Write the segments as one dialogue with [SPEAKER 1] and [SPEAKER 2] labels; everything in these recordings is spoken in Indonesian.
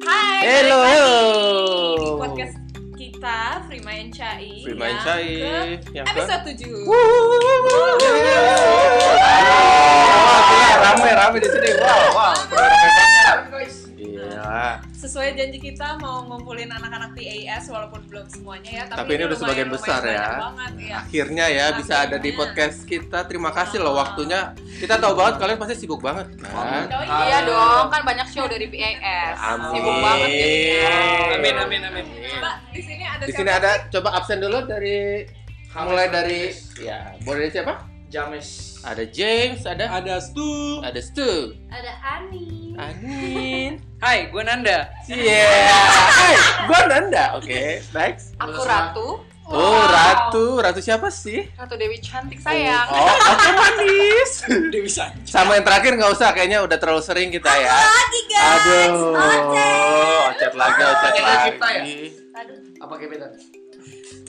[SPEAKER 1] Hello,
[SPEAKER 2] balik lagi
[SPEAKER 1] hello.
[SPEAKER 2] Di podcast kita Free Mind Chai
[SPEAKER 1] Free
[SPEAKER 3] ya,
[SPEAKER 1] Mind ya kan?
[SPEAKER 2] yang
[SPEAKER 1] Chai,
[SPEAKER 2] ke
[SPEAKER 1] yang ke-
[SPEAKER 2] Episode 7
[SPEAKER 1] rame rame di sini. Wow, wow. Gila.
[SPEAKER 2] Sesuai janji kita mau ngumpulin anak-anak TAS walaupun belum semuanya ya Tapi,
[SPEAKER 1] Tapi ini udah
[SPEAKER 2] lumayan-
[SPEAKER 1] sebagian
[SPEAKER 2] lumayan
[SPEAKER 1] besar ya.
[SPEAKER 2] banyak banget, ya.
[SPEAKER 1] Akhirnya ya bisa ada di
[SPEAKER 2] Akhirnya.
[SPEAKER 1] podcast kita. Terima kasih loh waktunya. Kita tahu banget kalian pasti sibuk banget kan.
[SPEAKER 2] Oh,
[SPEAKER 4] Iya dong, kan banyak show dari PAS.
[SPEAKER 1] Amin.
[SPEAKER 4] Sibuk banget jadinya.
[SPEAKER 3] Amin, amin, amin.
[SPEAKER 2] Coba di sini ada
[SPEAKER 1] Di
[SPEAKER 3] Iya.
[SPEAKER 2] siapa?
[SPEAKER 1] sini ada coba absen dulu dari mulai dari ya, boleh dari siapa?
[SPEAKER 3] James.
[SPEAKER 1] Ada James, ada
[SPEAKER 3] Ada Stu.
[SPEAKER 1] ada Stu,
[SPEAKER 2] Ada Ani
[SPEAKER 1] Anin.
[SPEAKER 3] Hai, gue Nanda.
[SPEAKER 1] Yeah. Hey, gua Nanda. Oke, next.
[SPEAKER 4] Aku Ratu,
[SPEAKER 1] Oh, Ratu. Ratu siapa sih?
[SPEAKER 4] Ratu Dewi cantik sayang.
[SPEAKER 1] Oh, aku manis.
[SPEAKER 3] Dewi Sanjay.
[SPEAKER 1] Sama yang terakhir nggak usah, kayaknya udah terlalu sering kita ya.
[SPEAKER 3] Oh,
[SPEAKER 2] Lagi guys
[SPEAKER 1] Aduh, ocet lagi, ocet
[SPEAKER 3] Pakai
[SPEAKER 1] lagi.
[SPEAKER 3] Devita ya?
[SPEAKER 2] Aduh
[SPEAKER 3] Apa gebetan?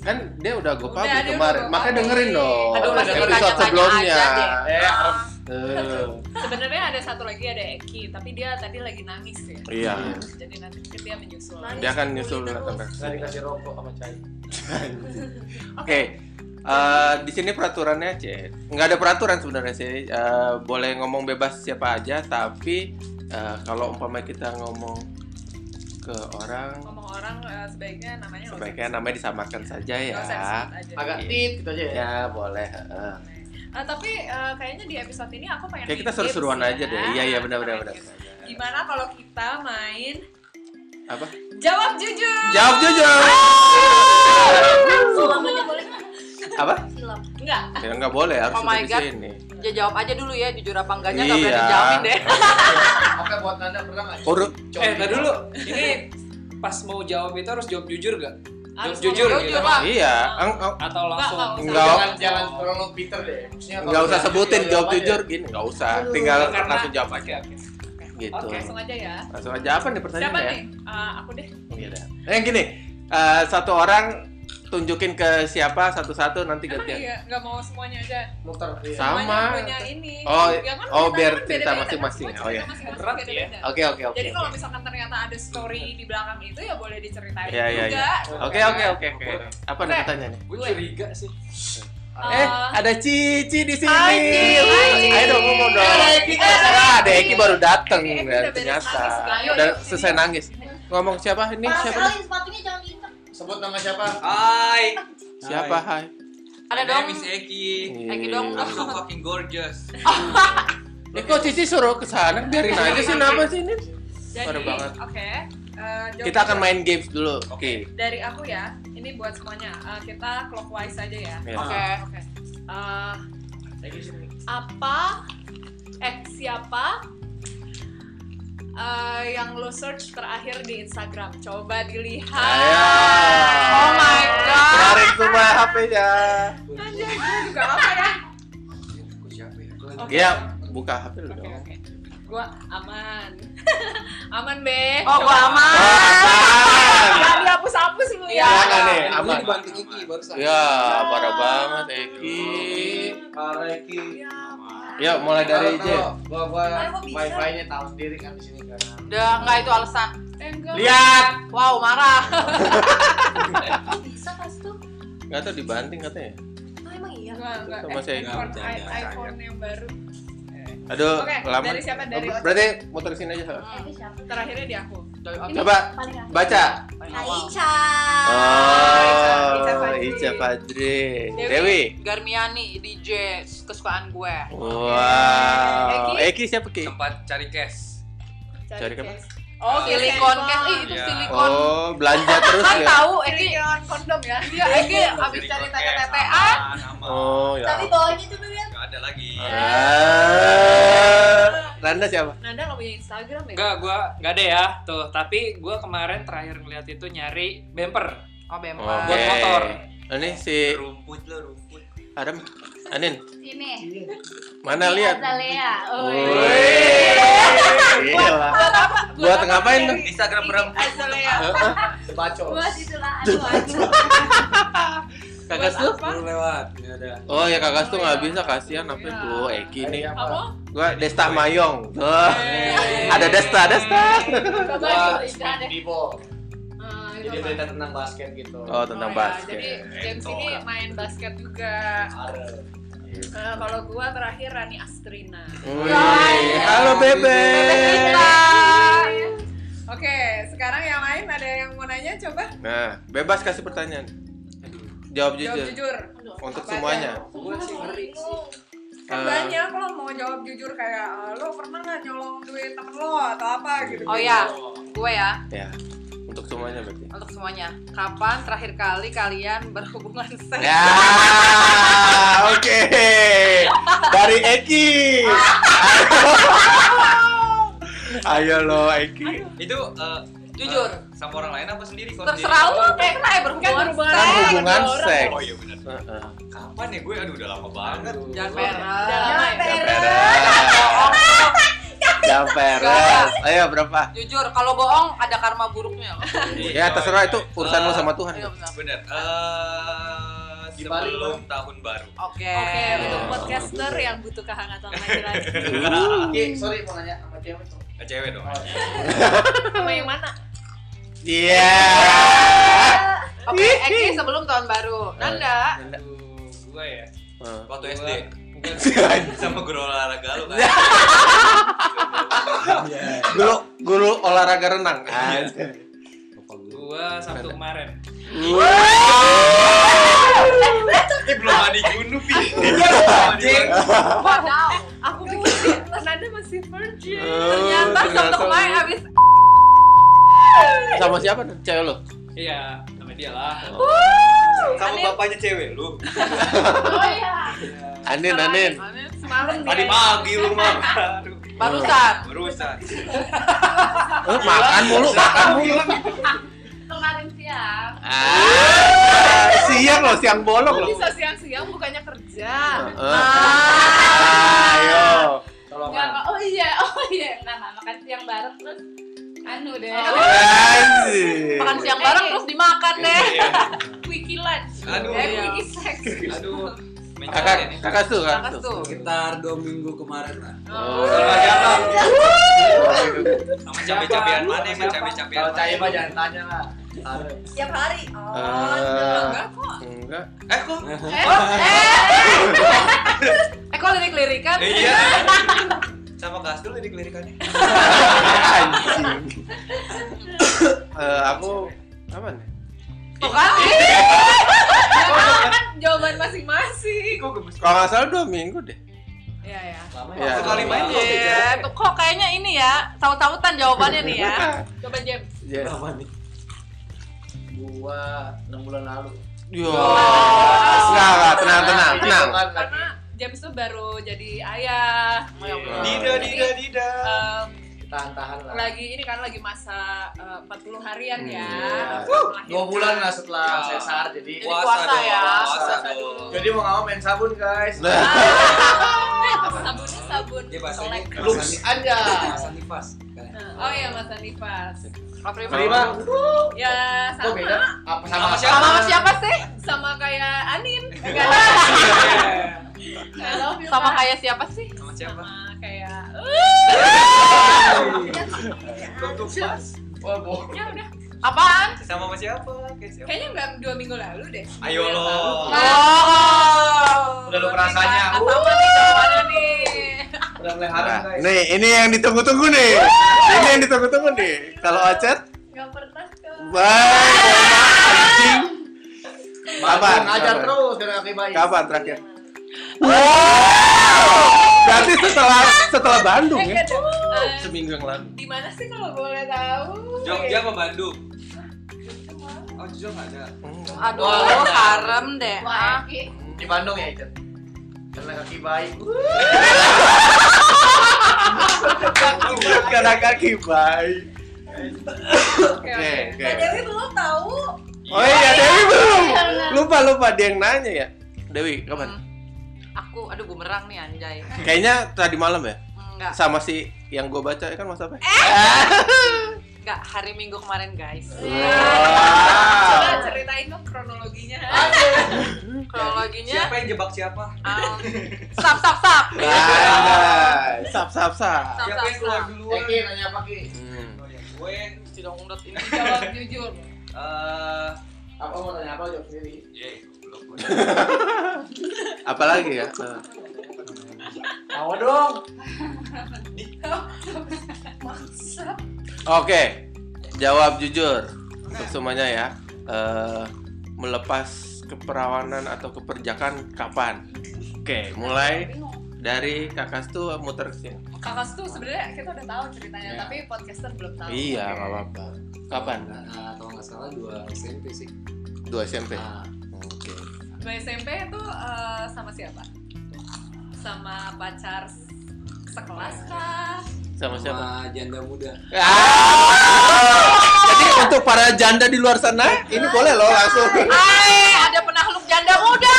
[SPEAKER 1] Kan dia udah gue
[SPEAKER 2] Udah,
[SPEAKER 1] publish
[SPEAKER 2] dia udah
[SPEAKER 1] kemarin,
[SPEAKER 2] gua
[SPEAKER 1] makanya
[SPEAKER 2] publish.
[SPEAKER 1] dengerin dong.
[SPEAKER 4] Aduh,
[SPEAKER 1] Pas
[SPEAKER 3] udah
[SPEAKER 1] episode
[SPEAKER 4] ditanya-tanya
[SPEAKER 1] sebelumnya.
[SPEAKER 4] aja
[SPEAKER 3] Eh, harap.
[SPEAKER 2] Ah.
[SPEAKER 1] Eh,
[SPEAKER 2] Sebenarnya ada satu lagi ada Eki Tapi dia tadi lagi nangis ya
[SPEAKER 1] Iya.
[SPEAKER 2] Jadi nanti dia menyusul
[SPEAKER 1] Dia akan
[SPEAKER 2] Gitu.
[SPEAKER 1] nyusul tentang.
[SPEAKER 3] Nggak dikasih rokok sama Cai.
[SPEAKER 1] Oke. eh, di sini peraturannya cek nggak ada peraturan sebenarnya sih Eh, boleh ngomong bebas siapa aja tapi eh, kalau umpamanya kita ngomong ke orang
[SPEAKER 2] Ngomong orang eh, sebaiknya namanya nggak usah
[SPEAKER 1] sebaiknya namanya disamakan saja ya
[SPEAKER 2] Nggak usah disebut aja.
[SPEAKER 3] Agak tit gitu aja ya.
[SPEAKER 1] Iya. ya boleh heeh.
[SPEAKER 2] Eh, tapi eh, kayaknya di episode ini aku pengen
[SPEAKER 1] kayak kita
[SPEAKER 2] main
[SPEAKER 1] seru-seruan
[SPEAKER 2] games
[SPEAKER 1] aja
[SPEAKER 2] ya.
[SPEAKER 1] deh iya iya benar benar
[SPEAKER 2] Kita
[SPEAKER 1] benar
[SPEAKER 2] main games. Gimana kalau kita main
[SPEAKER 1] apa
[SPEAKER 2] jawab jujur?
[SPEAKER 1] jawab jujur
[SPEAKER 5] Silam aja boleh nggak?
[SPEAKER 1] apa
[SPEAKER 5] Silam.
[SPEAKER 2] Enggak.
[SPEAKER 1] ya nggak boleh harus
[SPEAKER 4] Oh
[SPEAKER 1] sudah
[SPEAKER 4] my
[SPEAKER 1] di
[SPEAKER 4] God.
[SPEAKER 1] sini
[SPEAKER 4] Ya jawab aja dulu ya, jujur apa enggaknya nggak
[SPEAKER 1] Iya.
[SPEAKER 4] berani jamin deh.
[SPEAKER 3] Oke, buat Nanda pernah nggak?
[SPEAKER 1] Urut.
[SPEAKER 3] Eh, ntar dulu. Ini pas mau jawab itu harus jawab jujur gak?
[SPEAKER 2] Harus
[SPEAKER 3] Jawab jujur,
[SPEAKER 2] ngomong
[SPEAKER 3] gitu.
[SPEAKER 2] jujur lah.
[SPEAKER 1] iya eng- eng-
[SPEAKER 3] Atau
[SPEAKER 2] nggak
[SPEAKER 3] langsung?
[SPEAKER 2] usah.
[SPEAKER 1] Nggak.
[SPEAKER 3] Jangan- Jangan terlalu.
[SPEAKER 6] Peter deh.
[SPEAKER 1] nggak usah sebutin jawab jujur gini nggak usah tinggal
[SPEAKER 3] Karena-
[SPEAKER 1] langsung jawab
[SPEAKER 3] Oke,
[SPEAKER 1] aja
[SPEAKER 3] oke.
[SPEAKER 1] gitu
[SPEAKER 3] Oke.
[SPEAKER 2] Langsung aja ya.
[SPEAKER 1] langsung aja apa nih
[SPEAKER 2] Siapa
[SPEAKER 1] pertanyaannya ya?
[SPEAKER 2] nih? Eh, aku deh.
[SPEAKER 1] Iya dah. Eh gini, eh, satu orang tunjukin ke siapa satu-satu nanti
[SPEAKER 2] Emang
[SPEAKER 1] gantian.
[SPEAKER 2] iya, nggak mau semuanya aja.
[SPEAKER 6] ya,
[SPEAKER 3] Muter. iya.
[SPEAKER 1] Sama.
[SPEAKER 2] Semuanya punya ini.
[SPEAKER 1] Oh,
[SPEAKER 2] Ya kan
[SPEAKER 1] oh,
[SPEAKER 2] ceritanya
[SPEAKER 1] biar
[SPEAKER 2] kan
[SPEAKER 1] cerita
[SPEAKER 2] beda-beda, kan?
[SPEAKER 1] masing-masing.
[SPEAKER 2] Semua
[SPEAKER 1] Oh, iya.
[SPEAKER 2] cerita masing-masing
[SPEAKER 3] Berat ya.
[SPEAKER 2] beda-beda.
[SPEAKER 1] Oke oke oke.
[SPEAKER 2] Jadi kalau misalkan ternyata ada story di belakang itu ya boleh diceritain
[SPEAKER 1] Iya, iya,
[SPEAKER 2] juga.
[SPEAKER 1] Oke oke oke oke. Apa nih
[SPEAKER 2] Oke.
[SPEAKER 1] pertanyaannya?
[SPEAKER 3] Gue curiga sih.
[SPEAKER 1] Eh ada Cici di sini.
[SPEAKER 2] Oh. Hai, Ci. Hai, Ci.
[SPEAKER 1] Ayo dong ngomong dong.
[SPEAKER 2] Eh, ada Eki.
[SPEAKER 1] Ah, ada Eki baru dateng
[SPEAKER 2] Eki
[SPEAKER 1] ya,
[SPEAKER 2] Iya, udah beres
[SPEAKER 1] ternyata.
[SPEAKER 2] nangis, guys. Ayo,
[SPEAKER 1] Udah
[SPEAKER 2] yuk,
[SPEAKER 1] selesai
[SPEAKER 2] sini.
[SPEAKER 1] nangis. Ngomong siapa ini?
[SPEAKER 5] Parah
[SPEAKER 1] Siapa? nih?
[SPEAKER 5] sekali sepatunya jangan diikat.
[SPEAKER 6] Sebut nama siapa?
[SPEAKER 3] Hai.
[SPEAKER 1] Siapa? Hai. Iya.
[SPEAKER 4] Ada
[SPEAKER 3] My
[SPEAKER 4] dong.
[SPEAKER 3] name is Eki.
[SPEAKER 4] Eki dong.
[SPEAKER 3] I'm so fucking gorgeous.
[SPEAKER 1] Eh kok Cici suruh ke sana biarin aja sih nama sih ini.
[SPEAKER 2] Jadi,
[SPEAKER 1] Parah banget.
[SPEAKER 2] oke. eh, jawab
[SPEAKER 1] Kita akan
[SPEAKER 2] dulu.
[SPEAKER 1] main games dulu. Oke.
[SPEAKER 2] dari aku ya ini buat semuanya Eh, kita clockwise aja ya
[SPEAKER 1] Ya.
[SPEAKER 4] Oke.
[SPEAKER 2] oke Eh, apa eh siapa eh, yang lo search terakhir di Instagram coba dilihat
[SPEAKER 1] Ayo.
[SPEAKER 4] Oh my god.
[SPEAKER 1] Tarik semua HP-nya.
[SPEAKER 2] Anjir, gua juga apa ya
[SPEAKER 3] Gue siapa ya? Gua-
[SPEAKER 2] Oke.
[SPEAKER 1] Iya, buka HP lu
[SPEAKER 2] oke
[SPEAKER 1] dong.
[SPEAKER 2] oke gua aman aman be
[SPEAKER 4] Oh, gua aman.
[SPEAKER 1] apaan?
[SPEAKER 2] jangan dihapus-hapus lu ya
[SPEAKER 4] Iya.
[SPEAKER 1] Jangan ya,
[SPEAKER 3] Gua
[SPEAKER 1] aman.
[SPEAKER 3] dibanting Iki barusan.
[SPEAKER 1] Ya, parah banget Eki.
[SPEAKER 6] Para Eki.
[SPEAKER 2] Ya, aman.
[SPEAKER 1] Ya, mulai dari
[SPEAKER 6] Kalau
[SPEAKER 1] J.
[SPEAKER 6] tahu, Gua gua
[SPEAKER 2] Gimana kok bisa?
[SPEAKER 6] wifi-nya tahu sendiri kan di sini kan.
[SPEAKER 4] Udah enggak itu alasan.
[SPEAKER 2] Eh, enggak.
[SPEAKER 1] Lihat.
[SPEAKER 4] Wow, marah.
[SPEAKER 5] Kok bisa pas tuh?
[SPEAKER 1] Enggak tahu dibanting katanya.
[SPEAKER 5] Oh emang iya.
[SPEAKER 2] Enggak, enggak.
[SPEAKER 1] Sama saya.
[SPEAKER 2] iPhone,
[SPEAKER 3] Jangan, jangan,
[SPEAKER 2] iPhone yang baru
[SPEAKER 1] Aduh,
[SPEAKER 2] Oke,
[SPEAKER 1] lama. Oh,
[SPEAKER 2] dari siapa? Dari-
[SPEAKER 1] Berarti muter sini aja. Sal.
[SPEAKER 4] Hmm.
[SPEAKER 5] Ini siapa?
[SPEAKER 2] terakhirnya di aku
[SPEAKER 4] Dari-
[SPEAKER 1] Coba
[SPEAKER 5] Paling akhir.
[SPEAKER 1] baca.
[SPEAKER 5] Hai
[SPEAKER 4] awal.
[SPEAKER 5] Ica.
[SPEAKER 2] Ah, Ica
[SPEAKER 1] Oh,
[SPEAKER 2] Fadri.
[SPEAKER 1] Ica Fadri.
[SPEAKER 2] Dewi.
[SPEAKER 1] Dewi.
[SPEAKER 4] Garmiani DJ kesukaan gue.
[SPEAKER 1] Wow.
[SPEAKER 2] Eki.
[SPEAKER 1] Eki siapa Ki?
[SPEAKER 3] Tempat cari cash.
[SPEAKER 1] Cari apa?
[SPEAKER 2] case.
[SPEAKER 4] Oh,
[SPEAKER 2] Oke,
[SPEAKER 4] silikon
[SPEAKER 2] handphone.
[SPEAKER 4] case. Ih, itu
[SPEAKER 3] Iya.
[SPEAKER 4] silikon.
[SPEAKER 1] Oh, belanja terus
[SPEAKER 4] Kan
[SPEAKER 1] ya.
[SPEAKER 2] Oh,
[SPEAKER 4] tahu Eki
[SPEAKER 2] Carikan kondom ya.
[SPEAKER 4] Iya, Eki abis cari
[SPEAKER 7] Ah!
[SPEAKER 4] tete-tetean.
[SPEAKER 3] Aman, aman.
[SPEAKER 1] Oh, ya.
[SPEAKER 5] Tapi bawahnya tuh Beb.
[SPEAKER 3] Nggak ada lagi.
[SPEAKER 1] Ah. Landa siapa?
[SPEAKER 2] Nanda nggak punya Instagram ya?
[SPEAKER 7] Enggak, gua enggak ada ya. Tuh, tapi gua kemarin terakhir ngeliat itu nyari bumper
[SPEAKER 4] Oh, bemper.
[SPEAKER 1] Oke.
[SPEAKER 7] Buat motor.
[SPEAKER 1] Ini si
[SPEAKER 3] Rumput lo, rumput.
[SPEAKER 1] Adam, Anin,
[SPEAKER 5] Sini.
[SPEAKER 1] mana lihat?
[SPEAKER 5] Azalea. Oh.
[SPEAKER 1] Wih, gila. Buat ngapain tuh?
[SPEAKER 3] Instagram
[SPEAKER 2] Azalea.
[SPEAKER 1] Heeh.
[SPEAKER 6] Oh. Sebacos.
[SPEAKER 5] Gua situlah aduh aduh.
[SPEAKER 1] Kakak
[SPEAKER 2] Buat
[SPEAKER 1] Stu?
[SPEAKER 2] apa?
[SPEAKER 3] Belum lewat, nggak ada.
[SPEAKER 1] Oh ya kakak Stu nggak bisa kasihan apa
[SPEAKER 2] Iya.
[SPEAKER 1] tuh Eki nih.
[SPEAKER 6] Apa?
[SPEAKER 2] Apa?
[SPEAKER 1] Gua Desta Mayong. Tuh.
[SPEAKER 2] Eh.
[SPEAKER 1] Ada Desta, Desta.
[SPEAKER 5] Coba
[SPEAKER 6] Wah,
[SPEAKER 5] diberikan deh.
[SPEAKER 6] Vivo.
[SPEAKER 2] Eh, itu
[SPEAKER 6] Jadi
[SPEAKER 2] apa?
[SPEAKER 6] berita tentang basket gitu.
[SPEAKER 1] Oh tentang
[SPEAKER 2] Oh, ya, Jadi
[SPEAKER 1] basket.
[SPEAKER 2] James ini main basket juga.
[SPEAKER 6] Ada.
[SPEAKER 2] Eh, kalau gua terakhir Rani Astrina.
[SPEAKER 1] Wih,
[SPEAKER 4] Hai.
[SPEAKER 1] Halo
[SPEAKER 4] Bebek
[SPEAKER 1] Bebek.
[SPEAKER 4] kita.
[SPEAKER 2] Oke, sekarang yang lain ada yang mau nanya coba?
[SPEAKER 1] Nah, bebas kasih pertanyaan. Jawab
[SPEAKER 7] Iya.
[SPEAKER 2] Jawab
[SPEAKER 1] jujur
[SPEAKER 2] jujur.
[SPEAKER 5] Aduh,
[SPEAKER 1] untuk
[SPEAKER 2] Apa aja?
[SPEAKER 1] semuanya.
[SPEAKER 3] Gue sih ngeri sih.
[SPEAKER 2] Kan
[SPEAKER 1] Eh.
[SPEAKER 2] banyak lo mau jawab jujur kayak "Eh, lo pernah nggak nyolong duit temen lo atau apa gitu.
[SPEAKER 4] Oh ya, gue ya.
[SPEAKER 1] Ya, untuk semuanya berarti.
[SPEAKER 4] untuk semuanya. Kapan terakhir kali kalian berhubungan seks?
[SPEAKER 1] Ya, oke. Dari Eki. Ayo lo Eki.
[SPEAKER 7] Itu eh,
[SPEAKER 4] Jujur.
[SPEAKER 7] eh, sama orang lain apa sendiri? Kalau
[SPEAKER 4] Terserah
[SPEAKER 7] sendiri?
[SPEAKER 4] lu, kayak pernah ya berhubungan,
[SPEAKER 2] Kan berhubungan
[SPEAKER 1] Kan
[SPEAKER 4] seks?
[SPEAKER 1] hubungan seks.
[SPEAKER 7] Oh iya benar.
[SPEAKER 1] Heeh.
[SPEAKER 7] Kapan ya gue? Aduh udah lama banget.
[SPEAKER 4] Jangan merah.
[SPEAKER 2] Jangan
[SPEAKER 1] Jangan peres. Jangan peres. Ayo berapa?
[SPEAKER 4] Jujur, kalau bohong ada karma buruknya. loh.
[SPEAKER 7] Iya.
[SPEAKER 1] Ya terserah itu urusan lo sama Tuhan.
[SPEAKER 4] Iya benar.
[SPEAKER 7] Benar. Eh
[SPEAKER 6] Di Bali,
[SPEAKER 7] sebelum tahun baru.
[SPEAKER 4] Oke.
[SPEAKER 2] Oke, untuk podcaster yang butuh kehangatan laki-laki.
[SPEAKER 6] Oke, sorry mau nanya sama cewek tuh.
[SPEAKER 7] Eh, Cewek dong.
[SPEAKER 2] Sama yang mana?
[SPEAKER 1] Iya.
[SPEAKER 4] Oke, Eki sebelum tahun baru. Nanda.
[SPEAKER 7] Aduh, gue ya.
[SPEAKER 1] Heeh.
[SPEAKER 7] Waktu
[SPEAKER 3] Gua-
[SPEAKER 7] SD
[SPEAKER 3] Mungkin
[SPEAKER 7] sama guru olahraga lu kan.
[SPEAKER 1] Guru guru olahraga renang.
[SPEAKER 7] Gua Sabtu kemarin. Ini belum ada gunung pi.
[SPEAKER 3] anjing.
[SPEAKER 4] Wadaw.
[SPEAKER 2] Aku pikir Nanda masih virgin.
[SPEAKER 4] Ternyata Sabtu kemarin
[SPEAKER 1] ternyata.
[SPEAKER 4] abis
[SPEAKER 1] sama siapa tuh cewek lo?
[SPEAKER 7] Iya, sama dia lah. Sama
[SPEAKER 2] Anin.
[SPEAKER 7] bapaknya cewek
[SPEAKER 5] Oh
[SPEAKER 7] lu.
[SPEAKER 5] iya.
[SPEAKER 1] Anin Anin.
[SPEAKER 2] Semalam
[SPEAKER 7] Tadi
[SPEAKER 2] dia.
[SPEAKER 7] pagi lu mah. Aduh.
[SPEAKER 4] barusan.
[SPEAKER 7] Barusan.
[SPEAKER 1] Lu Oh, makan mulu, makan mulu.
[SPEAKER 5] Kemarin siang.
[SPEAKER 1] Ah, siang lo, siang bolong
[SPEAKER 2] Lu
[SPEAKER 1] lo.
[SPEAKER 2] bisa siang-siang bukannya kerja.
[SPEAKER 1] Ah, ayo.
[SPEAKER 6] Tolong.
[SPEAKER 5] Enggak, oh iya, oh iya. Enggak, enggak makan siang bareng terus anu deh.
[SPEAKER 4] Oh.
[SPEAKER 1] Anjir.
[SPEAKER 4] Makan siang bareng terus dimakan deh.
[SPEAKER 5] Quickie lunch.
[SPEAKER 7] Aduh.
[SPEAKER 5] Eh, quickie sex.
[SPEAKER 7] Aduh.
[SPEAKER 1] Kakak, kakak tuh, kakak
[SPEAKER 4] Kakak
[SPEAKER 1] tuh.
[SPEAKER 4] tuh.
[SPEAKER 3] sekitar dua minggu kemarin lah.
[SPEAKER 1] Oh. gitu.
[SPEAKER 7] Sama
[SPEAKER 3] Siapa?
[SPEAKER 7] siapa? Sama cabai-cabean mana yang
[SPEAKER 3] Siapa?
[SPEAKER 7] cabai-cabean?
[SPEAKER 6] Kalau cewek mah jangan tanya lah.
[SPEAKER 2] Tiap hari. Oh,
[SPEAKER 1] Eh.
[SPEAKER 2] enggak kok.
[SPEAKER 1] Enggak.
[SPEAKER 7] Eh kok?
[SPEAKER 4] Eh kok lirik-lirikan?
[SPEAKER 7] Iya. Sama gas dulu di kelirikannya.
[SPEAKER 1] Anjing. Eh, aku apa nih?
[SPEAKER 4] Tuh kan?
[SPEAKER 2] Kan jawaban masing-masing.
[SPEAKER 7] Kok gemes?
[SPEAKER 1] Kalau nggak salah dua minggu deh.
[SPEAKER 2] Iya, ya.
[SPEAKER 6] Lama
[SPEAKER 1] Iya.
[SPEAKER 7] Sekali main
[SPEAKER 3] Iya.
[SPEAKER 7] ya.
[SPEAKER 4] Iya, tuh kok kayaknya ini ya, tahu-tahutan
[SPEAKER 2] Iya
[SPEAKER 4] jawabannya nih ya.
[SPEAKER 2] Coba James.
[SPEAKER 1] Yes.
[SPEAKER 3] Lama nih.
[SPEAKER 6] Gua 6 bulan lalu.
[SPEAKER 1] Yo. Enggak, enggak, tenang, tenang, tenang.
[SPEAKER 6] Kan lagi
[SPEAKER 2] Karena James tuh baru jadi ayah.
[SPEAKER 4] Ya ampun.
[SPEAKER 7] Dida, dida, dida.
[SPEAKER 2] Eh,
[SPEAKER 6] tahan-tahan lah.
[SPEAKER 2] lagi ini kan lagi masa eh, 40 harian ya.
[SPEAKER 1] Iya.
[SPEAKER 2] Melahirkan.
[SPEAKER 6] 2 bulan lah setelah
[SPEAKER 7] Ya.
[SPEAKER 6] sesar jadi
[SPEAKER 4] Jadi puasa
[SPEAKER 7] dong,
[SPEAKER 4] ya.
[SPEAKER 7] Puasa
[SPEAKER 6] Puasa
[SPEAKER 7] dong.
[SPEAKER 3] Iya.
[SPEAKER 6] jadi mau nggak mau main sabun guys.
[SPEAKER 1] Nah.
[SPEAKER 2] Ah. Sabunnya sabun
[SPEAKER 3] Dia bahasanya
[SPEAKER 2] selek.
[SPEAKER 3] bahasa
[SPEAKER 6] Lux
[SPEAKER 3] Nif-
[SPEAKER 6] Anda.
[SPEAKER 3] bahasa nifas.
[SPEAKER 2] Nah, Oh iya Mas Anifas.
[SPEAKER 4] Apa yang
[SPEAKER 1] Terima.
[SPEAKER 6] Prima,
[SPEAKER 2] Ya
[SPEAKER 6] kok beda?
[SPEAKER 2] sama
[SPEAKER 6] Apa
[SPEAKER 7] Sama
[SPEAKER 6] sama
[SPEAKER 7] siapa?
[SPEAKER 4] Sama siapa sih?
[SPEAKER 2] sama kayak Anin.
[SPEAKER 5] I love you,
[SPEAKER 4] Sama
[SPEAKER 5] Kak.
[SPEAKER 4] kayak siapa sih?
[SPEAKER 7] Sama siapa?
[SPEAKER 2] sama kayak
[SPEAKER 7] Tutup pas.
[SPEAKER 6] Oh, bohong.
[SPEAKER 2] ya udah
[SPEAKER 4] Apaan?
[SPEAKER 7] Sama sama siapa? Kayak siapa?
[SPEAKER 2] kayaknya nggak dua minggu lalu deh
[SPEAKER 7] Ayo lo.
[SPEAKER 4] Oh.
[SPEAKER 6] Udah lu rasanya.
[SPEAKER 4] Apa
[SPEAKER 6] Uh,
[SPEAKER 4] nih jawabannya nih?
[SPEAKER 6] Udah mulai harum
[SPEAKER 1] Nah,
[SPEAKER 6] guys.
[SPEAKER 1] nih, ini yang ditunggu-tunggu nih. Ini yang ditunggu-tunggu nih. Kalau Ocet,
[SPEAKER 5] Enggak pernah ke.
[SPEAKER 2] Eh,
[SPEAKER 1] bye. Anjing. Kapan?
[SPEAKER 6] Kapan? Ngajar
[SPEAKER 1] Kapan?
[SPEAKER 6] terus dari kaki bayi.
[SPEAKER 1] Kapan terakhir? Wow! Berarti setelah setelah Bandung ya?
[SPEAKER 2] Eh,
[SPEAKER 1] Seminggu yang lalu.
[SPEAKER 2] di mana sih kalau boleh tahu
[SPEAKER 7] Jogja apa Bandung? Oh, Jogja enggak ada.
[SPEAKER 4] Aduh,
[SPEAKER 6] Wah.
[SPEAKER 4] harem deh. Ah.
[SPEAKER 5] Wah, Eki.
[SPEAKER 6] Di Bandung ya, Icet? Karena kaki bayi.
[SPEAKER 1] Karena kaki baik.
[SPEAKER 2] oke
[SPEAKER 1] Oke,
[SPEAKER 2] oke
[SPEAKER 1] oke.
[SPEAKER 2] Dewi belum tahu
[SPEAKER 1] Oh iya, Dewi belum.
[SPEAKER 5] Iya, benar.
[SPEAKER 1] Lupa lupa dia yang nanya ya. Dewi, kapan?
[SPEAKER 4] Hmm. Aku aduh bumerang nih anjay.
[SPEAKER 1] Kayaknya tadi malam ya.
[SPEAKER 4] Enggak.
[SPEAKER 1] Sama si yang gue baca ya kan Mas apa?
[SPEAKER 4] Nggak, hari Minggu kemarin guys.
[SPEAKER 2] Coba
[SPEAKER 1] Wow.
[SPEAKER 2] ceritain dong kronologinya.
[SPEAKER 4] Kronologinya,
[SPEAKER 3] Siapa yang jebak siapa?
[SPEAKER 4] um, stop, stop, stop.
[SPEAKER 1] Nah, sap sap
[SPEAKER 4] Stop,
[SPEAKER 1] sap.
[SPEAKER 3] Siapa
[SPEAKER 4] stop,
[SPEAKER 3] yang keluar
[SPEAKER 4] stop.
[SPEAKER 6] Eh,
[SPEAKER 3] duluan?
[SPEAKER 6] Ki, nanya apa Ki?
[SPEAKER 1] Hmm.
[SPEAKER 3] Oh, ya, gue
[SPEAKER 4] Tidak undut ini.
[SPEAKER 5] Jawab jujur.
[SPEAKER 3] eh
[SPEAKER 6] Apa mau tanya apa jawab sendiri?
[SPEAKER 3] ye, goblok gue.
[SPEAKER 1] Apalagi ya? Eh,
[SPEAKER 6] Tawa dong.
[SPEAKER 1] Oke. Jawab jujur untuk semuanya ya. Eh, melepas keperawanan atau keperjakan kapan? Oke, mulai
[SPEAKER 2] Bingung.
[SPEAKER 1] dari Kakas tuh muter ke sini.
[SPEAKER 2] Kakas tuh sebenarnya kita udah tahu ceritanya,
[SPEAKER 3] Iya.
[SPEAKER 2] tapi podcaster belum tahu.
[SPEAKER 1] Iya, nggak apa-apa. Kapan?
[SPEAKER 3] Nah, kalau nggak salah dua SMP sih.
[SPEAKER 1] 2 SMP.
[SPEAKER 3] Nah,
[SPEAKER 1] Oke.
[SPEAKER 2] Gue SMP itu eh, sama siapa? Sama pacar s- sekelas kah?
[SPEAKER 1] Sama siapa?
[SPEAKER 3] sama janda muda.
[SPEAKER 1] Ah! Jadi untuk para janda di luar sana, ini boleh loh langsung.
[SPEAKER 4] Hai, Eh, ada penakluk janda muda.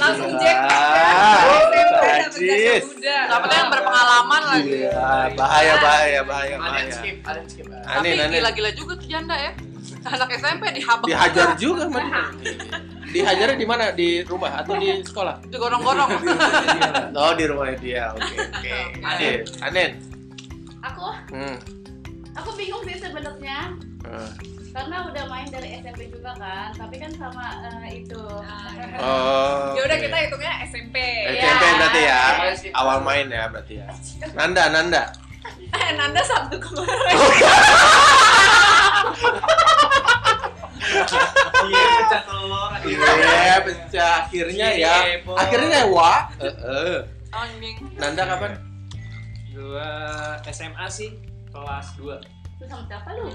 [SPEAKER 2] Langsung jack
[SPEAKER 1] Ah,
[SPEAKER 2] SMP
[SPEAKER 1] Najis.
[SPEAKER 2] muda.
[SPEAKER 4] Dapatnya yang berpengalaman lagi.
[SPEAKER 1] Iya, bahaya bahaya bahaya
[SPEAKER 6] Ada yang
[SPEAKER 1] bahaya.
[SPEAKER 6] skip, ada yang skip.
[SPEAKER 1] Aneh
[SPEAKER 4] Tapi
[SPEAKER 1] aneh.
[SPEAKER 4] gila-gila juga tuh janda ya. Anak SMP dihabak.
[SPEAKER 1] Dihajar juga man. Dihajarnya di mana? Di rumah atau di sekolah?
[SPEAKER 4] Digorong-gorong.
[SPEAKER 1] Oh, di rumah dia. Oke, oke. Aneh, aneh.
[SPEAKER 5] Aku
[SPEAKER 1] Hmm.
[SPEAKER 5] aku bingung sih sebenarnya
[SPEAKER 1] eh.
[SPEAKER 5] karena udah main dari SMP juga kan, tapi kan sama eh, itu. Nah,
[SPEAKER 2] nah,
[SPEAKER 1] Oh.
[SPEAKER 2] Ya udah
[SPEAKER 1] oke.
[SPEAKER 2] kita hitungnya SMP.
[SPEAKER 1] SMP berarti ya.
[SPEAKER 6] Awal skip.
[SPEAKER 1] Awal main ya berarti ya. Nanda, Nanda.
[SPEAKER 2] Eh, Nanda Sabtu
[SPEAKER 1] Oh,
[SPEAKER 2] kemarin.
[SPEAKER 6] Iya, pecah telur.
[SPEAKER 1] Iya, pecah akhirnya ya.
[SPEAKER 7] Heboh.
[SPEAKER 1] Akhirnya wa. Eh, eh.
[SPEAKER 4] Anjing.
[SPEAKER 1] Nanda kapan?
[SPEAKER 7] Dua SMA sih kelas 2
[SPEAKER 5] Itu sama siapa lu?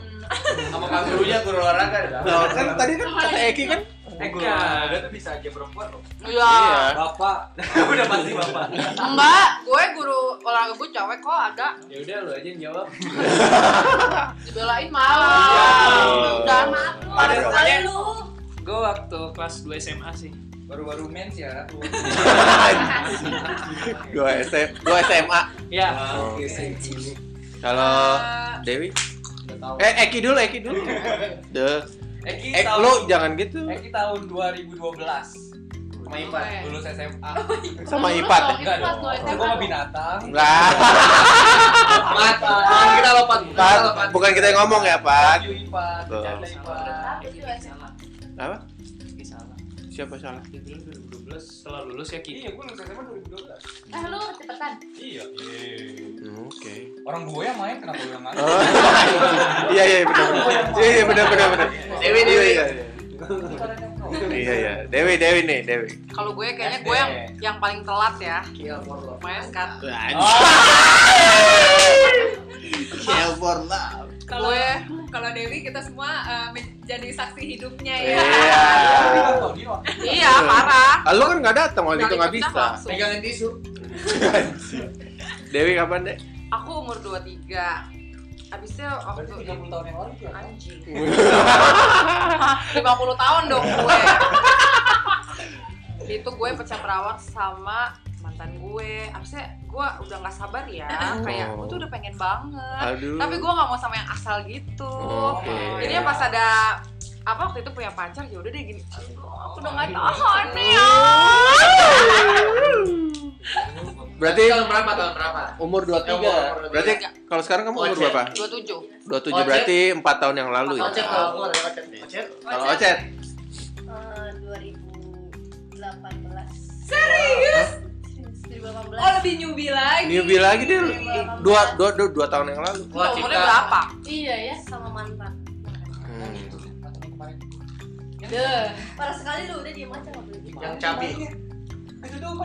[SPEAKER 6] Sama Kang Gurunya guru olahraga ada.
[SPEAKER 1] Loh, kan tadi kan kata Eki kan
[SPEAKER 3] Eh, guru olahraga tuh bisa aja perempuan loh.
[SPEAKER 4] Iya.
[SPEAKER 1] Iya.
[SPEAKER 3] Bapak, udah pasti bapak.
[SPEAKER 4] Enggak, gue guru olahraga gue cewek kok ada.
[SPEAKER 7] Ya udah lu aja yang jawab.
[SPEAKER 4] Dibelain
[SPEAKER 1] Iya.
[SPEAKER 4] malah. Udah mah.
[SPEAKER 5] Maaf lu.
[SPEAKER 1] Ada
[SPEAKER 5] Ada lu.
[SPEAKER 7] Gue waktu kelas 2 SMA sih.
[SPEAKER 3] Baru-baru mens ya. aku.
[SPEAKER 1] Dua SM, dua SMA.
[SPEAKER 7] Ya,
[SPEAKER 3] Wow,
[SPEAKER 1] Oke.
[SPEAKER 3] kayak gini.
[SPEAKER 1] Kalau
[SPEAKER 2] Eh,
[SPEAKER 1] Dewi,
[SPEAKER 3] Udah tahu.
[SPEAKER 1] eh Eki dulu, Eki dulu. Deh,
[SPEAKER 3] Eki
[SPEAKER 1] eh
[SPEAKER 3] tahun-
[SPEAKER 1] lo jangan gitu
[SPEAKER 3] Eki tahun 2012
[SPEAKER 6] Sama Ipan.
[SPEAKER 3] lulus SMA.
[SPEAKER 1] sama
[SPEAKER 5] Lu
[SPEAKER 1] Ipat.
[SPEAKER 5] dong,
[SPEAKER 1] ya?
[SPEAKER 5] Oh, itu
[SPEAKER 3] Enggak
[SPEAKER 5] kelas
[SPEAKER 3] dong.
[SPEAKER 5] dua
[SPEAKER 3] Coba
[SPEAKER 5] SMA.
[SPEAKER 3] sama binatang.
[SPEAKER 1] Lah,
[SPEAKER 3] Mata.
[SPEAKER 6] Kita lompat.
[SPEAKER 1] Pat, bukan kita yang ngomong ya Pat.
[SPEAKER 3] Kayu Ipan,
[SPEAKER 1] Betul.
[SPEAKER 3] bercanda Ipan.
[SPEAKER 5] Tapi itu SMA.
[SPEAKER 1] Apa?
[SPEAKER 7] Eki salah.
[SPEAKER 1] Siapa salah?
[SPEAKER 7] Dia bilang 2012 setelah lulus ya Ki.
[SPEAKER 3] Iya, gue lulus SMA 2012.
[SPEAKER 5] Eh lu cepetan.
[SPEAKER 3] Iya.
[SPEAKER 1] Hmm, Oke.
[SPEAKER 3] Orang gue yang main kenapa gue yang main?
[SPEAKER 1] Oh, Iya iya benar benar. Iya iya benar benar benar.
[SPEAKER 6] Dewi, Dewi.
[SPEAKER 1] Iya iya. Iya iya. Dewi Dewi nih Dewi.
[SPEAKER 4] Kalau gue kayaknya
[SPEAKER 3] SD.
[SPEAKER 4] gue yang yang paling telat ya.
[SPEAKER 6] Iya, Morlo.
[SPEAKER 4] Main kan.
[SPEAKER 1] Kill for love.
[SPEAKER 2] Kalau
[SPEAKER 4] Gue.
[SPEAKER 2] kalau Dewi kita semua eh, menjadi saksi hidupnya ya.
[SPEAKER 1] Iya.
[SPEAKER 4] Iya, parah.
[SPEAKER 1] Ah, Lo kan nggak datang waktu
[SPEAKER 4] Nggak
[SPEAKER 1] itu nggak
[SPEAKER 4] ikut dah
[SPEAKER 1] bisa.
[SPEAKER 4] langsung.
[SPEAKER 6] Megangin tisu.
[SPEAKER 1] Dewi kapan deh?
[SPEAKER 4] Aku umur 23. Abisnya waktu
[SPEAKER 3] Berarti 30 tahun yang lalu tuh ya?
[SPEAKER 4] anjing. 50 tahun dong gue. itu gue pecah perawat sama mantan gue. Abisnya gue udah nggak sabar ya. Kayak gue tuh udah pengen banget.
[SPEAKER 1] Aduh.
[SPEAKER 4] Tapi gue nggak mau sama yang asal gitu.
[SPEAKER 1] Oke.
[SPEAKER 4] Jadi pas ada apa waktu itu punya pacar ya udah deh gini. "Aduh, Aku udah nggak tahan nih ya.
[SPEAKER 1] Berarti
[SPEAKER 6] Tahun berapa? Tahun berapa?
[SPEAKER 1] umur 23. Berarti kalau sekarang kamu umur
[SPEAKER 6] Ocek.
[SPEAKER 1] berapa?
[SPEAKER 4] 27.
[SPEAKER 1] 27
[SPEAKER 6] Ocek.
[SPEAKER 1] berarti 4 tahun yang lalu ya.
[SPEAKER 6] Ocet kalau umur ya, Ocet.
[SPEAKER 1] Iya.
[SPEAKER 6] Ocet.
[SPEAKER 1] Kalau Ocet.
[SPEAKER 5] Eh, 2018.
[SPEAKER 2] Serius?
[SPEAKER 5] Serius,
[SPEAKER 2] Oh
[SPEAKER 5] 2018.
[SPEAKER 2] lebih nyubi lagi.
[SPEAKER 1] Newbie lagi dia
[SPEAKER 5] Iya.
[SPEAKER 1] dua, dua, dua, dua tahun yang lalu.
[SPEAKER 4] Lu umurnya berapa?
[SPEAKER 5] Iya ya sama mantan.
[SPEAKER 1] Hmm.
[SPEAKER 5] Deh, parah sekali lu udah diem aja nggak boleh.
[SPEAKER 6] Yang cabi.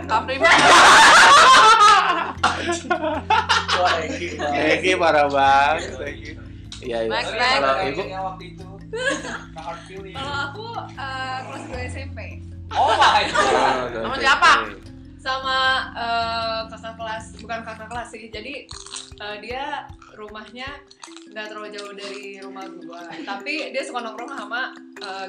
[SPEAKER 4] Kaprima.
[SPEAKER 6] Wah, Eki.
[SPEAKER 1] Eki parah banget. Eki. Iya iya.
[SPEAKER 4] Next, next.
[SPEAKER 1] Kalau ibu
[SPEAKER 3] waktu itu. Nah, hard feeling.
[SPEAKER 2] Kalau aku eh, kelas 2 SMP
[SPEAKER 3] Oh my god.
[SPEAKER 1] Oh, dua
[SPEAKER 4] Sama
[SPEAKER 1] tahun.
[SPEAKER 4] siapa?
[SPEAKER 2] sama eh, kakak kelas bukan kakak kelas sih jadi eh, dia rumahnya nggak terlalu jauh dari rumah gua tapi dia suka nongkrong sama eh,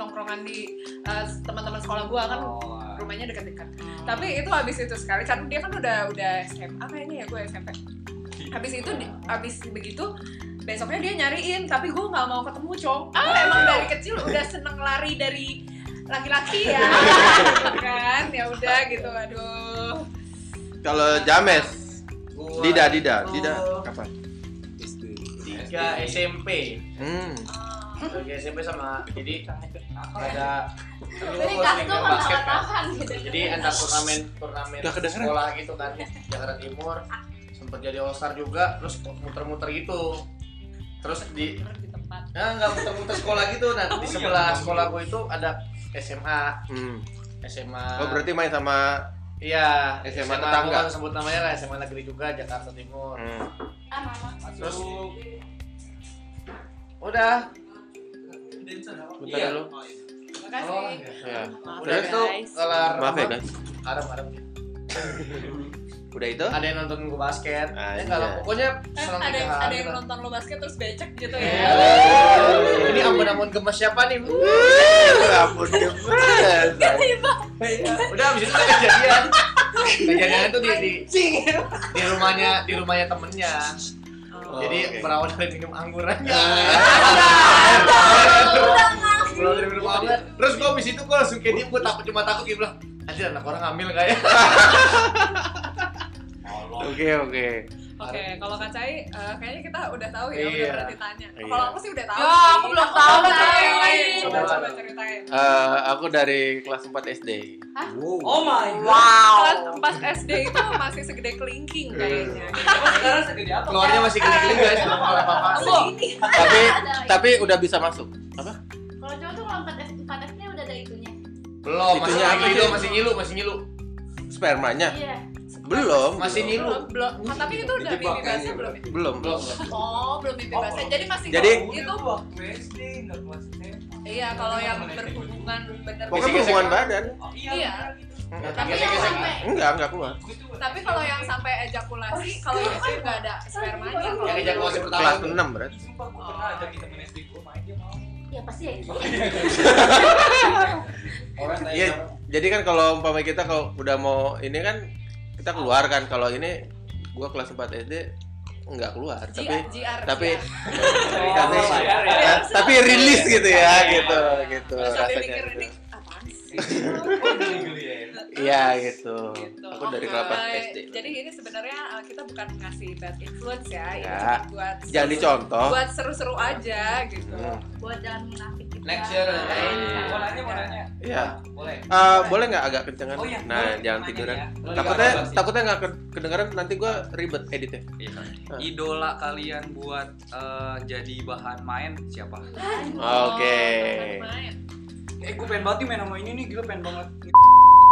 [SPEAKER 2] nongkrongan di eh, teman-teman sekolah gua kan
[SPEAKER 3] Oh,
[SPEAKER 2] rumahnya dekat-dekat tapi itu habis itu sekali kan dia kan udah udah SMA kayaknya ya gue SMP habis itu di- habis begitu besoknya dia nyariin tapi gue nggak mau ketemu cong gue emang dari kecil udah seneng lari dari laki-laki ya kan ya udah gitu aduh
[SPEAKER 1] Kalau James,
[SPEAKER 6] Gua
[SPEAKER 1] Dida, Dida,
[SPEAKER 6] itu
[SPEAKER 1] Dida, kapan?
[SPEAKER 6] Tiga SMP.
[SPEAKER 1] Hmm.
[SPEAKER 6] Tiga SMP sama jadi ada dulu
[SPEAKER 5] Jadi
[SPEAKER 6] gua
[SPEAKER 5] gas
[SPEAKER 6] sering main
[SPEAKER 5] tuh kan
[SPEAKER 6] basket kan.
[SPEAKER 5] tahan gitu.
[SPEAKER 6] Jadi antar turnamen turnamen
[SPEAKER 1] Udah kedengeran.
[SPEAKER 6] sekolah gitu kan Jakarta Timur sempet jadi all star juga terus muter-muter gitu terus di
[SPEAKER 5] di tempat.
[SPEAKER 6] nah nggak muter-muter sekolah gitu nah di sebelah sekolah gue itu ada SMA
[SPEAKER 1] hmm.
[SPEAKER 6] SMA
[SPEAKER 1] Oh berarti main sama
[SPEAKER 6] iya
[SPEAKER 1] SMA
[SPEAKER 6] gua
[SPEAKER 1] tetangga.
[SPEAKER 6] nggak sebut namanya lah SMA negeri juga Jakarta Timur
[SPEAKER 1] hmm.
[SPEAKER 5] Ah, mama.
[SPEAKER 6] terus udah
[SPEAKER 1] Bentar
[SPEAKER 3] Iya.
[SPEAKER 1] dulu.
[SPEAKER 5] Makasih.
[SPEAKER 1] Ya.
[SPEAKER 6] Oh, iya. udah itu kelar
[SPEAKER 1] Maaf ya guys.
[SPEAKER 6] Arem, arem.
[SPEAKER 1] Udah itu?
[SPEAKER 6] ada yang nonton gue basket
[SPEAKER 1] Anjay.
[SPEAKER 6] ya enggak lah pokoknya
[SPEAKER 2] kan
[SPEAKER 6] senang
[SPEAKER 2] ada
[SPEAKER 6] tiga
[SPEAKER 2] yang
[SPEAKER 6] hari
[SPEAKER 2] ada yang
[SPEAKER 6] lah.
[SPEAKER 2] nonton lo basket terus becek gitu
[SPEAKER 6] Eh,
[SPEAKER 2] ya
[SPEAKER 6] ini ampun-ampun gemes siapa nih
[SPEAKER 1] Ya Ampun gemes.
[SPEAKER 6] udah abis itu tuh kejadian kejadiannya tuh di di, di rumahnya di rumahnya temennya
[SPEAKER 1] Oh,
[SPEAKER 6] jadi berawal dari minum anggur
[SPEAKER 1] Ah.
[SPEAKER 6] aja berawal dari minum anggur terus gua abis itu gua langsung kayak diem gua takut cuma takut gitu bilang anjir anak orang ya?" hamil
[SPEAKER 2] Iya,
[SPEAKER 6] kayak
[SPEAKER 1] Oke oke.
[SPEAKER 2] oke kalau kacai eh, kayaknya kita udah tahu ya udah
[SPEAKER 6] Iya.
[SPEAKER 2] berarti tanya
[SPEAKER 1] Iya.
[SPEAKER 2] kalau aku sih udah tahu
[SPEAKER 4] Ya,
[SPEAKER 2] sih.
[SPEAKER 4] aku belum tahu,
[SPEAKER 2] Coba
[SPEAKER 4] Kak.
[SPEAKER 2] ceritain. coba
[SPEAKER 6] Coba.
[SPEAKER 2] coba ceritain
[SPEAKER 1] Eh, aku dari kelas 4 SD.
[SPEAKER 3] Oh my god.
[SPEAKER 2] kelas
[SPEAKER 4] Wow.
[SPEAKER 2] 4 SD itu masih segede kelingking
[SPEAKER 1] Iya.
[SPEAKER 2] kayaknya
[SPEAKER 3] Emang sekarang segede apa?
[SPEAKER 6] keluarnya masih gini-gini guys belum apa apa
[SPEAKER 2] segini
[SPEAKER 1] tapi tapi udah bisa masuk. Apa?
[SPEAKER 5] Kalau cowok tuh kalau 4 F, 4 F-nya udah ada itunya.
[SPEAKER 6] belum masih
[SPEAKER 1] Itunya apa
[SPEAKER 6] ngilu
[SPEAKER 1] sih?
[SPEAKER 6] masih ngilu masih ngilu
[SPEAKER 1] Spermanya?
[SPEAKER 5] Iya.
[SPEAKER 1] Belum.
[SPEAKER 6] masih
[SPEAKER 1] belum.
[SPEAKER 6] ngilu
[SPEAKER 2] belum Ah, tapi itu udah mimpi
[SPEAKER 1] Dijebak
[SPEAKER 2] basnya
[SPEAKER 1] kayaknya.
[SPEAKER 2] belum ya?
[SPEAKER 1] Belum.
[SPEAKER 6] belum
[SPEAKER 2] Oh, belum mimpi
[SPEAKER 3] Oh,
[SPEAKER 2] basah.
[SPEAKER 3] belum.
[SPEAKER 2] Jadi masih
[SPEAKER 1] Jadi-
[SPEAKER 2] kalau itu
[SPEAKER 3] waktu SD enggak kelas SMP.
[SPEAKER 2] iya kalau yang berhubungan gitu. bener
[SPEAKER 1] Pokoknya berhubungan badan.
[SPEAKER 3] Oh
[SPEAKER 2] Iya.
[SPEAKER 3] gitu.
[SPEAKER 2] Tapi
[SPEAKER 6] Gesek,
[SPEAKER 2] yang
[SPEAKER 6] gesek.
[SPEAKER 2] sampai
[SPEAKER 1] Enggak, enggak keluar.
[SPEAKER 2] tapi kalau yang sampai
[SPEAKER 4] Oh,
[SPEAKER 2] ejakulasi kalau
[SPEAKER 4] iya.
[SPEAKER 2] yang itu nggak ada spermanya kalau
[SPEAKER 6] yang ejakulasi pertama
[SPEAKER 1] Kelas
[SPEAKER 6] tuh.
[SPEAKER 1] 6 berarti.
[SPEAKER 3] Sumpah gua
[SPEAKER 2] Oh.
[SPEAKER 3] pernah ada kita main SD gua main dia mau.
[SPEAKER 5] Ya pasti ya itu.
[SPEAKER 3] Orang tanya
[SPEAKER 1] Iya, jadi kan kalau umpama kita kalau udah mau ini kan kita keluar kan kalau ini gua kelas 4 SD nggak keluar tapi
[SPEAKER 2] GR, GR.
[SPEAKER 1] tapi eh,
[SPEAKER 3] Oh,
[SPEAKER 1] tapi
[SPEAKER 3] bayar ya.
[SPEAKER 1] ta- tapi rilis gitu ya gitu gitu
[SPEAKER 2] Terus sambil
[SPEAKER 1] rasanya
[SPEAKER 2] mikir
[SPEAKER 1] gitu.
[SPEAKER 2] ini apaan sih?
[SPEAKER 3] Oh, geli-geli ya.
[SPEAKER 1] iya gitu
[SPEAKER 2] Gitu.
[SPEAKER 1] aku dari
[SPEAKER 2] Oke.
[SPEAKER 1] kelas 4 SD
[SPEAKER 2] Jadi ini sebenarnya uh, kita bukan ngasih bad influence ya, ini
[SPEAKER 1] Ya.
[SPEAKER 2] cuma buat
[SPEAKER 1] jangan dicontoh
[SPEAKER 2] buat seru-seru aja gitu.
[SPEAKER 1] Hmm.
[SPEAKER 5] Buat jangan munafik gitu.
[SPEAKER 3] Next
[SPEAKER 7] ya,
[SPEAKER 3] year.
[SPEAKER 1] Iya.
[SPEAKER 3] Mau nanya, mau nanya.
[SPEAKER 1] iya
[SPEAKER 3] Boleh.
[SPEAKER 1] Eh, boleh nggak agak kencengan
[SPEAKER 3] Oh iya.
[SPEAKER 1] nah
[SPEAKER 3] boleh.
[SPEAKER 1] jangan
[SPEAKER 3] Nanya
[SPEAKER 1] tiduran
[SPEAKER 3] ya. Boleh, nggak
[SPEAKER 1] takutnya
[SPEAKER 3] apa-apa sih.
[SPEAKER 1] takutnya nggak ke- kedengeran nanti gua ribet editnya
[SPEAKER 7] Iya. Idola kalian buat eh, jadi bahan main siapa? Ah.
[SPEAKER 1] oke
[SPEAKER 7] Eh gue pengen banget nih main sama ini nih, gila pengen banget.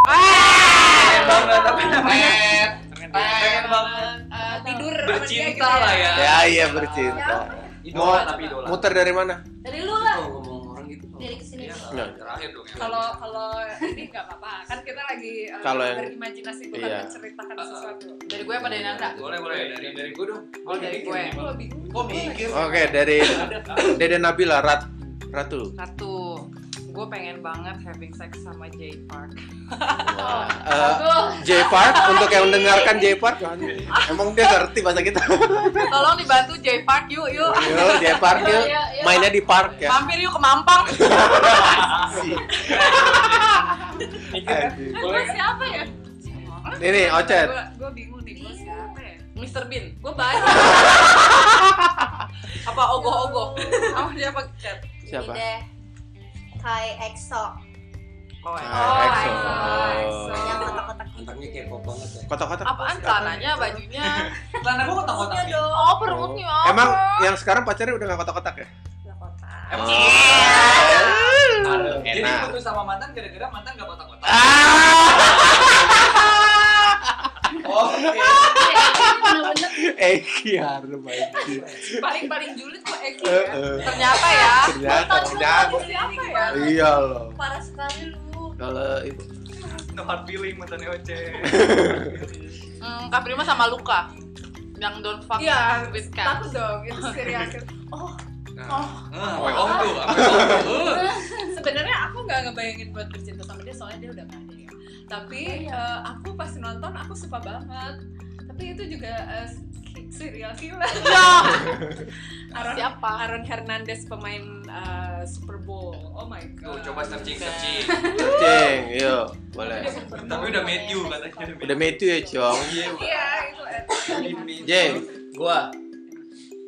[SPEAKER 7] Pengen banget apa namanya? Pengen banget.
[SPEAKER 2] Pengen banget uh, tidur sama dia
[SPEAKER 7] Bercinta
[SPEAKER 2] gitu
[SPEAKER 7] lah ya.
[SPEAKER 1] ya iya bercinta
[SPEAKER 7] Idola
[SPEAKER 1] Mau-
[SPEAKER 7] tapi idola.
[SPEAKER 1] muter dari mana
[SPEAKER 5] Dari lu lah.
[SPEAKER 3] ngomong orang gitu.
[SPEAKER 5] Dari kesini.
[SPEAKER 7] Iya,
[SPEAKER 1] Nah.
[SPEAKER 7] terakhir dong ya.
[SPEAKER 2] Kalau kalau ini nggak apa-apa, kan kita lagi uh,
[SPEAKER 1] Kalau yang-
[SPEAKER 2] berimajinasi bukan
[SPEAKER 1] iya.
[SPEAKER 2] menceritakan
[SPEAKER 7] Uh-uh.
[SPEAKER 2] sesuatu.
[SPEAKER 4] Dari gue apa dari Nanda?
[SPEAKER 7] boleh boleh dari dari gue dong.
[SPEAKER 4] Oh, dari gue.
[SPEAKER 2] Gue bingung.
[SPEAKER 6] kok mikir
[SPEAKER 1] oke dari Dede Nabila Rat Ratu
[SPEAKER 4] Satu, gue pengen banget having sex sama Jay Park.
[SPEAKER 1] Eh, J Park untuk yang mendengarkan J Park emang dia ngerti bahasa kita
[SPEAKER 4] Tolong dibantu Jay Park yuk yuk.
[SPEAKER 1] Yo, J
[SPEAKER 5] Iya,
[SPEAKER 1] Park yuk
[SPEAKER 5] iya, iya.
[SPEAKER 1] mainnya di park ya
[SPEAKER 4] Mampir yuk ke Mampang.
[SPEAKER 2] Eh,
[SPEAKER 5] Gua siapa ya?
[SPEAKER 1] ini Ocet
[SPEAKER 2] Gue gue bingung nih, gue siapa ya?
[SPEAKER 4] Mr. Bean.
[SPEAKER 2] Gue banyak.
[SPEAKER 4] Apa ogoh-ogoh? Sama dia apa chat?
[SPEAKER 1] siapa
[SPEAKER 5] Ini deh. Kai EXO
[SPEAKER 4] Oh, ya.
[SPEAKER 1] Ah, EXO.
[SPEAKER 5] yang kotak-kotak
[SPEAKER 3] Mantannya kayak pop banget ya.
[SPEAKER 1] kotak-kotak
[SPEAKER 4] Apaan
[SPEAKER 2] gitu.
[SPEAKER 4] tanahnya, bajunya?
[SPEAKER 3] Celana gua kotak-kotak.
[SPEAKER 5] Iya dong.
[SPEAKER 4] Oh, perutnya. apa?
[SPEAKER 1] emang ya. yang sekarang pacarnya udah gak kotak-kotak ya Oh.
[SPEAKER 5] kotak.
[SPEAKER 3] Emang
[SPEAKER 7] Iya,
[SPEAKER 1] Aduh,
[SPEAKER 3] Jadi
[SPEAKER 1] enak.
[SPEAKER 3] putus sama mantan gara-gara mantan gak kotak-kotak.
[SPEAKER 1] Nah. Ah,
[SPEAKER 3] Oke.
[SPEAKER 7] iya.
[SPEAKER 5] Bener-bener
[SPEAKER 1] Eki Harun Baiki.
[SPEAKER 2] paling paling julid kok Eki
[SPEAKER 1] Eh,
[SPEAKER 2] ya.
[SPEAKER 1] eh.
[SPEAKER 4] Ternyata ya.
[SPEAKER 1] Ternyata, ternyata.
[SPEAKER 2] Siapa ya?
[SPEAKER 1] Iya loh.
[SPEAKER 5] parah sekali lu.
[SPEAKER 1] Kalau itu
[SPEAKER 7] No hard feeling mantannya Oce.
[SPEAKER 4] Hmm, Kak Prima sama Luka. Yang don't fuck
[SPEAKER 2] Iya,
[SPEAKER 4] with cat.
[SPEAKER 2] takut dong itu Oh, serius.
[SPEAKER 1] Oh, iya.
[SPEAKER 7] Ah, apa om tuh? Apa om tuh?
[SPEAKER 2] Sebenarnya aku nggak ngebayangin buat bercinta sama dia soalnya dia udah nggak ada ya. Tapi
[SPEAKER 5] Iya.
[SPEAKER 2] eh, aku pas nonton aku suka banget. Tapi itu juga eh, serial killer. Aaron,
[SPEAKER 4] Siapa?
[SPEAKER 2] Aaron Hernandez pemain eh, Super Bowl. Oh my
[SPEAKER 7] Tuh,
[SPEAKER 2] god.
[SPEAKER 7] coba searching searching.
[SPEAKER 1] Cing, yuk, iya, boleh.
[SPEAKER 7] Tapi udah Matthew katanya.
[SPEAKER 1] Udah metu ya, Cong.
[SPEAKER 7] Iya.
[SPEAKER 2] Iya, itu
[SPEAKER 1] Jeng,
[SPEAKER 6] gua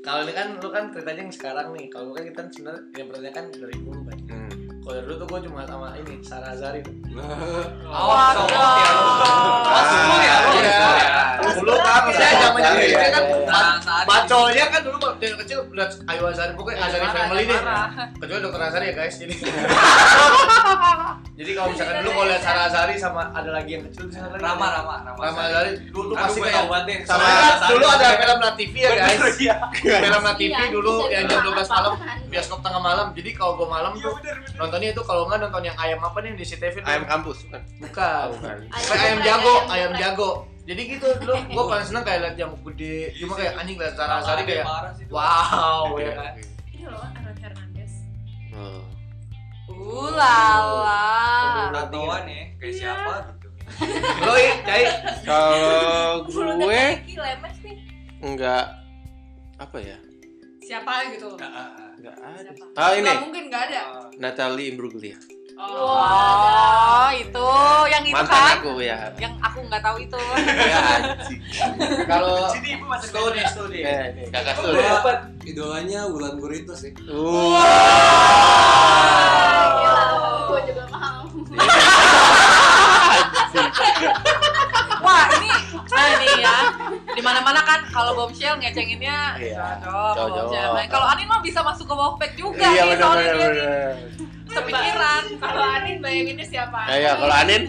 [SPEAKER 6] kalau ini kan lu kan ceritanya yang sekarang nih kalau gua kan kita sebenarnya yang pertanyaan kan dari dulu kan kalau dulu tuh gua cuma sama ini Sarah Azari tuh.
[SPEAKER 7] Awas, sombong ya lu. Awas, sombong ya
[SPEAKER 6] Iya.
[SPEAKER 7] lu. Sombong ya.
[SPEAKER 6] dulu kan saya
[SPEAKER 1] Sarah
[SPEAKER 6] zaman
[SPEAKER 1] Azari,
[SPEAKER 6] kecil kan
[SPEAKER 1] iya.
[SPEAKER 6] ba-
[SPEAKER 7] Saat-
[SPEAKER 6] bacolnya kan dulu dari kecil udah Ayu Azari pokoknya Azari
[SPEAKER 4] marah,
[SPEAKER 6] family deh
[SPEAKER 4] marah.
[SPEAKER 6] kecuali dokter Azari ya guys jadi jadi kalau misalkan dulu kalau lihat Sarah Azari sama ada lagi yang kecil tuh Sarah Azari.
[SPEAKER 7] Rama, Rama, Rama.
[SPEAKER 6] Rama Azari dulu tuh
[SPEAKER 7] Aduh,
[SPEAKER 6] pasti
[SPEAKER 7] gue
[SPEAKER 6] kayak
[SPEAKER 7] tau banget deh.
[SPEAKER 6] sama
[SPEAKER 7] Sama-
[SPEAKER 6] dulu ada film La TV ya guys
[SPEAKER 7] Bener, iya.
[SPEAKER 6] film La TV dulu yang jam 12 malam
[SPEAKER 5] biasa
[SPEAKER 6] bioskop tengah malam jadi kalau gue malam
[SPEAKER 7] Iya,
[SPEAKER 6] tuh
[SPEAKER 7] bener, bener.
[SPEAKER 6] nontonnya itu kalau nggak nonton yang ayam apa nih yang di CTV tuh?
[SPEAKER 1] ayam kampus bukan?
[SPEAKER 6] bukan
[SPEAKER 1] bukan.
[SPEAKER 6] Kayak ayam jago ayam jago jadi gitu dulu gue paling seneng kayak liat jamuk gede cuma kayak anjing liat Zara Azari
[SPEAKER 7] Ada
[SPEAKER 6] kayak
[SPEAKER 7] marah sih tuh.
[SPEAKER 6] wow
[SPEAKER 7] Iya.
[SPEAKER 1] iya.
[SPEAKER 6] ya kan
[SPEAKER 2] Ini loh Aaron Hernandez.
[SPEAKER 1] Oh.
[SPEAKER 4] Ulala.
[SPEAKER 7] Tatoan ya, kayak siapa gitu.
[SPEAKER 6] lo cai
[SPEAKER 1] Kalau gue
[SPEAKER 5] lemes nih
[SPEAKER 1] nggak apa ya?
[SPEAKER 2] Siapa gitu?
[SPEAKER 7] Ah, ah, ah.
[SPEAKER 1] Nggak ada.
[SPEAKER 2] Siapa?
[SPEAKER 1] Ah
[SPEAKER 2] Nggak
[SPEAKER 1] ini
[SPEAKER 2] mungkin nggak ada.
[SPEAKER 1] Natalie Imbruglia.
[SPEAKER 4] Oh, itu yang itu
[SPEAKER 1] Mantan
[SPEAKER 4] kan?
[SPEAKER 1] aku ya.
[SPEAKER 4] Yang aku nggak tahu itu.
[SPEAKER 1] Ya anjing.
[SPEAKER 6] kalau
[SPEAKER 7] Sini ibu masuk ke
[SPEAKER 6] studi studi
[SPEAKER 1] Eh, ini kakak
[SPEAKER 7] Oh,
[SPEAKER 1] tuh.
[SPEAKER 7] iya.
[SPEAKER 8] idolanya Wulan Gurito sih
[SPEAKER 5] Ah, gila
[SPEAKER 1] Wow.
[SPEAKER 5] gue juga mau
[SPEAKER 4] Wah, ini nah ini ya. Di mana-mana kan kalau bombshell ngecekinnya
[SPEAKER 1] Iya.
[SPEAKER 4] cocok,
[SPEAKER 1] Cocok.
[SPEAKER 4] bombshell. Nah, Kalau Anin mah bisa masuk ke Wolfpack juga
[SPEAKER 1] Iya
[SPEAKER 4] nih
[SPEAKER 1] benar
[SPEAKER 4] soalnya
[SPEAKER 1] benar
[SPEAKER 4] dia nih
[SPEAKER 1] benar.
[SPEAKER 4] sepikiran.
[SPEAKER 2] Kalau Anin bayanginnya siapa?
[SPEAKER 1] Ayo kalau Anin,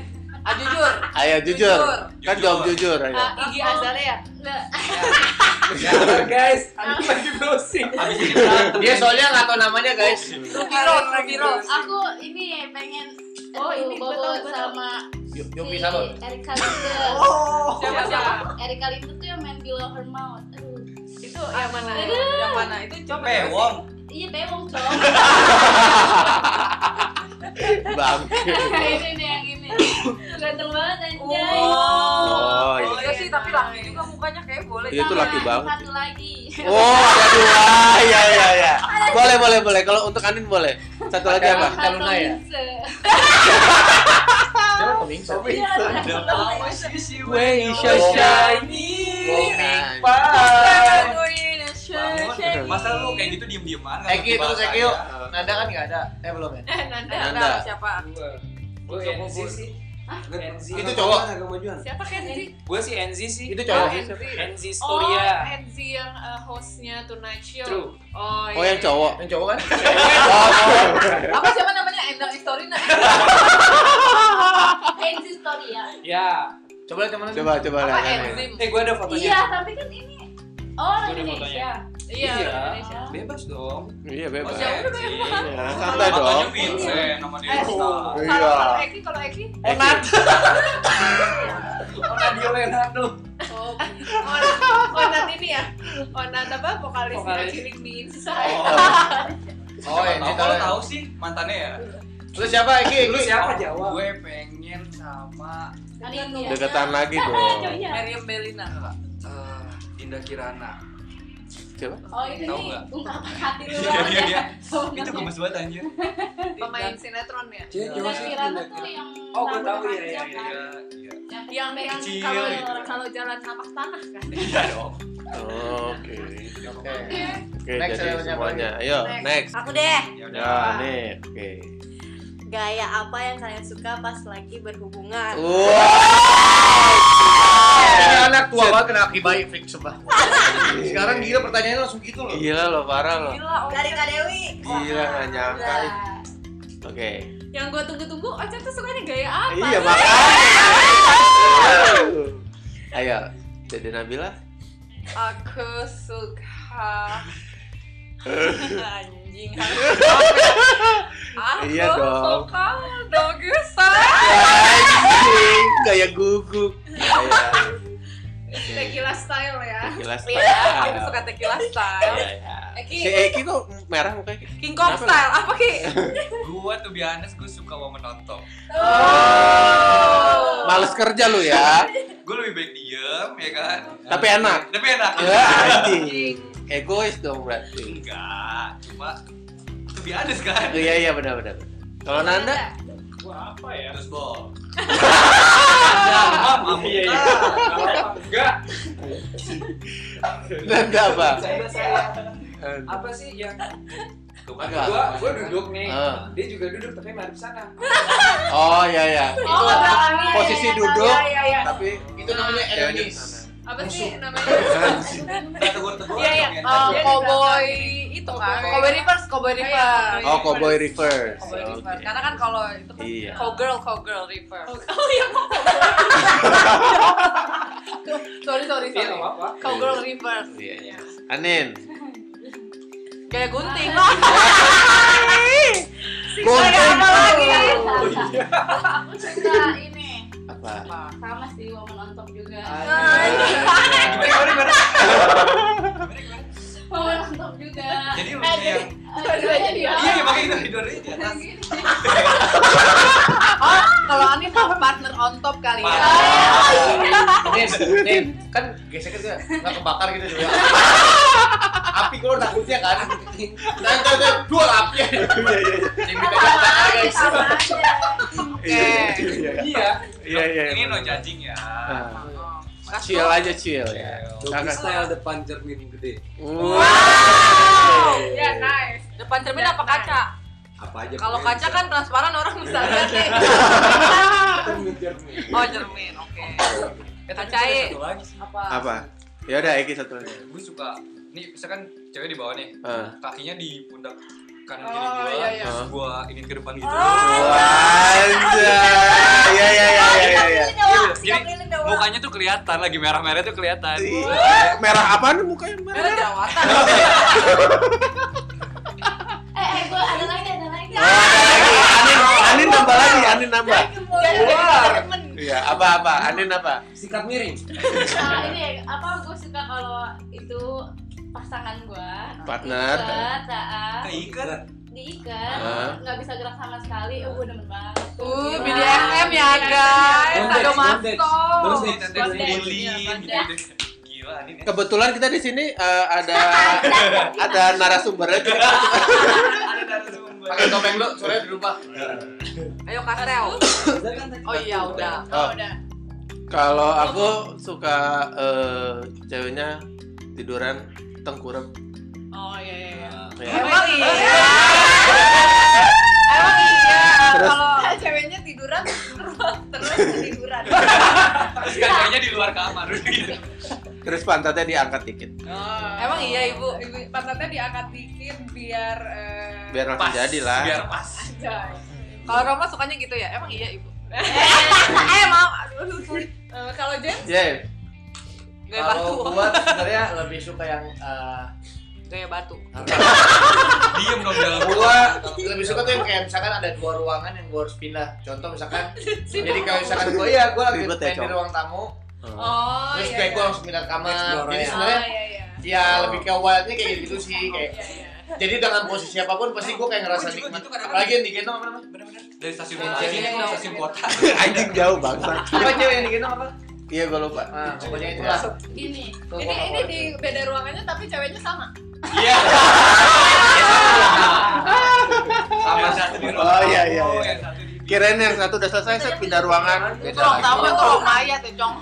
[SPEAKER 4] Ah, jujur.
[SPEAKER 1] ayo jujur.
[SPEAKER 7] Jujur.
[SPEAKER 1] Kan jawab jujur ayo.
[SPEAKER 2] Ah, Iggy Azalea.
[SPEAKER 5] nggak
[SPEAKER 3] Sabar guys, aku lagi browsing.
[SPEAKER 7] Abis ini berantem.
[SPEAKER 6] dia soalnya nggak tau namanya guys
[SPEAKER 7] Iya.
[SPEAKER 4] Ruby Rose, Ruby Rose.
[SPEAKER 5] aku ini pengen
[SPEAKER 2] Oh,
[SPEAKER 5] aduh,
[SPEAKER 2] ini gua
[SPEAKER 5] Bobo
[SPEAKER 2] tahu, gua tahu.
[SPEAKER 5] sama
[SPEAKER 6] yuk yuk
[SPEAKER 5] si
[SPEAKER 6] bisa lo
[SPEAKER 5] Erika Linden
[SPEAKER 2] Siapa siapa?
[SPEAKER 5] Erika Linden tuh yang main Below Her Mouth aduh
[SPEAKER 2] Itu yang mana?
[SPEAKER 5] Aduh.
[SPEAKER 4] Yang mana? Itu coba.
[SPEAKER 1] Eh,
[SPEAKER 7] Pe, Wong.
[SPEAKER 5] iya bewong cowok
[SPEAKER 1] Bangke.
[SPEAKER 5] ini nih yang ini ganteng banget anjay
[SPEAKER 4] Oh,
[SPEAKER 1] Oh, iya.
[SPEAKER 4] iya sih tapi laki juga mukanya kayak boleh.
[SPEAKER 1] Iya, itu
[SPEAKER 5] Sama
[SPEAKER 1] laki banget.
[SPEAKER 5] satu lagi
[SPEAKER 6] iya.
[SPEAKER 1] Oh, ada dua. Ya ya ya. Boleh boleh boleh. Kalau untuk Anin boleh. Satu lagi apa?
[SPEAKER 6] Kita Luna ya? siapa koming
[SPEAKER 5] iya
[SPEAKER 7] Ada apa sih sih?
[SPEAKER 3] When you
[SPEAKER 1] shall
[SPEAKER 3] shining,
[SPEAKER 7] Masa lu kayak gitu diem-dieman? nggak
[SPEAKER 6] Eki terus
[SPEAKER 7] ngerti bahasa
[SPEAKER 6] Eki yuk
[SPEAKER 7] ya?
[SPEAKER 6] Nada kan nggak ada eh belum
[SPEAKER 7] Iya,
[SPEAKER 6] ya
[SPEAKER 2] Eh, Nanda.
[SPEAKER 1] Nanda.
[SPEAKER 4] Siapa?
[SPEAKER 3] Gue
[SPEAKER 6] Coba
[SPEAKER 3] NZ
[SPEAKER 6] gua-
[SPEAKER 3] sih. NZ.
[SPEAKER 6] Itu cowok.
[SPEAKER 8] agak majuan
[SPEAKER 2] Siapa Kenzi?
[SPEAKER 3] Gue sih NZ sih.
[SPEAKER 6] itu
[SPEAKER 2] Oh,
[SPEAKER 7] Ah.
[SPEAKER 6] cowok
[SPEAKER 2] Kenzi.
[SPEAKER 3] NZ
[SPEAKER 2] Oh,
[SPEAKER 3] Storia.
[SPEAKER 2] Kenzi yang eh, hostnya Tonight Show.
[SPEAKER 3] True.
[SPEAKER 2] Oh,
[SPEAKER 1] Oh yang cowok. Oh, iya.
[SPEAKER 6] yang cowok kan
[SPEAKER 4] Apa siapa namanya? Endang Istorina.
[SPEAKER 5] Enzi story ya
[SPEAKER 3] Ya.
[SPEAKER 6] coba lihat Oh, yang mana
[SPEAKER 1] Coba coba
[SPEAKER 2] Apa
[SPEAKER 1] lah.
[SPEAKER 2] Enzim?
[SPEAKER 3] Eh, gue ada
[SPEAKER 5] iya
[SPEAKER 3] fotonya.
[SPEAKER 5] tapi kan ini oh
[SPEAKER 3] Udah
[SPEAKER 5] Indonesia
[SPEAKER 3] Iya.
[SPEAKER 2] Iya, Indonesia.
[SPEAKER 3] Bebas dong.
[SPEAKER 1] Iya bebas.
[SPEAKER 7] Oh, siapa tuh yang-
[SPEAKER 1] Iya, santai dong.
[SPEAKER 7] Fotonya Vincent, nama dia
[SPEAKER 2] Eh,
[SPEAKER 7] Insta.
[SPEAKER 2] Kalau
[SPEAKER 1] Iya.
[SPEAKER 2] kalau Eki, kalau Eki,
[SPEAKER 1] Onat.
[SPEAKER 3] Oh, Nadia Leonardo.
[SPEAKER 2] oh, Onat, Onat ini ya, Onat apa vokalis
[SPEAKER 3] Vokalis.
[SPEAKER 2] Killing Me
[SPEAKER 7] Oh.
[SPEAKER 2] Inside.
[SPEAKER 6] oh
[SPEAKER 7] Siapa
[SPEAKER 6] yang
[SPEAKER 7] tahu,
[SPEAKER 6] itu
[SPEAKER 7] kalau tahu sih mantannya ya.
[SPEAKER 6] lu siapa Eki
[SPEAKER 3] Lu siapa Jawa?
[SPEAKER 7] Gue pengen sama
[SPEAKER 5] Anin ya
[SPEAKER 1] Deketan lagi dong.
[SPEAKER 5] Cowoknya.
[SPEAKER 4] Meriam Belina.
[SPEAKER 7] eh, Dinda Kirana.
[SPEAKER 1] Coba.
[SPEAKER 5] Oh ini
[SPEAKER 7] Tahu
[SPEAKER 5] nih,
[SPEAKER 7] nggak?
[SPEAKER 5] ungkapan hati lu
[SPEAKER 7] Iya,
[SPEAKER 5] banget
[SPEAKER 7] iya,
[SPEAKER 5] ya.
[SPEAKER 7] iya.
[SPEAKER 5] Sebenarnya.
[SPEAKER 7] Itu gemes banget anjir.
[SPEAKER 2] Pemain sinetron ya.
[SPEAKER 8] Cewek cowok
[SPEAKER 5] Dan
[SPEAKER 8] sih
[SPEAKER 5] Kirana tuh yang
[SPEAKER 3] Oh, gua
[SPEAKER 5] rambut
[SPEAKER 3] tahu, iya,
[SPEAKER 5] panjang
[SPEAKER 3] iya,
[SPEAKER 5] kan?
[SPEAKER 7] Iya, iya.
[SPEAKER 2] Yang yang
[SPEAKER 7] Kecil
[SPEAKER 2] kalau
[SPEAKER 7] gitu.
[SPEAKER 2] kalau jalan tapak tanah kan.
[SPEAKER 7] Iya dong.
[SPEAKER 1] Oke.
[SPEAKER 6] oke
[SPEAKER 1] Oke,
[SPEAKER 6] Next,
[SPEAKER 1] jadi
[SPEAKER 6] siapa lagi?
[SPEAKER 1] semuanya. Ayo,
[SPEAKER 2] Next.
[SPEAKER 1] next.
[SPEAKER 9] Aku deh,
[SPEAKER 7] Ya udah.
[SPEAKER 1] Ya, nih. Oke.
[SPEAKER 9] gaya apa yang kalian suka pas lagi berhubungan?
[SPEAKER 6] Ah. Ini
[SPEAKER 1] Wow.
[SPEAKER 6] anak tua banget kena aki baik fix sumpah. Sekarang gila pertanyaannya langsung gitu loh.
[SPEAKER 1] Gila lo, parah lo.
[SPEAKER 4] Gila, oh.
[SPEAKER 9] Dari Kak Dewi.
[SPEAKER 1] Gila nggak nyangka.
[SPEAKER 5] Nah,
[SPEAKER 1] Oke.
[SPEAKER 2] Yang gue tunggu-tunggu, Ocha tuh sukanya gaya apa?
[SPEAKER 1] Iya makanya. Ayo, jadi Nabila.
[SPEAKER 4] Aku suka anjing. Aku
[SPEAKER 1] Iya dong.
[SPEAKER 4] suka dogesan.
[SPEAKER 1] Anjing, kayak gugup. Iya.
[SPEAKER 2] Tequila style ya.
[SPEAKER 1] Jelas.
[SPEAKER 4] Iya, aku suka tequila style.
[SPEAKER 1] iya.
[SPEAKER 4] Eki.
[SPEAKER 1] Si Eki kok merah mukanya?
[SPEAKER 4] King Kong
[SPEAKER 1] Kenapa?
[SPEAKER 4] style apa ki?
[SPEAKER 7] Gue tuh biasa gue suka mau menonton.
[SPEAKER 1] Oh.
[SPEAKER 2] Oh.
[SPEAKER 1] Males kerja lu ya.
[SPEAKER 7] Gue lebih baik diem
[SPEAKER 10] serem ya kan
[SPEAKER 1] Tapi enak.
[SPEAKER 10] tapi enak
[SPEAKER 1] Ya, anjing. Egois dong berarti.
[SPEAKER 10] enggak cuma to be honest kan
[SPEAKER 1] Iya iya benar benar. Kalau Nanda
[SPEAKER 7] Gua apa ya?
[SPEAKER 10] terus bol Mama, mama.
[SPEAKER 7] Iya, iya. Enggak.
[SPEAKER 1] Nanda apa?
[SPEAKER 3] Saya saya
[SPEAKER 1] Eh,
[SPEAKER 3] apa sih
[SPEAKER 10] Ya,
[SPEAKER 3] yang
[SPEAKER 10] Tuh kan,
[SPEAKER 1] Enggak.
[SPEAKER 3] gua gua duduk nih.
[SPEAKER 1] Eh.
[SPEAKER 3] Dia juga duduk tapi ngadep sana.
[SPEAKER 1] Oh iya iya.
[SPEAKER 2] Oh, belakangnya.
[SPEAKER 1] Posisi duduk
[SPEAKER 2] Iya, iya, iya.
[SPEAKER 1] tapi
[SPEAKER 6] Itu namanya enemies.
[SPEAKER 2] Apa sih namanya? Iya,
[SPEAKER 10] kita tegur-tegur
[SPEAKER 4] Iya, iya.
[SPEAKER 10] dong, ya.
[SPEAKER 4] Oh,
[SPEAKER 2] Dia di
[SPEAKER 4] cowboy
[SPEAKER 1] Iya.
[SPEAKER 2] belakang.
[SPEAKER 4] itu kan.
[SPEAKER 2] Cowboy.
[SPEAKER 4] Cowboy Rivers, Cowboy
[SPEAKER 2] Iya,
[SPEAKER 4] Rivers.
[SPEAKER 1] Oh, Cowboy Reverse.
[SPEAKER 4] Cowboy
[SPEAKER 1] Oke.
[SPEAKER 4] Rivers. Karena kan kalau itu kan
[SPEAKER 1] Iya.
[SPEAKER 4] cowgirl, cowgirl Rivers.
[SPEAKER 2] Oh iya, kok
[SPEAKER 4] Sorry, sorry,
[SPEAKER 3] Iya,
[SPEAKER 4] sorry.
[SPEAKER 3] enggak apa-apa.
[SPEAKER 4] Cowgirl Rivers.
[SPEAKER 1] Iya iya. Anin.
[SPEAKER 4] Gaya gunting.
[SPEAKER 2] Iya.
[SPEAKER 1] Gunting.
[SPEAKER 4] apa lagi?
[SPEAKER 5] Aku suka ini
[SPEAKER 1] Apa?
[SPEAKER 5] sama sih woman on top juga.
[SPEAKER 10] Gimana, gimana?
[SPEAKER 5] Woman on top juga. Eh,
[SPEAKER 10] jadi lu yang
[SPEAKER 5] Dua-duanya dia.
[SPEAKER 10] iya iya pakai itu hidungnya di atas
[SPEAKER 4] Oh, Kalau Anif partner on top kali ya.
[SPEAKER 6] Nin, Nin, kan geseknya tuh nggak kebakar gitu dulu ya. Api kalau takutnya kan. Dan dan dua api. Yang kita kebakar guys.
[SPEAKER 5] Sama aja.
[SPEAKER 6] Oke.
[SPEAKER 3] Iya.
[SPEAKER 1] Iya iya.
[SPEAKER 10] ini no judging ya
[SPEAKER 1] Ah,
[SPEAKER 4] Makasih.
[SPEAKER 8] Iya,
[SPEAKER 1] Chill aja chill ya.
[SPEAKER 8] Doggy style depan cermin gede.
[SPEAKER 1] Wow.
[SPEAKER 2] Oh, iya,
[SPEAKER 5] Ya, nice.
[SPEAKER 4] Depan cermin apa kaca?
[SPEAKER 8] Apa aja?
[SPEAKER 4] Kalau
[SPEAKER 8] pokoknya
[SPEAKER 4] kaca
[SPEAKER 8] bisa.
[SPEAKER 4] kan transparan orang bisa lihat nih.
[SPEAKER 8] cermin cermin.
[SPEAKER 4] Oh, cermin. Oke.
[SPEAKER 10] Eh, tapi
[SPEAKER 4] Kacai.
[SPEAKER 10] ada satu lagi sih.
[SPEAKER 4] Apa?
[SPEAKER 1] Apa? Ya udah Eki satu lagi.
[SPEAKER 10] gue suka nih misalkan cewek di bawah nih
[SPEAKER 1] Ah.
[SPEAKER 10] kakinya di pundak kanan
[SPEAKER 2] Oh,
[SPEAKER 10] kiri gua
[SPEAKER 2] iya, iya.
[SPEAKER 10] terus gua ingin ke depan gitu
[SPEAKER 1] Ah. Anjay. Ya ya ya ya ya.
[SPEAKER 10] jadi mukanya tuh kelihatan lagi merah-merah tuh kelihatan
[SPEAKER 1] Iya. Merah apaan mukanya merah?
[SPEAKER 4] Ada jerawatan.
[SPEAKER 5] Eh, eh, gua ada lagi, ada lagi.
[SPEAKER 1] Oh, ada lagi. Anin, Anin nambah lagi, Anin nambah. Iya, apa-apa? Anin apa?
[SPEAKER 8] Sikat miring.
[SPEAKER 5] Nah, ini apa gue suka kalau itu pasangan gua
[SPEAKER 1] Partner.
[SPEAKER 5] diikat, ah,
[SPEAKER 10] keikat
[SPEAKER 5] diikat
[SPEAKER 1] Hah?
[SPEAKER 5] nggak bisa gerak sama sekali oh gue demen banget
[SPEAKER 4] Uh,
[SPEAKER 5] Gila.
[SPEAKER 4] BDSM ya, guys.
[SPEAKER 8] Iya. Bondage,
[SPEAKER 4] Ada
[SPEAKER 8] bondage.
[SPEAKER 4] masko.
[SPEAKER 8] Terus nih,
[SPEAKER 10] Tete
[SPEAKER 5] Bondage.
[SPEAKER 10] dibully gitu
[SPEAKER 5] Bondage.
[SPEAKER 10] gila ini ya.
[SPEAKER 1] Kebetulan kita di sini eh, ada ada narasumbernya. Kita
[SPEAKER 10] ada dari sumber
[SPEAKER 6] Pakai topeng lu, sore di rumah.
[SPEAKER 4] Ayo Kastel.
[SPEAKER 8] Udah kan tadi
[SPEAKER 4] Oh iya, udah.
[SPEAKER 1] Oh,
[SPEAKER 2] udah.
[SPEAKER 1] Kalau aku suka eh, ceweknya tiduran tengkurap.
[SPEAKER 2] Oh iya iya. iya.
[SPEAKER 1] Ya.
[SPEAKER 4] Emang iya. Emang iya.
[SPEAKER 1] Terus?
[SPEAKER 4] Kalau
[SPEAKER 2] Ah, ceweknya tiduran terus ketiduran.
[SPEAKER 10] terus kacanya Iya, di luar kamar gitu
[SPEAKER 1] Terus pantatnya diangkat dikit
[SPEAKER 4] Emang iya, Ibu?
[SPEAKER 2] Ibu pantatnya diangkat dikit biar eh,
[SPEAKER 1] biar langsung jadi lah.
[SPEAKER 10] biar pas
[SPEAKER 2] anjay.
[SPEAKER 4] kalau Roma sukanya gitu ya. Emang iya, Ibu. Eh, maaf. Aduh, sorry.
[SPEAKER 2] Eh, kalau James
[SPEAKER 1] Ya,
[SPEAKER 4] Gaya batu.
[SPEAKER 6] Kalau gua tuh sebenarnya lebih suka yang eh,
[SPEAKER 4] Gaya batu.
[SPEAKER 10] diem dong dalam
[SPEAKER 6] gua lebih suka tuh yang kayak misalkan ada dua ruangan yang gua harus pindah. Contoh misalkan jadi kalau misalkan gua ya gua lagi
[SPEAKER 1] Ribet ya,
[SPEAKER 6] main di
[SPEAKER 1] Cok.
[SPEAKER 6] ruang tamu,
[SPEAKER 2] Oh
[SPEAKER 6] terus
[SPEAKER 2] iya.
[SPEAKER 6] kayak
[SPEAKER 2] iya.
[SPEAKER 6] gua harus pindah kamar.
[SPEAKER 8] Explore
[SPEAKER 6] Jadi
[SPEAKER 8] ya.
[SPEAKER 2] Oh
[SPEAKER 6] sebenarnya
[SPEAKER 2] iya iya.
[SPEAKER 6] ya lebih ke wildnya kayak gitu sih kayak
[SPEAKER 2] Iya, iya.
[SPEAKER 6] jadi dengan posisi apapun pasti gue kayak ngerasa nikmat apalagi yang digendong apa namanya
[SPEAKER 10] bener-bener dari stasiun
[SPEAKER 4] Iya,
[SPEAKER 10] kota sih
[SPEAKER 4] iya.
[SPEAKER 10] stasiun kota
[SPEAKER 1] anjing jauh bangsa.
[SPEAKER 6] apa cewek yang digendong apa
[SPEAKER 1] Iya, gue lupa.
[SPEAKER 6] nah pokoknya itu lah
[SPEAKER 5] ini
[SPEAKER 2] Ini ini di beda ruangannya tapi ceweknya sama.
[SPEAKER 10] iya sama satu di ruang
[SPEAKER 1] Oh, iya, iya,
[SPEAKER 10] tamu,
[SPEAKER 1] iya.
[SPEAKER 10] yang satu di-
[SPEAKER 1] Kirain yang satu udah selesai, set pindah ruangan.
[SPEAKER 4] Itu
[SPEAKER 1] Beda
[SPEAKER 4] ruang
[SPEAKER 1] lagi.
[SPEAKER 4] tamu itu ruang mayat ya, Cong.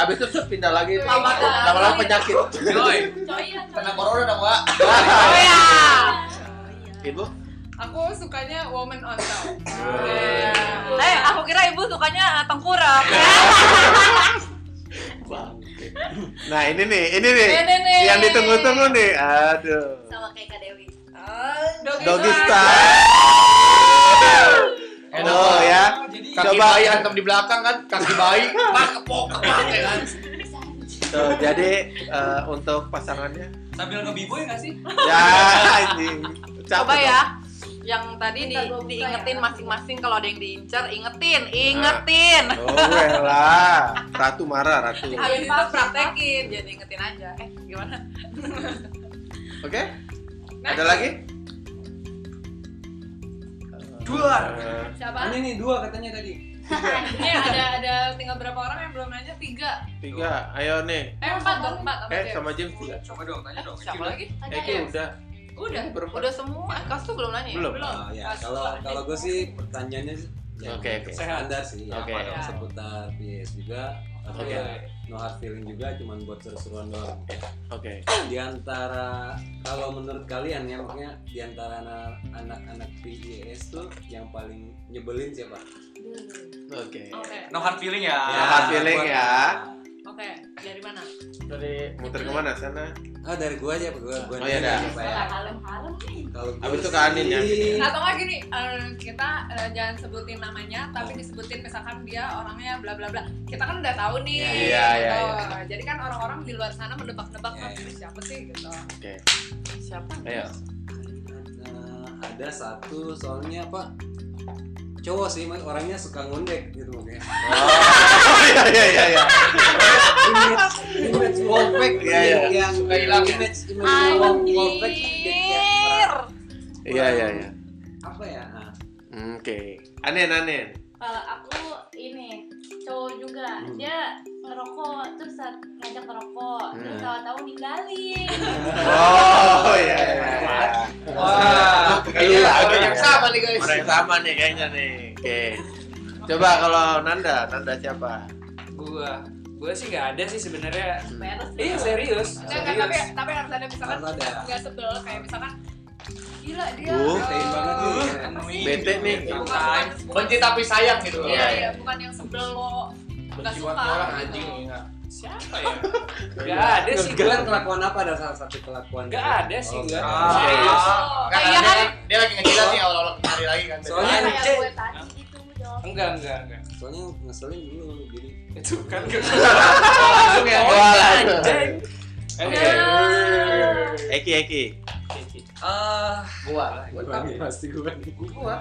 [SPEAKER 1] Abis itu set pindah lagi.
[SPEAKER 4] Lama tuh.
[SPEAKER 1] Lama-lama penyakit.
[SPEAKER 2] iya,
[SPEAKER 10] Joy.
[SPEAKER 5] coy ya coy
[SPEAKER 6] kena corona dong pak
[SPEAKER 4] Oh ya.
[SPEAKER 1] Ibu,
[SPEAKER 2] Aku sukanya woman on top. ah,
[SPEAKER 1] Iya.
[SPEAKER 4] Eh, aku kira Ibu sukanya eh, tengkurap.
[SPEAKER 1] Nah ini nih, ini nih,
[SPEAKER 4] Ini nih.
[SPEAKER 1] yang ditunggu-tunggu nih. Aduh.
[SPEAKER 9] sama kayak Kak Dewi.
[SPEAKER 1] Doggy style. Oh ya.
[SPEAKER 6] kaki
[SPEAKER 1] Coba. iya.
[SPEAKER 6] bayi hantam di belakang kan kaki bayi pak kepok kepak ya kan
[SPEAKER 1] Tuh, jadi eh, untuk pasangannya
[SPEAKER 10] sambil ngebiboy nggak sih
[SPEAKER 1] ya anjing. Capek
[SPEAKER 4] Coba
[SPEAKER 1] dong.
[SPEAKER 4] ya. Yang tadi di,
[SPEAKER 9] Bentar, gua buka
[SPEAKER 4] diingetin
[SPEAKER 9] ya.
[SPEAKER 4] masing-masing kalau ada yang diincar, ingetin, ingetin.
[SPEAKER 1] Oh lah, ratu marah ratu. Oke,
[SPEAKER 4] Habis itu praktekin, jadi ingetin aja. Eh, gimana?
[SPEAKER 2] Nah,
[SPEAKER 1] ada lagi?
[SPEAKER 10] dua
[SPEAKER 1] Eh,
[SPEAKER 2] Siapa?
[SPEAKER 8] Ini nih dua katanya tadi.
[SPEAKER 2] Ini ada ada tinggal berapa orang yang belum nanya? Tiga.
[SPEAKER 1] Tiga, ayo nih.
[SPEAKER 2] Eh empat dong empat sama
[SPEAKER 1] Eh
[SPEAKER 2] James.
[SPEAKER 1] sama James tiga.
[SPEAKER 10] Coba dong, tanya dong.
[SPEAKER 4] Siapa lagi?
[SPEAKER 2] Ada
[SPEAKER 1] Eki
[SPEAKER 2] James.
[SPEAKER 1] udah.
[SPEAKER 2] Udah.
[SPEAKER 1] Berempat.
[SPEAKER 4] Udah semua. Kau tuh belum nanya. ya?
[SPEAKER 1] Belum.
[SPEAKER 8] Ah, ya, kalau kalau gue sih pertanyaannya sih yang
[SPEAKER 1] Oke, oke.
[SPEAKER 8] standar sih ya,
[SPEAKER 1] Oke.
[SPEAKER 8] apa, seputar PS juga tapi
[SPEAKER 1] Oke.
[SPEAKER 8] ya, no hard feeling juga cuman buat seru-seruan doang
[SPEAKER 1] Oke.
[SPEAKER 8] di antara kalau menurut kalian ya maksudnya di antara anak- anak-anak PJS tuh yang paling nyebelin siapa?
[SPEAKER 1] Oke.
[SPEAKER 2] Oke.
[SPEAKER 10] No hard feeling ya.
[SPEAKER 1] Ya, hard feeling ya.
[SPEAKER 2] Oke. Dari mana?
[SPEAKER 1] Dari muter kemana sana?
[SPEAKER 8] Oh dari gua aja, gua gua
[SPEAKER 1] Oh, iya,
[SPEAKER 8] nanya
[SPEAKER 1] dah.
[SPEAKER 8] siapa ya?
[SPEAKER 5] Halem-halem nih.
[SPEAKER 8] Kalau gua
[SPEAKER 1] Habis itu ke
[SPEAKER 8] sih-
[SPEAKER 1] Anin ya.
[SPEAKER 2] Atau nggak gini, eh, kita eh, jangan sebutin namanya, tapi disebutin misalkan dia orangnya bla bla bla. Kita kan udah tahu nih.
[SPEAKER 1] Iya, iya, iya,
[SPEAKER 2] gitu. Jadi kan orang-orang di luar sana mendebak-debak
[SPEAKER 8] Iya,
[SPEAKER 2] "Ah, siapa sih gitu.
[SPEAKER 1] Oke.
[SPEAKER 4] Siapa?
[SPEAKER 1] Ayo.
[SPEAKER 8] Ada- ada satu soalnya apa cowok sih mas- orangnya suka ngondek gitu kayak
[SPEAKER 1] Oh, iya iya iya. iya.
[SPEAKER 8] image image wallpack
[SPEAKER 1] Iya, iya.
[SPEAKER 8] yang
[SPEAKER 3] Suka hilang ya?
[SPEAKER 8] image image wall- wallpack jadi kayak
[SPEAKER 1] Iya iya iya.
[SPEAKER 8] apa ya ah,
[SPEAKER 1] Oke. Anin Anin.
[SPEAKER 5] Kalau aku ini cowok juga
[SPEAKER 8] Hmm.
[SPEAKER 5] dia ngerokok terus saat ngajak ngerokok terus
[SPEAKER 1] Hmm.
[SPEAKER 5] tahu-tahu ninggalin.
[SPEAKER 1] Oh iya iya.
[SPEAKER 3] Wah,
[SPEAKER 1] Kayaknya
[SPEAKER 3] orang yang sama nih guys.
[SPEAKER 1] Orang yang sama nih kayaknya nih. Oke. Coba kalau Nanda, Nanda siapa?
[SPEAKER 7] Gua, gua sih nggak ada sih sebenarnya.
[SPEAKER 5] Beres.
[SPEAKER 7] Iya serius.
[SPEAKER 2] Enggak, enggak, eh, tapi ya. tapi harus ada misalkan
[SPEAKER 8] Harus ada.
[SPEAKER 2] nggak sebel kayak misalkan gila dia
[SPEAKER 1] Uh,
[SPEAKER 2] eh,
[SPEAKER 8] pain banget nih.
[SPEAKER 2] apa sih?
[SPEAKER 1] Bete nih.
[SPEAKER 3] Sayang.
[SPEAKER 2] Bukan- bukan- bukan-
[SPEAKER 3] Benci tapi sayang gitu loh.
[SPEAKER 2] Iya, iya, bukan yang sebel lo nggak suka.
[SPEAKER 3] orang
[SPEAKER 2] gitu.
[SPEAKER 3] anjing iya.
[SPEAKER 7] Siapa ya? Gak ada sih
[SPEAKER 8] kalian
[SPEAKER 7] gua.
[SPEAKER 8] kelakuan apa ada salah satu kelakuan
[SPEAKER 7] Gak ada sih
[SPEAKER 8] Oh,
[SPEAKER 7] gua.
[SPEAKER 3] Ah,
[SPEAKER 7] Serius.
[SPEAKER 2] Oh,
[SPEAKER 3] Nggak,
[SPEAKER 2] kayak
[SPEAKER 3] karena
[SPEAKER 2] kan
[SPEAKER 3] dia- dia lagi ngejilat nih awal-awal kemarin lagi kan.
[SPEAKER 8] Soalnya-
[SPEAKER 2] Iya,
[SPEAKER 5] Kayak
[SPEAKER 3] Anjing.
[SPEAKER 5] gue tadi gitu jawab.
[SPEAKER 7] Enggak enggak enggak.
[SPEAKER 8] soalnya ngeselin dulu jadi
[SPEAKER 7] Itu kan gak.
[SPEAKER 3] langsung ya.
[SPEAKER 1] Wah, langsung.
[SPEAKER 7] Anjing.
[SPEAKER 8] Iya,
[SPEAKER 1] Oke.
[SPEAKER 2] Nah.
[SPEAKER 1] Eki Eki.
[SPEAKER 10] Eh,
[SPEAKER 3] Gua.
[SPEAKER 8] pasti gue
[SPEAKER 3] Gua.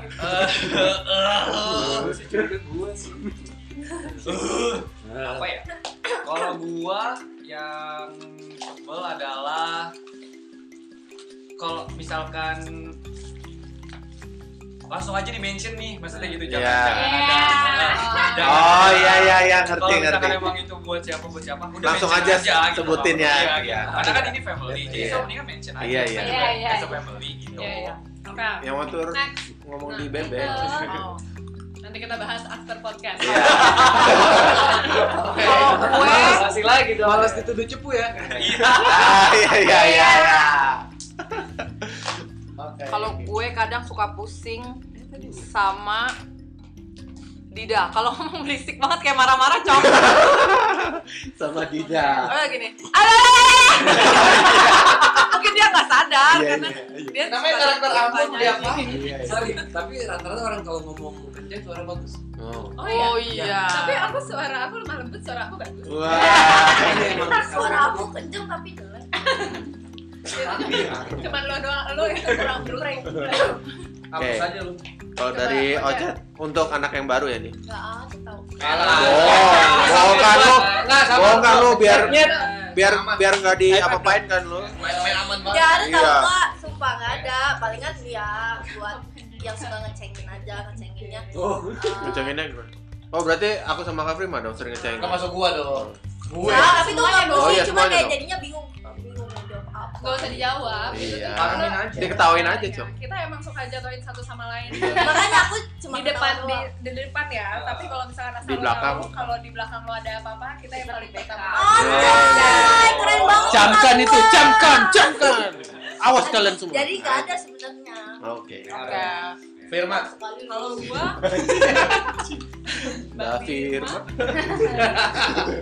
[SPEAKER 10] apa ya? Kalau gua yang sebel adalah kalau misalkan langsung aja di mention nih maksudnya gitu jangan
[SPEAKER 1] Iya.
[SPEAKER 10] jangan ada
[SPEAKER 2] Iya.
[SPEAKER 10] jangan
[SPEAKER 1] Oh
[SPEAKER 10] ada-
[SPEAKER 1] iya iya iya ngerti
[SPEAKER 10] kalau
[SPEAKER 1] ngerti.
[SPEAKER 10] misalkan emang itu buat siapa buat siapa udah
[SPEAKER 1] Langsung
[SPEAKER 10] mention
[SPEAKER 1] aja
[SPEAKER 10] gitu,
[SPEAKER 1] sebutin ya.
[SPEAKER 10] Iya,
[SPEAKER 1] Iya.
[SPEAKER 10] gitu. karena kan ini family jadi
[SPEAKER 1] Iya.
[SPEAKER 10] so mendingan mention aja
[SPEAKER 1] Iya, iya.
[SPEAKER 10] As a-
[SPEAKER 5] Iya, iya,
[SPEAKER 10] as a
[SPEAKER 5] iya.
[SPEAKER 10] family gitu
[SPEAKER 2] Iya, iya. Oke.
[SPEAKER 1] Yang waktu
[SPEAKER 2] Next.
[SPEAKER 1] ngomong
[SPEAKER 2] Nah,
[SPEAKER 1] di
[SPEAKER 5] gitu."
[SPEAKER 1] bebek.
[SPEAKER 10] Iya.
[SPEAKER 2] itu. Oh. Nanti kita bahas after podcast.
[SPEAKER 1] Iya.
[SPEAKER 3] Kalau gue kasih lagi dong.
[SPEAKER 8] malas dituduh cepu ya
[SPEAKER 10] Iya.
[SPEAKER 1] Ah, Iya iya iya.
[SPEAKER 3] Oke.
[SPEAKER 4] Kalau gue kadang suka pusing sama Dida. Kalau ngomong berisik banget kayak marah-marah cowok.
[SPEAKER 1] Sama Dida.
[SPEAKER 4] Oh gini. "Alah!" Mungkin dia nggak sadar kan?
[SPEAKER 1] Iya,
[SPEAKER 4] karena dia
[SPEAKER 3] namanya
[SPEAKER 4] suka
[SPEAKER 3] karakter
[SPEAKER 4] gitu
[SPEAKER 3] Ambon
[SPEAKER 4] banyak.
[SPEAKER 3] dia apa?
[SPEAKER 1] Iya.
[SPEAKER 8] sorry tapi rata-rata orang kalau ngomong kenceng suara bagus
[SPEAKER 1] Oh.
[SPEAKER 2] Oh iya.
[SPEAKER 4] Oh iya.
[SPEAKER 2] Tapi aku suara aku lemah lembut, suara aku bagus.
[SPEAKER 1] Wah.
[SPEAKER 8] Iya, emang
[SPEAKER 5] Suara aku kenceng tapi jelek.
[SPEAKER 2] Cuman lo doang lo yang kurang bluring.
[SPEAKER 1] Oke.
[SPEAKER 3] Hapus aja lu.
[SPEAKER 1] Kalau dari Ojat untuk anak yang baru ya nih.
[SPEAKER 9] Gak ada tau
[SPEAKER 3] Kalah.
[SPEAKER 1] bohong kan lu.
[SPEAKER 3] Nggak, sama
[SPEAKER 1] Bohong kan lu biar
[SPEAKER 3] Iya.
[SPEAKER 1] biar
[SPEAKER 3] Aman.
[SPEAKER 1] biar nggak
[SPEAKER 10] Iya,
[SPEAKER 1] diapa-apain kan lu.
[SPEAKER 3] Main-main aman
[SPEAKER 9] Gak
[SPEAKER 3] banget.
[SPEAKER 9] ada tau
[SPEAKER 1] Iya.
[SPEAKER 9] kak, sumpah gak ada Palingan dia buat yang suka ngecengin aja
[SPEAKER 2] Iya.
[SPEAKER 9] Ngecenginnya
[SPEAKER 8] oh
[SPEAKER 9] eh,
[SPEAKER 1] Ngecenginnya gimana? Oh berarti aku sama Kak Prima dong sering ngecengin.
[SPEAKER 3] Nggak masuk gua dong. Gue.
[SPEAKER 9] Nah, tapi itu nggak
[SPEAKER 1] dong.
[SPEAKER 9] pusing,
[SPEAKER 1] Oh, iya,
[SPEAKER 9] cuma
[SPEAKER 1] semuanya
[SPEAKER 9] kayak
[SPEAKER 1] dong.
[SPEAKER 9] jadinya bingung Bingung mau jawab apa
[SPEAKER 2] Gak usah dijawab. itu
[SPEAKER 1] Iya.
[SPEAKER 2] tuh karena-
[SPEAKER 1] Diketawain aja,
[SPEAKER 2] Iya,
[SPEAKER 1] Cok.
[SPEAKER 2] Kita emang suka jatuhin satu sama lain.
[SPEAKER 8] Iya.
[SPEAKER 9] Makanya aku cuma
[SPEAKER 2] di depan
[SPEAKER 9] ketawa
[SPEAKER 2] di,
[SPEAKER 9] doang.
[SPEAKER 2] di depan ya, tapi kalau misalkan asal
[SPEAKER 1] Di
[SPEAKER 2] lo
[SPEAKER 1] belakang.
[SPEAKER 2] tahu, kalau di belakang lo ada apa-apa, kita yang paling pertama.
[SPEAKER 9] Anjay, keren banget
[SPEAKER 1] Camkan itu,
[SPEAKER 9] Kak.
[SPEAKER 1] camkan, camkan. Awas kalian semua.
[SPEAKER 9] Jadi gak ada sebenarnya
[SPEAKER 1] Oke.
[SPEAKER 4] Oke.
[SPEAKER 1] Iya.
[SPEAKER 3] Firman.
[SPEAKER 9] Sekali
[SPEAKER 2] Kalau gua
[SPEAKER 1] Mbak Firma.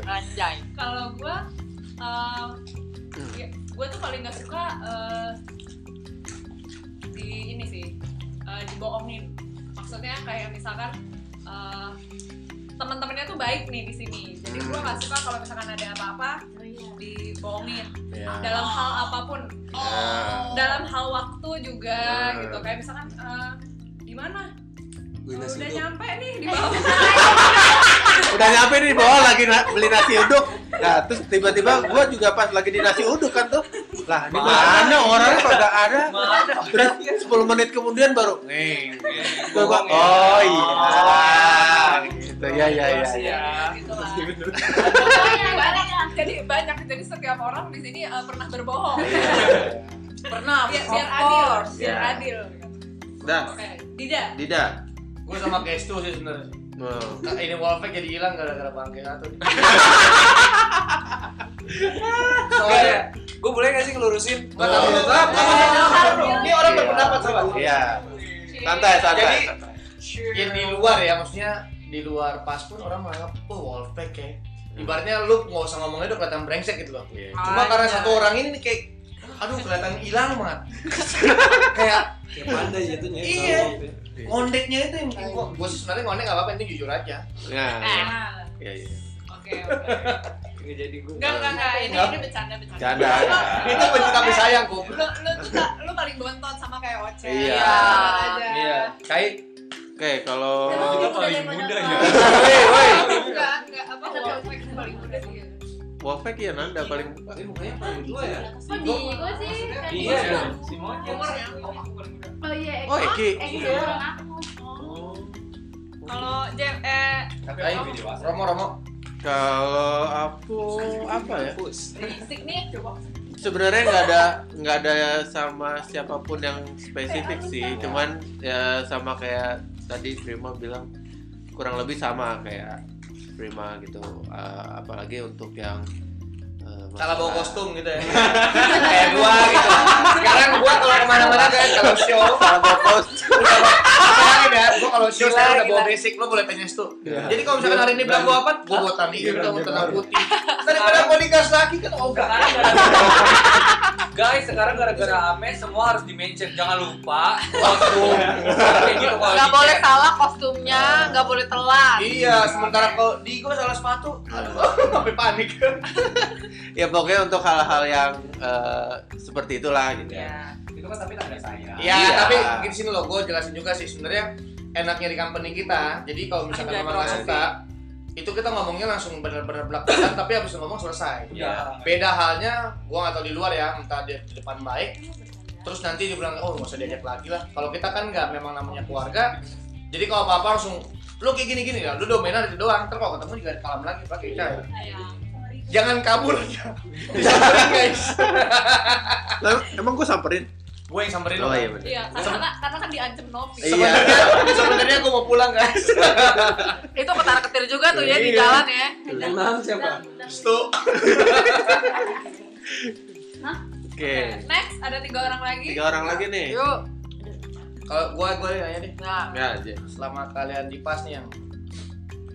[SPEAKER 4] Anjay.
[SPEAKER 2] kalau gua em, ya, gua tuh paling gak suka eh, di ini sih eh, dibohongin maksudnya kayak misalkan eh, teman-temannya tuh baik nih di sini jadi gua nggak suka kalau misalkan ada apa-apa
[SPEAKER 9] Oh, iya.
[SPEAKER 2] dibohongin
[SPEAKER 1] Ya.
[SPEAKER 2] dalam hal apapun
[SPEAKER 1] Ya.
[SPEAKER 2] dalam hal waktu juga
[SPEAKER 1] Hmm.
[SPEAKER 2] gitu kayak misalkan eh, di mana
[SPEAKER 8] gue nasi
[SPEAKER 2] udah
[SPEAKER 8] uduk
[SPEAKER 2] nyampe nih di bawah
[SPEAKER 1] Udah nyampe nih bawah lagi na- beli nasi uduk. Nah, terus tiba-tiba gua juga pas lagi di nasi uduk kan tuh. Lah, di mana orangnya kok nggak ada? Terus 10 menit kemudian baru. Nih. Gua-
[SPEAKER 10] Bohong
[SPEAKER 1] gua-
[SPEAKER 10] ya.
[SPEAKER 1] Oh iya. Gitu. gitu. Ya ya ya.
[SPEAKER 7] Situasi
[SPEAKER 1] ya.
[SPEAKER 2] gitu lah.
[SPEAKER 5] Banyak, banyak.
[SPEAKER 2] Jadi banyak, jadi setiap orang di sini eh, pernah berbohong.
[SPEAKER 4] Pernah,
[SPEAKER 2] biar,
[SPEAKER 4] of
[SPEAKER 2] biar adil,
[SPEAKER 4] course.
[SPEAKER 2] biar
[SPEAKER 1] Ya.
[SPEAKER 2] adil.
[SPEAKER 1] Dah,
[SPEAKER 2] Oke, Dida.
[SPEAKER 1] tidak.
[SPEAKER 6] Gue sama Kestu sih sebenarnya.
[SPEAKER 1] Wow.
[SPEAKER 6] Nah, Ini wall fake jadi hilang gara-gara bangke satu. Soalnya
[SPEAKER 7] Gue boleh gak sih ngelurusin?
[SPEAKER 6] Nggak tahu, nggak tahu, nggak tahu, nggak tahu, bro. Ini orang berpendapat sobat.
[SPEAKER 1] Iya. Santai, santai.
[SPEAKER 6] Jadi-
[SPEAKER 1] santai.
[SPEAKER 6] Ya di luar ya, maksudnya di luar pas pun orang menganggap oh wall fake ya. Ibaratnya lu nggak usah ngomongnya udah kelihatan brengsek gitu loh.
[SPEAKER 1] Iya.
[SPEAKER 6] Cuma karena
[SPEAKER 4] Makanya.
[SPEAKER 6] satu orang ini nih kayak aduh kelihatan hilang banget.
[SPEAKER 8] Kayak pandai gitu, jatuhnya.
[SPEAKER 6] Iya.
[SPEAKER 8] kalau waktu itu.
[SPEAKER 6] Ngondeknya itu yang bikin gua gua sih sebenarnya ngondek nggak apa-apa ini jujur aja.
[SPEAKER 1] Nah,
[SPEAKER 2] Ah.
[SPEAKER 5] Nah,
[SPEAKER 1] iya iya.
[SPEAKER 2] Oke, oke.
[SPEAKER 7] Nggak jadi gue.
[SPEAKER 2] Enggak, enggak, enggak. Ini
[SPEAKER 6] Nggak.
[SPEAKER 2] ini bercanda, bercanda.
[SPEAKER 1] Canda.
[SPEAKER 6] Itu benci tapi sayang kok.
[SPEAKER 2] Lu, lu tuh tak- lu paling bontot sama kayak Oce.
[SPEAKER 1] Iya.
[SPEAKER 2] Tenang aja.
[SPEAKER 6] Iya. Kayak
[SPEAKER 1] Oke, kalau
[SPEAKER 8] Kita
[SPEAKER 9] Emang udah
[SPEAKER 8] paling
[SPEAKER 9] daripada
[SPEAKER 8] muda
[SPEAKER 9] apa?
[SPEAKER 8] ya.
[SPEAKER 1] Woi, woi.
[SPEAKER 2] Enggak, enggak apa Iya.
[SPEAKER 5] Tapi
[SPEAKER 2] wall
[SPEAKER 5] Oce
[SPEAKER 2] pack
[SPEAKER 5] kan
[SPEAKER 2] paling muda sih.
[SPEAKER 1] Wafek ya Nanda paling
[SPEAKER 8] Tapi mukanya paling tua ya.
[SPEAKER 5] kok di gue sih? Kan
[SPEAKER 10] Iya,
[SPEAKER 5] di gua.
[SPEAKER 10] si monyet.
[SPEAKER 2] Umurnya.
[SPEAKER 5] Oh iya,
[SPEAKER 1] Oh, Eki.
[SPEAKER 5] Eki
[SPEAKER 1] Iya.
[SPEAKER 5] dorong aku. Oh.
[SPEAKER 2] Kalau Jem eh
[SPEAKER 6] tapi ayo Romo Romo.
[SPEAKER 1] kalau aku apa
[SPEAKER 7] Iya.
[SPEAKER 1] ya?
[SPEAKER 2] berisik nih coba.
[SPEAKER 1] Sebenarnya nggak ada nggak ada sama siapapun yang spesifik sih, cuman ya sama kayak tadi Prima bilang kurang lebih sama kayak Prima gitu. Eh, apalagi untuk yang eh,
[SPEAKER 6] Salah bawa
[SPEAKER 1] masalah-
[SPEAKER 6] kostum gitu ya. Kayak gua gitu. Sekarang gua kalau kemana-mana kan kalau show
[SPEAKER 1] Salah bawa kostum.
[SPEAKER 6] Bayangin ya, gua kalau show
[SPEAKER 7] Gila,
[SPEAKER 6] sekarang udah bawa
[SPEAKER 7] gila.
[SPEAKER 6] basic, lo boleh tanya tuh.
[SPEAKER 1] Iya.
[SPEAKER 6] Jadi kalau misalkan hari ini bilang gua apa, gua bawa tani
[SPEAKER 8] Iya,
[SPEAKER 6] gitu, gua
[SPEAKER 8] iya,
[SPEAKER 6] tengah
[SPEAKER 8] iya.
[SPEAKER 6] putih. Daripada gua digas lagi kan ogah.
[SPEAKER 10] Sekarang gara-gara Guys, sekarang gara-gara Ame semua harus di-mention. Jangan lupa kostum. Kayak gitu kalau
[SPEAKER 4] Nggak
[SPEAKER 10] di-chat.
[SPEAKER 4] boleh salah kostumnya, nggak boleh telat.
[SPEAKER 6] Iya, Hmm. sementara kalau di gua salah sepatu, aduh, sampai panik.
[SPEAKER 1] Ya pokoknya untuk hal-hal yang eh, seperti itulah gitu. ya.
[SPEAKER 10] Itu kan tapi tanda
[SPEAKER 6] Iya,
[SPEAKER 10] saya.
[SPEAKER 1] Iya.
[SPEAKER 6] tapi di sini loh, gua jelasin juga sih sebenarnya enaknya di company kita. Jadi kalau misalkan
[SPEAKER 4] Anjay,
[SPEAKER 6] memang nggak
[SPEAKER 4] promosi.
[SPEAKER 6] suka, itu kita ngomongnya langsung bener-bener belak-belakan, tapi habis ngomong selesai.
[SPEAKER 10] Iya.
[SPEAKER 6] beda halnya gua nggak tahu di luar ya entah dia di depan baik terus nanti dibilang oh nggak usah diajak lagi lah kalau kita kan nggak memang namanya keluarga jadi kalau apa apa langsung lu kayak gini gini lah lu dominan itu doang terus kalau ketemu juga kalam lagi pakai cahaya
[SPEAKER 2] Iya.
[SPEAKER 6] jangan kabur
[SPEAKER 1] Iya.
[SPEAKER 6] disamperin guys
[SPEAKER 1] Lah, Emang gue samperin?
[SPEAKER 6] gue yang samperin lu
[SPEAKER 1] Oh iya
[SPEAKER 6] kan?
[SPEAKER 1] bener.
[SPEAKER 2] Iya, karena karena kan diancam Novi.
[SPEAKER 1] Iya.
[SPEAKER 6] sebenarnya sebenarnya gue mau pulang guys
[SPEAKER 4] Itu ketar ketir juga tuh ya di
[SPEAKER 1] Iya.
[SPEAKER 4] jalan ya.
[SPEAKER 8] Yang nahan siapa?
[SPEAKER 6] Stu
[SPEAKER 1] Oke.
[SPEAKER 2] Next ada tiga orang lagi.
[SPEAKER 1] Tiga orang lagi nih.
[SPEAKER 4] Yuk.
[SPEAKER 6] kalau gue gue nanya deh
[SPEAKER 4] Nah,
[SPEAKER 1] Ya aja.
[SPEAKER 6] selama kalian di pas nih yang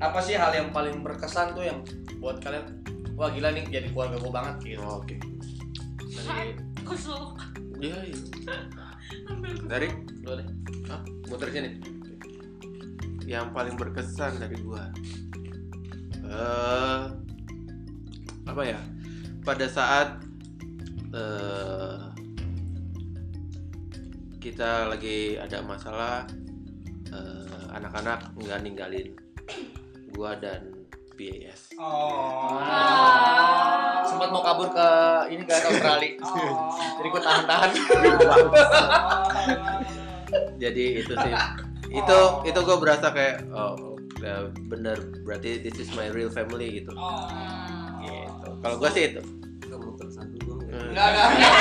[SPEAKER 6] apa sih hal yang paling berkesan tuh yang buat kalian wah gila nih jadi keluarga gue banget gitu
[SPEAKER 1] Oh, Oke.
[SPEAKER 6] Dari-
[SPEAKER 2] Kusuk.
[SPEAKER 1] Iya. iya. Dari
[SPEAKER 6] lu deh
[SPEAKER 1] Hah? muter sini. Yang paling berkesan dari gua. Eh apa ya? Pada saat eh kita lagi ada masalah eh, anak-anak nggak ninggalin gua dan BAS.
[SPEAKER 10] Oh.
[SPEAKER 6] sempat mau kabur ke ini kan ke Australia
[SPEAKER 4] Oh.
[SPEAKER 6] jadi gue tahan-tahan
[SPEAKER 1] jadi itu sih itu itu gue berasa kayak oh ya bener berarti this is my real family gitu gitu kalau gue sih itu
[SPEAKER 8] Kamu muter satu doang ya.
[SPEAKER 6] enggak enggak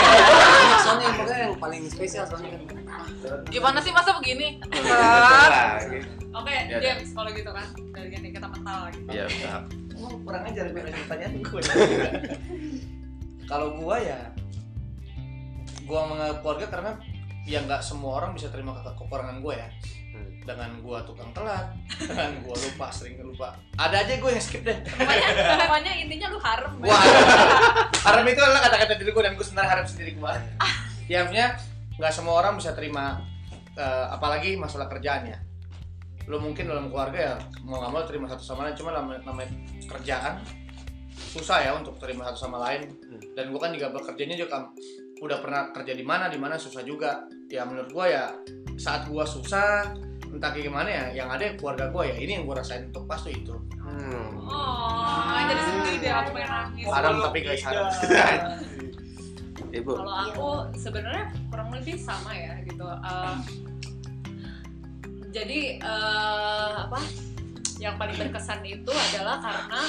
[SPEAKER 8] Soalnya yang pokoknya yang paling spesial soalnya kan.
[SPEAKER 4] gimana sih masa begini?
[SPEAKER 2] Oke,
[SPEAKER 1] Ya,
[SPEAKER 2] James kalau gitu kan. Dari ini kita mental lagi.
[SPEAKER 1] ya
[SPEAKER 6] Gua kurang ajar gue nanya pertanyaan gue kalau gue ya gue menganggap keluarga karena ya nggak semua orang bisa terima ke- kekurangan gue ya
[SPEAKER 1] Hmm.
[SPEAKER 6] dengan gue tukang telat dengan gue lupa sering lupa ada aja gue yang skip deh
[SPEAKER 2] Pokoknya, pokoknya intinya lu harem. ya.
[SPEAKER 6] Wah, harem itu adalah kata-kata diri gue dan gue sebenarnya harem sendiri gue. Ya maksudnya nggak semua orang bisa terima, eh, apalagi masalah kerjaannya. Lo mungkin dalam keluarga ya mau nggak mau terima satu sama lain, cuma namanya, namanya kerjaan susah ya untuk terima satu sama lain. Dan gue kan juga bekerjanya juga kan udah pernah kerja di mana di mana susah juga. Ya menurut gue ya saat gue susah entah kayak gimana ya yang ada keluarga gue ya ini yang gue rasain untuk pas tuh itu
[SPEAKER 1] Hmm.
[SPEAKER 2] Oh, jadi sedih deh aku pengen nangis.
[SPEAKER 6] haram tapi guys haram
[SPEAKER 1] ibu
[SPEAKER 2] Kalau aku sebenarnya kurang lebih sama ya gitu. Eh, jadi eh, apa? yang paling berkesan itu adalah karena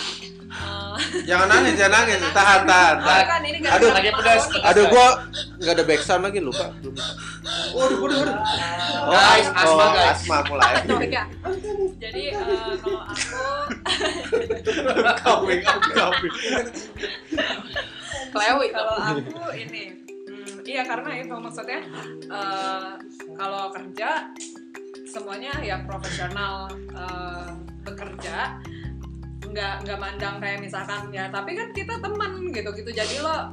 [SPEAKER 2] eh,
[SPEAKER 1] Jangan nangis, jangan nangis. Tahan, tahan, tahan.
[SPEAKER 2] kan ini
[SPEAKER 1] Nah, Aduh,
[SPEAKER 2] gara-gara
[SPEAKER 1] tadi
[SPEAKER 2] Pak
[SPEAKER 1] pedas.
[SPEAKER 2] Aoni.
[SPEAKER 1] Aduh, gua nggak ada backsound lagi lupa. Belum.
[SPEAKER 6] Waduh, waduh, waduh.
[SPEAKER 1] Oh,
[SPEAKER 6] Guys,
[SPEAKER 1] oh,
[SPEAKER 6] asma guys.
[SPEAKER 1] Asma mulai.
[SPEAKER 2] Sorry, Kak. Jadi eh, kalau aku
[SPEAKER 6] Kawin, kawin, kawin.
[SPEAKER 4] Klewi tuh.
[SPEAKER 2] kalau aku ini hmm, iya karena itu maksudnya eh, kalau kerja semuanya ya profesional eh, bekerja nggak nggak mandang kayak misalkan ya tapi kan kita teman gitu gitu jadi lo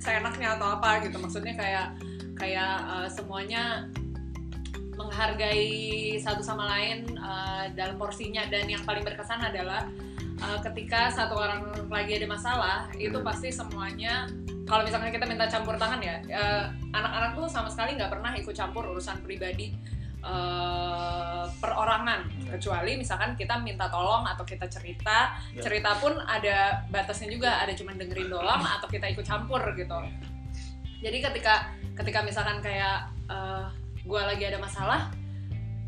[SPEAKER 2] seenaknya atau apa gitu maksudnya kayak kayak eh, semuanya menghargai satu sama lain eh, dalam porsinya dan yang paling berkesan adalah eh, ketika satu orang lagi ada masalah itu pasti semuanya kalau misalkan kita minta campur tangan ya eh, anak-anak tuh sama sekali nggak pernah ikut campur urusan pribadi eh, perorangan kecuali misalkan kita minta tolong atau kita cerita
[SPEAKER 1] Ya.
[SPEAKER 2] cerita pun ada batasnya juga ada cuman dengerin doang atau kita ikut campur gitu jadi ketika ketika misalkan kayak eh, gua lagi ada masalah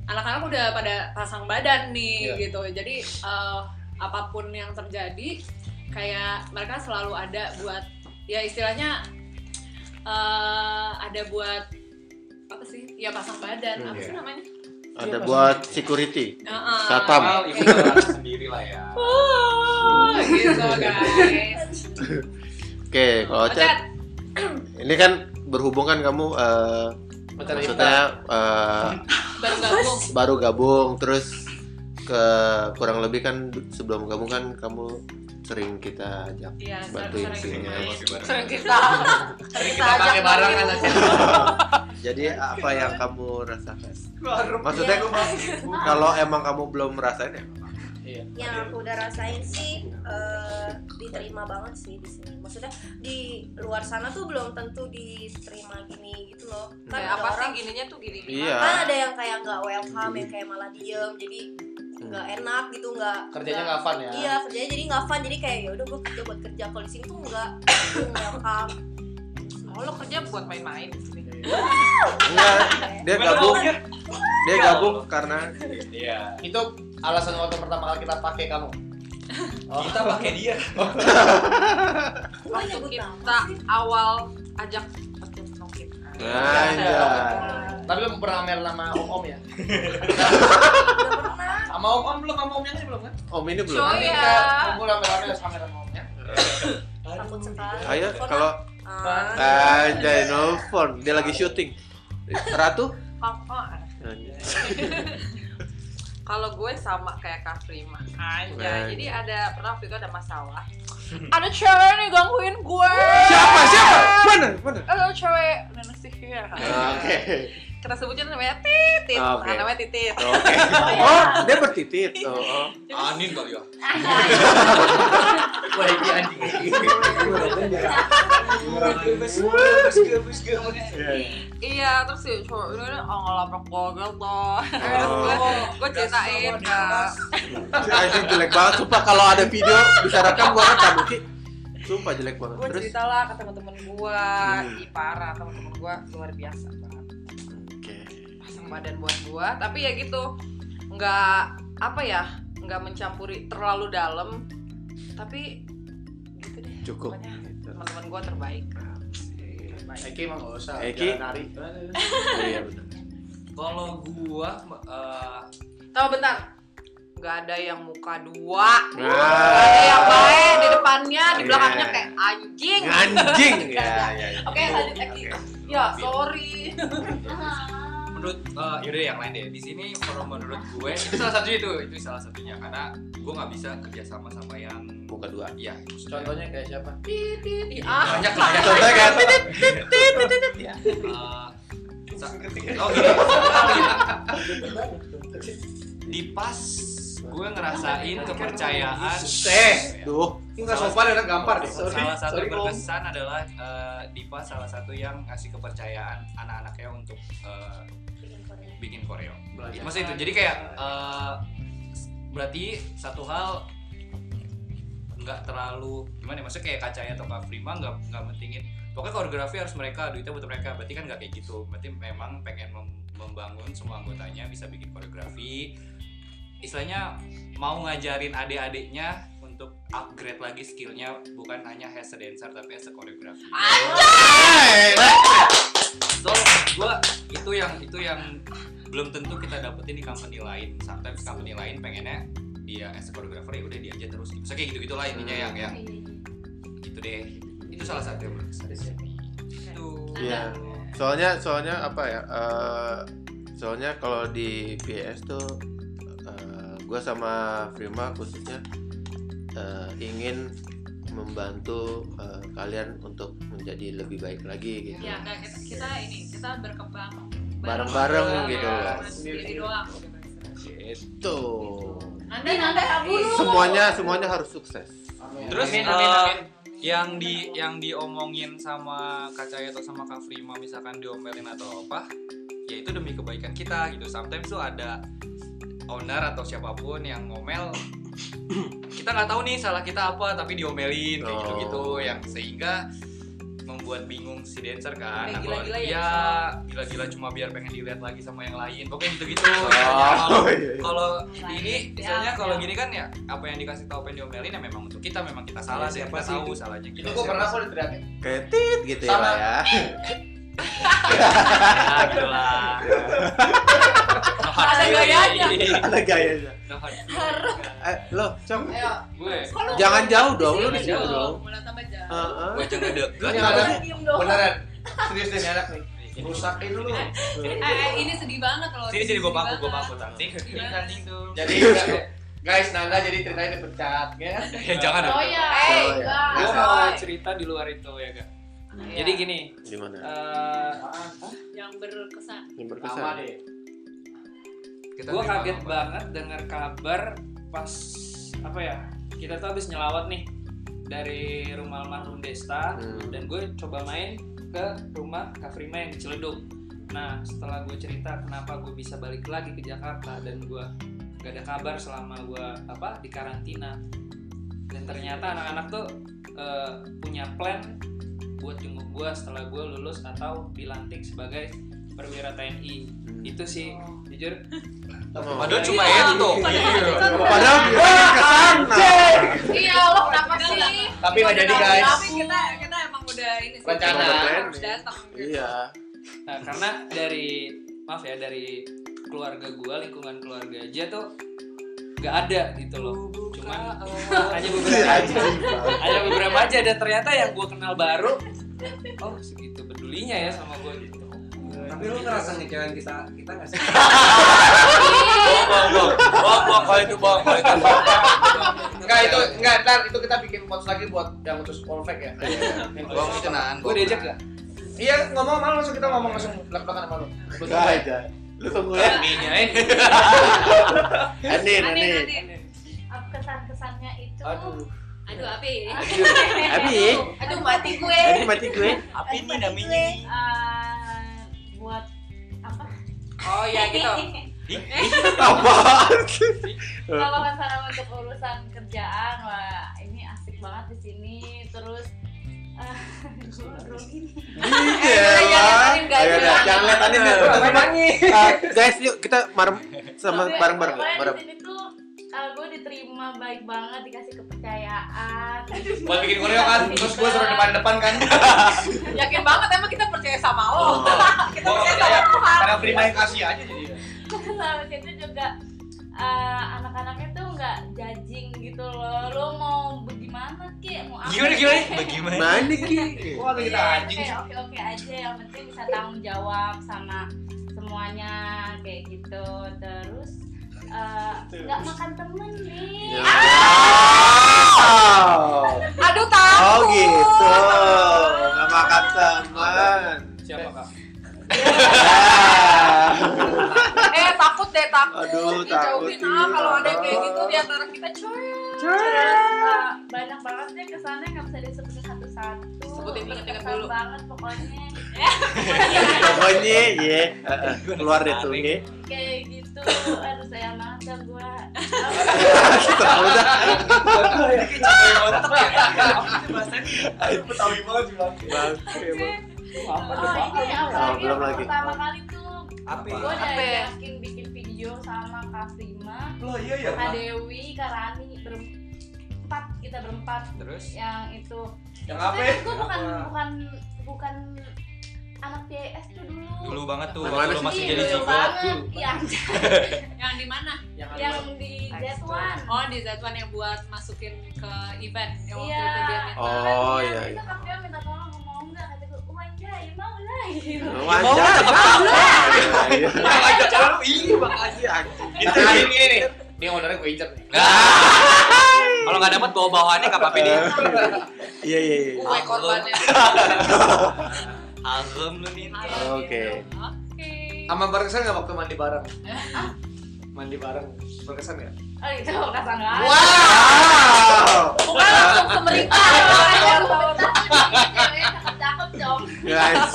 [SPEAKER 2] anak-anak udah pada pasang badan nih
[SPEAKER 6] Iya.
[SPEAKER 2] gitu jadi eh, apapun yang terjadi kayak mereka selalu ada buat ya istilahnya eh, ada buat apa sih ya pasang badan apa sih
[SPEAKER 1] Iya.
[SPEAKER 2] namanya
[SPEAKER 1] Ada buat security.
[SPEAKER 2] Heeh.
[SPEAKER 1] Satpam.
[SPEAKER 10] Ibu
[SPEAKER 1] Iya.
[SPEAKER 10] harus sendiri lah ya.
[SPEAKER 6] Iya.
[SPEAKER 2] Oh, gitu guys
[SPEAKER 1] Oke, kalau chat
[SPEAKER 2] Ocat,
[SPEAKER 1] ini kan berhubung kan kamu eh, maksudnya eh,
[SPEAKER 2] baru gabung
[SPEAKER 1] baru gabung terus ke kurang lebih kan sebelum gabung kan kamu sering kita ajak
[SPEAKER 2] ya
[SPEAKER 1] bantuin
[SPEAKER 2] sering
[SPEAKER 1] sih.
[SPEAKER 2] main
[SPEAKER 4] Sering kita
[SPEAKER 6] Kita pakai barang kan nanti.
[SPEAKER 1] ya? Jadi apa yang kamu rasakan? Maksudnya
[SPEAKER 9] Maksudnya
[SPEAKER 1] kalau emang kamu belum merasain ya? nggak apa-apa.
[SPEAKER 6] Iya.
[SPEAKER 5] Ya.
[SPEAKER 9] yang aku udah rasain sih eh, diterima banget sih di sini. Maksudnya di luar sana tuh belum tentu diterima gini gitu loh. Kan
[SPEAKER 4] Kayak
[SPEAKER 9] ada
[SPEAKER 4] apa sih
[SPEAKER 9] orang
[SPEAKER 4] gininya tuh gini gini.
[SPEAKER 1] Iya.
[SPEAKER 9] kan ada yang kayak nggak welcome, yang kayak malah diem, jadi nggak enak gitu nggak
[SPEAKER 6] Kerjanya nggak fun ya.
[SPEAKER 9] Iya kerjanya jadi nggak fun jadi kayak ya udah gue kerja buat kerja kalau di sini tuh nggak welcome.
[SPEAKER 4] Oh lo kerja buat main-main di sini.
[SPEAKER 6] Iya.
[SPEAKER 1] Enggak, dia gabung. Dia gabung karena
[SPEAKER 10] Iya.
[SPEAKER 6] Itu alasan waktu pertama kali kita pakai kamu. Oh,
[SPEAKER 10] Kita pakai dia.
[SPEAKER 9] Gue nyebut
[SPEAKER 4] Kita
[SPEAKER 9] nama.
[SPEAKER 4] awal ajak podcast Nokin.
[SPEAKER 1] Nah, iya.
[SPEAKER 6] tapi belum pernah mer sama om om ya?
[SPEAKER 9] Nggak pernah.
[SPEAKER 6] Sama om om belum, sama om yang ini belum kan?
[SPEAKER 1] Om ini
[SPEAKER 4] Coy.
[SPEAKER 1] belum.
[SPEAKER 6] Nanti
[SPEAKER 4] iya.
[SPEAKER 6] kita kumpul rame-rame sama mer sama om ya.
[SPEAKER 9] Takut sekali.
[SPEAKER 1] Ayo
[SPEAKER 9] Pernah.
[SPEAKER 1] kalau
[SPEAKER 9] Ah.
[SPEAKER 1] aja nelfon, dia lagi syuting. Ratu?
[SPEAKER 4] Papa. Kalau gue sama kayak Kak Prima aja.
[SPEAKER 1] Baik.
[SPEAKER 4] Jadi ada pernah waktu itu ada masalah. Ada cewek nih gangguin gue.
[SPEAKER 1] Siapa? Siapa? Mana? Mana?
[SPEAKER 4] Ada cewek nenek sihir.
[SPEAKER 1] Oke.
[SPEAKER 4] Kita sebutnya namanya Titit.
[SPEAKER 1] Oke.
[SPEAKER 4] Nah, namanya Titit.
[SPEAKER 1] Oke. Oh, dia bertitit. Oh.
[SPEAKER 10] Anin kali ya.
[SPEAKER 6] Wah, ini anjing.
[SPEAKER 4] Iya, terus si cowok ini oh, ngelabrak gogel tuh. Terus
[SPEAKER 1] Oh.
[SPEAKER 4] gue, gue ceritain ke
[SPEAKER 1] Anjing jelek banget. Sumpah kalau ada video bisa rekam gua rekam Uki. Sumpah jelek banget.
[SPEAKER 4] gue
[SPEAKER 1] Terus
[SPEAKER 4] cerita lah ke teman-teman gue.
[SPEAKER 1] Hmm.
[SPEAKER 4] Ih parah teman-teman gue luar biasa banget.
[SPEAKER 1] Oke.
[SPEAKER 4] Pasang badan buat gue, tapi ya gitu nggak apa ya nggak mencampuri terlalu dalam, tapi gitu deh.
[SPEAKER 1] Cukup.
[SPEAKER 4] Pokoknya teman-teman gue terbaik. Terbaik.
[SPEAKER 6] Eki emang nggak usah.
[SPEAKER 1] Eki?
[SPEAKER 6] Jalan nari.
[SPEAKER 1] Iya benar.
[SPEAKER 10] Kalau gua eh,
[SPEAKER 4] Tahu bentar. Nggak ada yang muka dua.
[SPEAKER 1] Nah.
[SPEAKER 4] Nggak ada yang baik di depannya, di
[SPEAKER 1] Iya.
[SPEAKER 4] belakangnya kayak anjing.
[SPEAKER 1] Anjing. Ya, ya, ya.
[SPEAKER 4] Oke, lanjut Eki. Ya, sorry.
[SPEAKER 10] menurut eh, yaudah yang lain deh di sini kalau menurut gue itu salah satunya itu itu salah satunya karena gue nggak bisa kerja sama sama yang
[SPEAKER 1] Buka dua.
[SPEAKER 10] ya
[SPEAKER 6] Contohnya kayak siapa?
[SPEAKER 4] Titit. Ah,
[SPEAKER 10] banyak lah ya
[SPEAKER 1] Contohnya kan.
[SPEAKER 10] Eh, sa- oh gini Oh, gini. di pas gue ngerasain kepercayaan
[SPEAKER 6] Eh,
[SPEAKER 1] Duh.
[SPEAKER 6] enggak sopan ya, gampar deh. Sorry.
[SPEAKER 10] salah satu
[SPEAKER 6] Sorry, Om.
[SPEAKER 10] berkesan adalah eh, Dipa salah satu yang ngasih kepercayaan anak-anaknya untuk eh, bikin koreo.
[SPEAKER 6] Belajar.
[SPEAKER 10] Maksudnya itu. Jadi kayak eh, berarti satu hal nggak terlalu gimana ya maksudnya kayak kacanya atau Kak Prima nggak nggak mentingin pokoknya koreografi harus mereka duitnya buat mereka berarti kan nggak kayak gitu berarti memang pengen mem- membangun semua anggotanya bisa bikin koreografi istilahnya mau ngajarin adik-adiknya untuk upgrade lagi skillnya bukan hanya as a dancer tapi as a choreographer. So, gua itu yang itu yang belum tentu kita dapetin di company lain. Sometimes company lain pengennya dia as a choreographer ya udah dia aja terus. Misalnya kayak gitu-gitu lah intinya yang
[SPEAKER 5] Iya.
[SPEAKER 10] yang gitu deh. Itu salah satu yang menurut saya.
[SPEAKER 1] Iya. Soalnya soalnya apa ya? eh, soalnya kalau di PS tuh gue sama Prima khususnya eh, ingin membantu eh, kalian untuk menjadi lebih baik lagi gitu.
[SPEAKER 2] Ya, nah, kita, kita ini kita berkembang
[SPEAKER 1] Bareng-bareng gitu
[SPEAKER 2] ya,
[SPEAKER 1] loh.
[SPEAKER 2] bukan sendiri doang.
[SPEAKER 1] Gitu.
[SPEAKER 2] Nanda, Nanda,
[SPEAKER 1] Semuanya semuanya harus sukses.
[SPEAKER 6] Iya.
[SPEAKER 10] Terus
[SPEAKER 7] Amin,
[SPEAKER 10] eh,
[SPEAKER 7] amin, amin.
[SPEAKER 10] yang di yang diomongin sama Kak Cahaya atau sama Kak Frima misalkan diomelin atau apa, ya itu demi kebaikan kita gitu. Sometimes tuh ada owner atau siapapun yang ngomel kita nggak tahu nih salah kita apa tapi diomelin kayak
[SPEAKER 1] Oh.
[SPEAKER 10] gitu-gitu yang sehingga membuat bingung si dancer kan
[SPEAKER 4] Sampai
[SPEAKER 10] Atau
[SPEAKER 4] gila-gila ya,
[SPEAKER 10] ya
[SPEAKER 4] misalnya.
[SPEAKER 10] gila-gila cuma biar pengen dilihat lagi sama yang lain pokoknya gitu-gitu
[SPEAKER 1] Oh, iya, iya.
[SPEAKER 10] kalau ini
[SPEAKER 5] Ya, ya.
[SPEAKER 10] misalnya kalau gini kan ya apa yang dikasih tahu pengen diomelin ya memang untuk kita memang kita
[SPEAKER 6] Ya,
[SPEAKER 10] salah sih
[SPEAKER 6] siapa
[SPEAKER 10] kita
[SPEAKER 6] sih
[SPEAKER 10] tahu
[SPEAKER 6] itu?
[SPEAKER 10] salahnya
[SPEAKER 6] Itu
[SPEAKER 10] kita
[SPEAKER 6] gue
[SPEAKER 10] Siapa
[SPEAKER 6] pernah
[SPEAKER 10] sih?
[SPEAKER 6] kok diteriakin.
[SPEAKER 1] Kayak tit gitu ya,
[SPEAKER 6] Sama.
[SPEAKER 1] Pak ya.
[SPEAKER 10] ya gitu lah No hard
[SPEAKER 4] Ada
[SPEAKER 10] feeling.
[SPEAKER 4] gayanya.
[SPEAKER 1] Ada gayanya.
[SPEAKER 10] No hard feeling.
[SPEAKER 1] Eh, lo, Cong.
[SPEAKER 4] Ayo,
[SPEAKER 7] Gue
[SPEAKER 1] Jangan jauh dong, lu di
[SPEAKER 2] Mulai
[SPEAKER 1] situ dong. Ah.
[SPEAKER 2] Mulai tambah jauh.
[SPEAKER 1] Heeh.
[SPEAKER 10] Gue jangan dekat
[SPEAKER 6] Ini
[SPEAKER 10] Gua-
[SPEAKER 6] ada
[SPEAKER 9] diem dong
[SPEAKER 6] beneran. Serius deh ini anak nih. Rusakin lu.
[SPEAKER 2] Eh, eh, ini sedih banget loh.
[SPEAKER 10] sini sini gue paku gue paku
[SPEAKER 2] banget.
[SPEAKER 10] nanti
[SPEAKER 2] Iya.
[SPEAKER 7] tanding tuh.
[SPEAKER 6] Jadi guys Nanda jadi ceritanya dipecat ya.
[SPEAKER 10] ya jangan dong
[SPEAKER 5] Oh iya.
[SPEAKER 4] Hey,
[SPEAKER 1] Oh, iya.
[SPEAKER 7] Gue
[SPEAKER 4] Mas
[SPEAKER 7] mau
[SPEAKER 4] Roy.
[SPEAKER 7] cerita di luar itu ya kak.
[SPEAKER 4] Iya.
[SPEAKER 7] Jadi gini,
[SPEAKER 1] Di mana?
[SPEAKER 7] eh,
[SPEAKER 2] Yang berkesan.
[SPEAKER 1] Yang
[SPEAKER 6] Lama
[SPEAKER 1] berkesan.
[SPEAKER 6] deh.
[SPEAKER 10] Kita
[SPEAKER 7] gue
[SPEAKER 10] terima
[SPEAKER 7] kaget
[SPEAKER 10] apa?
[SPEAKER 7] banget dengar kabar pas apa ya kita tuh habis nyelawat nih dari rumah almarhum Desta
[SPEAKER 1] Hmm.
[SPEAKER 7] dan gue coba main ke rumah Kak Frima yang di Ciledug. Nah setelah gue cerita kenapa gue bisa balik lagi ke Jakarta dan gue gak ada kabar selama gue apa di karantina dan ternyata anak-anak tuh eh, punya plan buat jenguk gue setelah gue lulus atau dilantik sebagai perwira TNI itu sih jujur
[SPEAKER 1] Oh.
[SPEAKER 7] Nah,
[SPEAKER 10] Padahal cuma
[SPEAKER 7] iya.
[SPEAKER 10] itu.
[SPEAKER 1] iya. Padahal gue ke sana.
[SPEAKER 5] Iya lo kenapa sih?
[SPEAKER 6] Tapi nggak jadi guys.
[SPEAKER 2] Tapi kita kita emang udah ini sih.
[SPEAKER 6] Rencana.
[SPEAKER 2] Harus datang.
[SPEAKER 1] Iya.
[SPEAKER 7] Nah, karena dari maaf ya dari keluarga gua, lingkungan keluarga aja tuh nggak ada gitu loh. Cuman hanya
[SPEAKER 10] oh.
[SPEAKER 7] beberapa
[SPEAKER 10] Iya,
[SPEAKER 7] aja, hanya beberapa aja dan ternyata yang gua kenal baru, oh segitu pedulinya ya sama gua gitu.
[SPEAKER 8] Tapi lu ngerasa ngecewain kita kita nggak sih?
[SPEAKER 10] bohong bohong bohong bohong kalau itu bohong kalau itu bohong
[SPEAKER 6] Enggak itu enggak ntar itu kita bikin post lagi buat yang khusus polfek ya. Yang
[SPEAKER 10] bohong itu nan
[SPEAKER 7] Gua diajak nggak?
[SPEAKER 6] Iya ngomong malu langsung kita ngomong langsung belak-belakan sama lu.
[SPEAKER 1] Gak ada. Lu tunggu ya.
[SPEAKER 10] minyak
[SPEAKER 1] Anin,
[SPEAKER 2] Anin,
[SPEAKER 5] kan
[SPEAKER 1] Anin.
[SPEAKER 5] ya?
[SPEAKER 2] Anin.
[SPEAKER 5] Apa kesan-kesannya itu?
[SPEAKER 6] Aduh.
[SPEAKER 2] Aduh, Api.
[SPEAKER 1] Abi,
[SPEAKER 5] Aduh mati gue.
[SPEAKER 1] Abi mati gue.
[SPEAKER 10] apa ini namanya
[SPEAKER 9] gue.
[SPEAKER 5] Eh, buat apa?
[SPEAKER 4] Oh iya gitu.
[SPEAKER 1] Apaan sih?
[SPEAKER 5] Kalau misalnya untuk urusan kerjaan, wah ini asik banget di sini. Terus eh,
[SPEAKER 1] Iya lah. Ayo dah, jangan lihat Anin deh. Eh, Guys, yuk kita marem sama
[SPEAKER 5] Tapi
[SPEAKER 1] bareng-bareng lah,
[SPEAKER 5] pokoknya
[SPEAKER 1] bareng.
[SPEAKER 5] di sini tuh eh, gue diterima baik banget, dikasih kepercayaan.
[SPEAKER 10] buat bikin koreo kan terus gue suruh depan depan kan
[SPEAKER 4] Yakin banget emang kita percaya sama lo.
[SPEAKER 1] Oh.
[SPEAKER 6] Kita percaya karena prima yang kasih aja jadi.
[SPEAKER 5] Nah, Habis itu juga eh, anak-anaknya tuh nggak judging gitu loh. Lo mau gimana ki? Mau apa?
[SPEAKER 10] gimana
[SPEAKER 5] Ki?
[SPEAKER 10] gimana bagaimana
[SPEAKER 1] Nah, ini Ki.
[SPEAKER 6] Wah ada kita
[SPEAKER 5] Iya,
[SPEAKER 6] anjing.
[SPEAKER 5] kayak oke-oke aja yang penting bisa tanggung jawab sama semuanya kayak gitu terus eh, nggak makan temen
[SPEAKER 1] Ya.
[SPEAKER 5] nih
[SPEAKER 1] Wow.
[SPEAKER 4] Aduh takut.
[SPEAKER 1] Oh gitu, nggak makan teman.
[SPEAKER 7] Siapa kak?
[SPEAKER 1] Ah.
[SPEAKER 4] Eh takut deh takut.
[SPEAKER 1] Aduh, takut.
[SPEAKER 4] Dijauhin ah kalau ada yang kayak gitu di antara kita coy.
[SPEAKER 5] terus eh, banyak banget deh kesannya nggak bisa disebutin satu-satu
[SPEAKER 4] Sebutin, inget-inget
[SPEAKER 5] Berkesan
[SPEAKER 4] dulu.
[SPEAKER 5] banget pokoknya
[SPEAKER 1] Pokoknya ya keluar deh tuh ya.
[SPEAKER 5] kayak gitu aduh sayang banget dah gua
[SPEAKER 1] Udah,
[SPEAKER 6] Betawi banget juga.
[SPEAKER 5] oh, ini apa
[SPEAKER 1] Oh,
[SPEAKER 5] lagi
[SPEAKER 1] belum
[SPEAKER 5] yang
[SPEAKER 1] lagi.
[SPEAKER 5] pertama kali tuh
[SPEAKER 6] Api.
[SPEAKER 5] gue
[SPEAKER 10] ya?
[SPEAKER 2] ya?
[SPEAKER 4] Apa?
[SPEAKER 5] udah yakin bikin video sama Kak Prima,
[SPEAKER 6] Loh, iya, iya,
[SPEAKER 5] Kak
[SPEAKER 6] Pak.
[SPEAKER 5] Dewi, Kak Rani berempat kita berempat.
[SPEAKER 10] Terus?
[SPEAKER 5] Yang itu.
[SPEAKER 6] Yang apa?
[SPEAKER 10] ya?
[SPEAKER 5] Kan gue bukan
[SPEAKER 6] Apa?
[SPEAKER 5] bukan bukan anak PIS tuh dulu.
[SPEAKER 10] Dulu banget tuh,
[SPEAKER 1] Mana
[SPEAKER 10] waktu
[SPEAKER 1] sih?
[SPEAKER 10] lu masih
[SPEAKER 5] Ih,
[SPEAKER 10] jadi
[SPEAKER 5] dulu
[SPEAKER 10] ciko.
[SPEAKER 5] banget. Iya, anjay.
[SPEAKER 2] Yang di mana?
[SPEAKER 5] yang di Z1.
[SPEAKER 2] Oh, di Zatuan yang buat masukin ke event yang waktu
[SPEAKER 5] Iya.
[SPEAKER 2] itu dia minta.
[SPEAKER 1] Oh iya.
[SPEAKER 5] Itu Kak Prima minta tolong mau mau nggak? Kata gue, oh anjay, mau lah gitu.
[SPEAKER 1] Oh. Wajar. Iya, iya.
[SPEAKER 6] Iya, makasih anjing. Kita
[SPEAKER 10] Nah,
[SPEAKER 6] hari ini nih. Ini ownernya gue incer
[SPEAKER 7] Nah.
[SPEAKER 6] nih.
[SPEAKER 10] Kalau nggak dapat bawa bawaannya nggak apa-apa nih.
[SPEAKER 1] Iya iya iya.
[SPEAKER 4] Gue korbannya.
[SPEAKER 10] Alem lu nih.
[SPEAKER 1] Oke.
[SPEAKER 2] Oke.
[SPEAKER 6] Sama berkesan nggak waktu mandi bareng? Mandi bareng berkesan nggak?
[SPEAKER 5] Oh itu kata nggak. ada.
[SPEAKER 1] Wow.
[SPEAKER 4] Bukan langsung pemerintah.
[SPEAKER 5] Cakep dong.
[SPEAKER 1] Guys.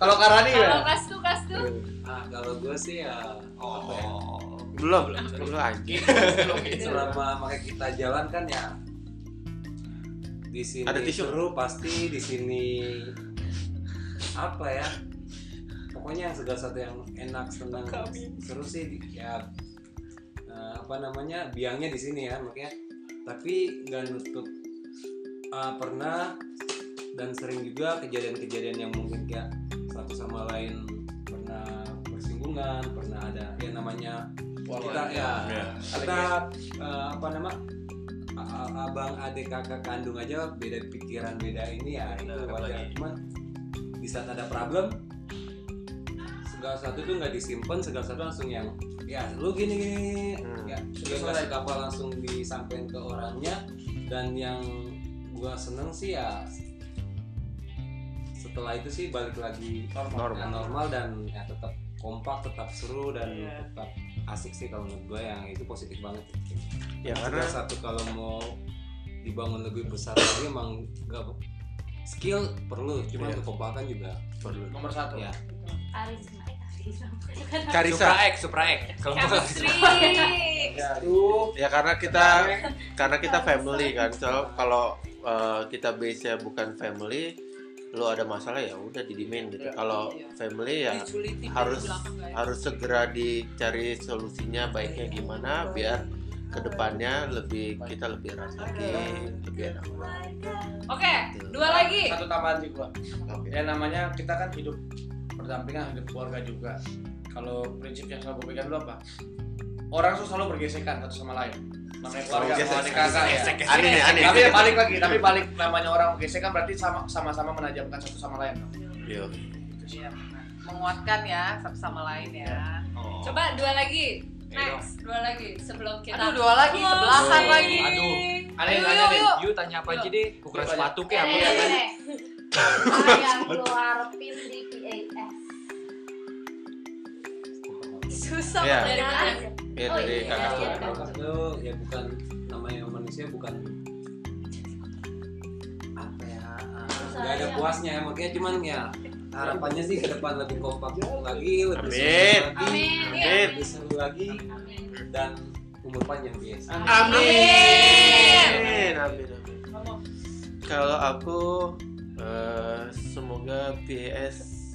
[SPEAKER 6] Kalau Karani ya?
[SPEAKER 5] Kalau kas tuh kas tuh.
[SPEAKER 8] Ah, kalau gue sih ya apa ya,
[SPEAKER 10] Oh.
[SPEAKER 1] Belum belum belum anjing. Iya.
[SPEAKER 8] selama mereka kita jalan kan ya di sini
[SPEAKER 1] Ada tisu.
[SPEAKER 8] seru pasti di sini apa ya pokoknya yang segala satu yang enak senang seru sih di- ya eh, apa namanya biangnya di sini ya makanya tapi nggak nutup eh, pernah dan sering juga kejadian-kejadian yang mungkin kayak satu sama lain pernah bersinggungan pernah ada ya namanya kita ya
[SPEAKER 1] Iya.
[SPEAKER 8] kita eh, apa nama a- a- abang adik kakak kandung aja beda pikiran beda ini ya itu
[SPEAKER 10] Bener,
[SPEAKER 8] wajar
[SPEAKER 10] apalagi.
[SPEAKER 8] cuman di saat ada problem segala satu tuh nggak disimpan segala satu langsung yang ya lu gini gini
[SPEAKER 1] Hmm.
[SPEAKER 8] ya terus nggak suka apa langsung disampaikan ke orangnya dan yang gua seneng sih ya setelah itu sih balik lagi
[SPEAKER 1] Normal.
[SPEAKER 8] Ya, normal dan ya tetap kompak tetap seru dan tetap asik sih kalau menurut gue yang itu positif banget
[SPEAKER 1] Ya karena
[SPEAKER 8] karena satu kalau mau dibangun lebih besar lagi emang gak skill perlu cuma
[SPEAKER 1] Iya.
[SPEAKER 8] kekompakan juga perlu
[SPEAKER 6] Nomor satu.
[SPEAKER 8] ya
[SPEAKER 5] Karisma, eh karisma. Bukan
[SPEAKER 1] Karisa.
[SPEAKER 10] Supra X, Supra X. Kalau nggak salah.
[SPEAKER 6] Aduh.
[SPEAKER 1] Ya karena kita karena kita family kan. So kalau eh, kita base nya bukan family, lu ada masalah ya udah didimin gitu. Kalau family ya harus harus segera dicari solusinya baiknya gimana biar kedepannya lebih kita lebih erat lagi lebih enak lagi.
[SPEAKER 2] Oke, dua lagi.
[SPEAKER 6] Satu tambahan sih gua.
[SPEAKER 1] Oke.
[SPEAKER 6] Ya namanya kita kan hidup berdampingan hidup keluarga juga. Kalau prinsip yang selalu gue pegang dulu apa? Orang tuh selalu bergesekan satu sama lain. Namanya keluarga sama adik kakak ya.
[SPEAKER 1] Aneh nih, aneh.
[SPEAKER 6] Tapi balik lagi, tapi balik namanya orang bergesekan berarti sama- sama-sama menajamkan satu sama lain.
[SPEAKER 1] Yo.
[SPEAKER 4] Iya, benar. Menguatkan ya satu sama lain
[SPEAKER 1] Iya.
[SPEAKER 4] ya.
[SPEAKER 10] Oh.
[SPEAKER 2] Coba dua lagi.
[SPEAKER 10] Ayo
[SPEAKER 2] Next, dua lagi sebelum kita.
[SPEAKER 4] Aduh dua lagi sebelasan lagi.
[SPEAKER 10] Aduh.
[SPEAKER 6] Ada yang
[SPEAKER 4] Yuk,
[SPEAKER 6] nanya
[SPEAKER 4] yuk,
[SPEAKER 6] nih.
[SPEAKER 4] yuk.
[SPEAKER 10] Yu tanya apa aja deh. Ukuran sepatu
[SPEAKER 5] Eh,
[SPEAKER 10] kayak apa?
[SPEAKER 5] eh, eh. yang lu harapin di PAS?
[SPEAKER 4] Susah
[SPEAKER 1] Iya.
[SPEAKER 2] Dari
[SPEAKER 4] banget.
[SPEAKER 2] mana?
[SPEAKER 1] Ya
[SPEAKER 5] Oh,
[SPEAKER 1] dari
[SPEAKER 5] iya.
[SPEAKER 1] kakak
[SPEAKER 5] Iya,
[SPEAKER 1] gua.
[SPEAKER 5] iya.
[SPEAKER 8] itu ya bukan namanya manusia bukan apa ya nggak ada puasnya ya makanya cuman ya harapannya sih ke depan lebih kompak lagi lebih seru
[SPEAKER 1] Amin.
[SPEAKER 8] lagi
[SPEAKER 5] Amin.
[SPEAKER 1] Amin.
[SPEAKER 8] lebih seru lagi
[SPEAKER 5] Amin.
[SPEAKER 8] dan umur panjang biasa
[SPEAKER 1] Amin. Amin. Amin. amin. Kalau aku eh, semoga PS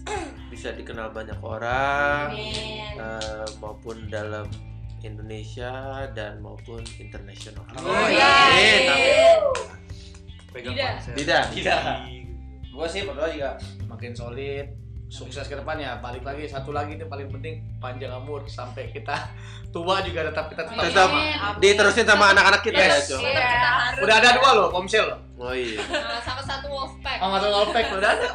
[SPEAKER 1] bisa dikenal banyak orang
[SPEAKER 5] Amin.
[SPEAKER 1] eh, maupun dalam Indonesia dan maupun internasional.
[SPEAKER 6] Oh,
[SPEAKER 1] Amin.
[SPEAKER 6] iya.
[SPEAKER 1] Amin.
[SPEAKER 4] Oh,
[SPEAKER 10] Pegang
[SPEAKER 2] Tidak.
[SPEAKER 4] iya.
[SPEAKER 10] konsep.
[SPEAKER 1] Tidak.
[SPEAKER 6] Tidak. Gua sih berdoa juga makin solid, sukses ke depan ya. Balik lagi satu lagi itu paling penting panjang umur sampai kita tua juga tetap kita tetap.
[SPEAKER 1] Tetap diterusin sama anak-anak kita ya,
[SPEAKER 6] Yes.
[SPEAKER 1] Cok.
[SPEAKER 2] Tetap kita harus
[SPEAKER 6] Udah ada dua loh, Komsel loh.
[SPEAKER 1] Oh iya.
[SPEAKER 2] eh, sama satu wolf pack.
[SPEAKER 6] Oh, satu Wolfpack udah ada.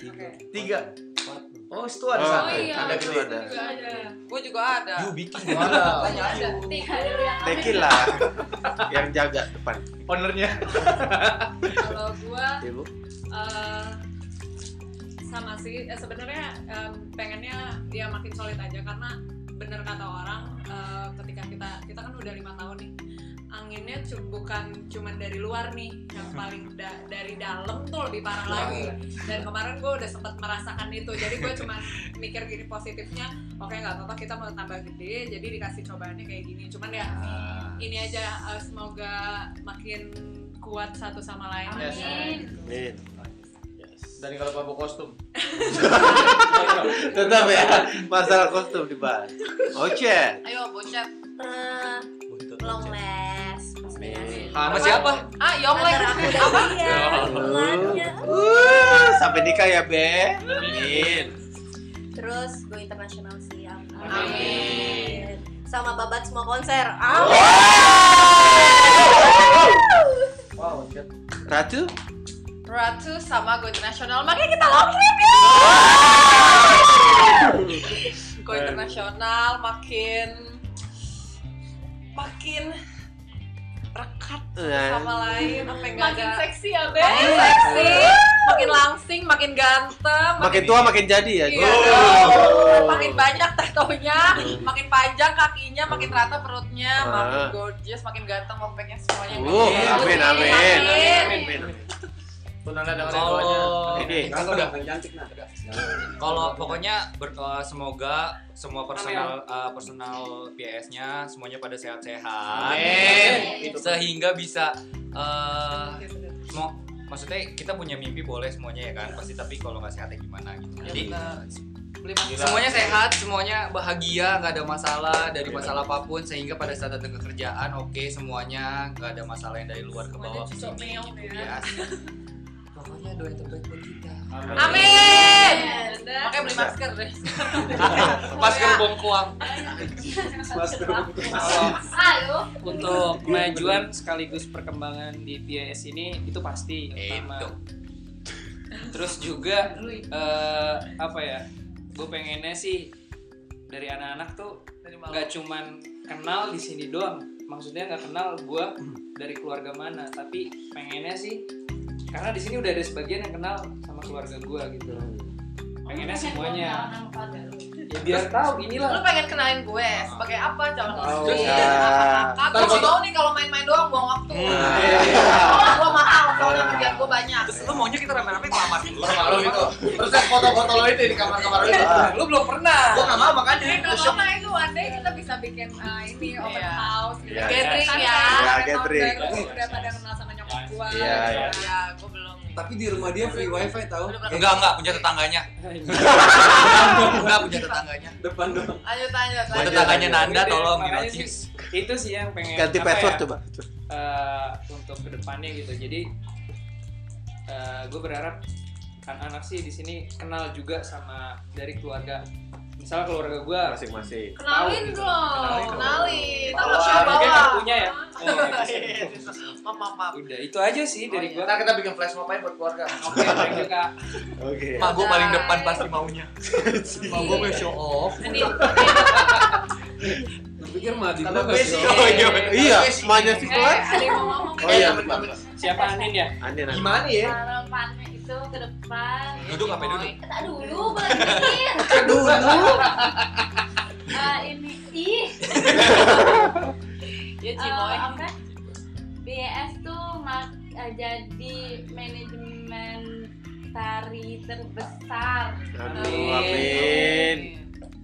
[SPEAKER 8] tiga
[SPEAKER 6] Tiga.
[SPEAKER 8] empat
[SPEAKER 6] Oh, itu ada
[SPEAKER 1] Oh,
[SPEAKER 6] satu.
[SPEAKER 1] iya.
[SPEAKER 6] Ada
[SPEAKER 1] Itu
[SPEAKER 6] gede.
[SPEAKER 1] ada.
[SPEAKER 2] Juga ada.
[SPEAKER 4] Gue juga ada.
[SPEAKER 10] Yu bikin.
[SPEAKER 6] Mana?
[SPEAKER 4] Tanya ada.
[SPEAKER 5] Tiga dulu yang amin.
[SPEAKER 1] Tequila yang jaga depan. ya,
[SPEAKER 6] Ownernya.
[SPEAKER 2] Kalau gua
[SPEAKER 1] Ibu.
[SPEAKER 2] eh, sama sih. Eh, Sebenarnya em, pengennya dia makin solid aja karena bener kata orang eh, ketika kita kita kan udah lima tahun nih anginnya cu- bukan cuman dari luar nih yang paling da- dari dalam tuh lebih parah lagi dan kemarin gue udah sempat merasakan itu jadi gue cuman mikir gini positifnya oke nggak apa-apa kita mau tambah gede jadi dikasih cobaannya kayak gini cuman ya ini aja eh, semoga makin kuat satu sama lain
[SPEAKER 5] Amin.
[SPEAKER 1] Amin. Yes.
[SPEAKER 6] Dan kalau bawa kostum.
[SPEAKER 1] Tetap ya masalah kostum dibahas. Oh, Oke.
[SPEAKER 4] Ayo bocet.
[SPEAKER 9] Eh, Longles pasti ngasih.
[SPEAKER 7] Sama siapa?
[SPEAKER 4] Ah, Yonglek.
[SPEAKER 9] Antara
[SPEAKER 1] Ya
[SPEAKER 9] aku
[SPEAKER 5] Ya,
[SPEAKER 9] dan dia, hubungannya.
[SPEAKER 1] Uh, sampai nikah ya be. Amin.
[SPEAKER 9] Terus go internasional sih. Amin.
[SPEAKER 4] Amin.
[SPEAKER 9] Sama babat semua konser.
[SPEAKER 1] Oh.
[SPEAKER 9] Amin.
[SPEAKER 7] Wow, chat.
[SPEAKER 1] Ratu?
[SPEAKER 4] Ratu sama Go International. Makanya kita long trip ya. Go International makin makin rekat
[SPEAKER 1] Eh,
[SPEAKER 4] sama lain apa yang
[SPEAKER 2] Makin
[SPEAKER 4] ada
[SPEAKER 2] seksi ya, Be.
[SPEAKER 4] makin seksi, makin langsing, makin ganteng,
[SPEAKER 1] Makin tua makin jadi ya.
[SPEAKER 4] Iya,
[SPEAKER 1] Gue.
[SPEAKER 4] dong. makin banyak tatonya, makin panjang kakinya, makin rata perutnya, makin
[SPEAKER 1] Ah.
[SPEAKER 4] gorgeous, makin ganteng, lobeknya semuanya.
[SPEAKER 1] Uh,
[SPEAKER 4] Bagus.
[SPEAKER 1] amin, amin,
[SPEAKER 4] Amin.
[SPEAKER 1] amin, amin.
[SPEAKER 10] Tunangan dengan doanya.
[SPEAKER 7] Kalau
[SPEAKER 1] Ini.
[SPEAKER 8] Kan udah paling cantik nah.
[SPEAKER 10] Kalau pokoknya berdoa semoga semua personal eh, personal PS-nya semuanya pada sehat-sehat.
[SPEAKER 5] Amin.
[SPEAKER 10] Sehingga bisa eh, mau maksudnya kita punya mimpi boleh semuanya ya kan pasti tapi kalau nggak sehat ya gimana gitu. Jadi
[SPEAKER 4] eh,
[SPEAKER 6] Nah.
[SPEAKER 7] Gila.
[SPEAKER 10] semuanya sehat, semuanya bahagia, nggak ada masalah dari masalah apapun sehingga pada saat datang ke kerjaan oke semuanya nggak ada masalah yang dari luar ke
[SPEAKER 2] Semuanya
[SPEAKER 10] bawah. ke
[SPEAKER 2] cucok
[SPEAKER 10] sini,
[SPEAKER 2] meong
[SPEAKER 10] gitu
[SPEAKER 2] ya.
[SPEAKER 10] ya. Pokoknya doa yang terbaik buat kita.
[SPEAKER 4] Amin.
[SPEAKER 2] Dah.
[SPEAKER 4] Makanya beli masker deh.
[SPEAKER 7] Pas ke bongkuang.
[SPEAKER 8] Mas
[SPEAKER 7] Kalau
[SPEAKER 5] Halo.
[SPEAKER 7] untuk kemajuan sekaligus perkembangan di PIS ini itu pasti yang
[SPEAKER 8] Gitu.
[SPEAKER 10] Itu.
[SPEAKER 7] pertama. Terus juga eh, apa ya? Gue pengennya sih dari anak-anak tuh nggak cuman kenal di sini doang. Maksudnya nggak kenal gue dari keluarga mana, tapi pengennya sih karena di sini udah ada sebagian yang kenal sama keluarga gue gitu. Pengennya semuanya. Ya biar tahu
[SPEAKER 4] Lu
[SPEAKER 7] inilah.
[SPEAKER 4] pengen kenalin gue sebagai apa calon
[SPEAKER 7] Oh,
[SPEAKER 4] istri?
[SPEAKER 1] ya.
[SPEAKER 4] Aku
[SPEAKER 7] Ntar
[SPEAKER 4] gak
[SPEAKER 7] gua-
[SPEAKER 4] mau nih kalau main-main doang buang waktu.
[SPEAKER 1] Nah.
[SPEAKER 4] Kalau gue mahal, soalnya kerjaan gue banyak.
[SPEAKER 10] Terus lu maunya kita rame-rame kelamaan
[SPEAKER 6] Lu sama lu itu. Terus yang foto-foto lo itu di kamar-kamar lo itu.
[SPEAKER 4] Iya.
[SPEAKER 7] Lu belum pernah.
[SPEAKER 6] Gua nggak mau makanya.
[SPEAKER 2] Eh,
[SPEAKER 6] Gua
[SPEAKER 2] nggak
[SPEAKER 6] shock.
[SPEAKER 2] apa-apa itu one day kita bisa bikin eh, ini open
[SPEAKER 4] Iya.
[SPEAKER 2] house gitu.
[SPEAKER 1] Iya.
[SPEAKER 4] Gathering
[SPEAKER 2] Kan
[SPEAKER 4] ya.
[SPEAKER 2] orang
[SPEAKER 1] Iya,
[SPEAKER 2] tahun
[SPEAKER 1] gathering.
[SPEAKER 2] baru Udah pada kenal sama nyokap gua.
[SPEAKER 1] Iya, iya.
[SPEAKER 4] Ya, gue belum.
[SPEAKER 8] Tapi di rumah dia free wifi tahu.
[SPEAKER 10] Enggak, enggak punya tetangganya. Enggak punya tetangganya.
[SPEAKER 8] Depan doang.
[SPEAKER 4] Lanjut, lanjut,
[SPEAKER 10] Buat
[SPEAKER 4] lanjut.
[SPEAKER 10] tetangganya Nanda
[SPEAKER 7] Makanya
[SPEAKER 10] tolong
[SPEAKER 7] sih-
[SPEAKER 10] dinotis.
[SPEAKER 7] Itu sih yang pengen
[SPEAKER 1] Ganti
[SPEAKER 7] apa
[SPEAKER 1] password
[SPEAKER 7] ya,
[SPEAKER 1] coba.
[SPEAKER 7] eh, untuk kedepannya gitu. Jadi gue berharap anak-anak sih di sini kenal juga sama dari keluarga. Misalnya keluarga gue
[SPEAKER 1] Masing-masing.
[SPEAKER 2] Kenalin
[SPEAKER 7] Tahu.
[SPEAKER 2] dong,
[SPEAKER 7] Kenalin.
[SPEAKER 2] kenalin. Tahu
[SPEAKER 4] Bawah.
[SPEAKER 2] siapa
[SPEAKER 7] mungkin
[SPEAKER 4] bawah.
[SPEAKER 7] nggak punya ya. Oh,
[SPEAKER 10] Eh,
[SPEAKER 4] Maaf, maaf, maaf.
[SPEAKER 7] udah itu aja sih dari gue.
[SPEAKER 6] Ntar kita bikin flash mob aja buat keluarga.
[SPEAKER 7] Oke, thank you kak.
[SPEAKER 1] Oke.
[SPEAKER 10] Mak gue paling depan pasti maunya. Mak gue mau show off.
[SPEAKER 4] Ini
[SPEAKER 8] Lu pikir mah di
[SPEAKER 6] Tambah
[SPEAKER 8] gua
[SPEAKER 6] besi.
[SPEAKER 8] sih.
[SPEAKER 1] Oh iya, bener. iya, semuanya sih
[SPEAKER 2] Eh,
[SPEAKER 1] kelas.
[SPEAKER 2] ada yang mau ngomong.
[SPEAKER 1] Oh iya,
[SPEAKER 6] temen- temen.
[SPEAKER 7] Siapa Anin ya?
[SPEAKER 1] Andin, Andin.
[SPEAKER 6] Gimana ya?
[SPEAKER 5] Harapannya itu ke depan.
[SPEAKER 10] Duduk apa duduk?
[SPEAKER 5] Tak dulu boleh mikir.
[SPEAKER 6] Aduh,
[SPEAKER 5] Eh, ini ih
[SPEAKER 4] ya
[SPEAKER 5] eh,
[SPEAKER 4] Cimoy.
[SPEAKER 7] Ah,
[SPEAKER 5] apa? BS tuh mak- eh, jadi manajemen tari terbesar
[SPEAKER 1] Aduh, amin.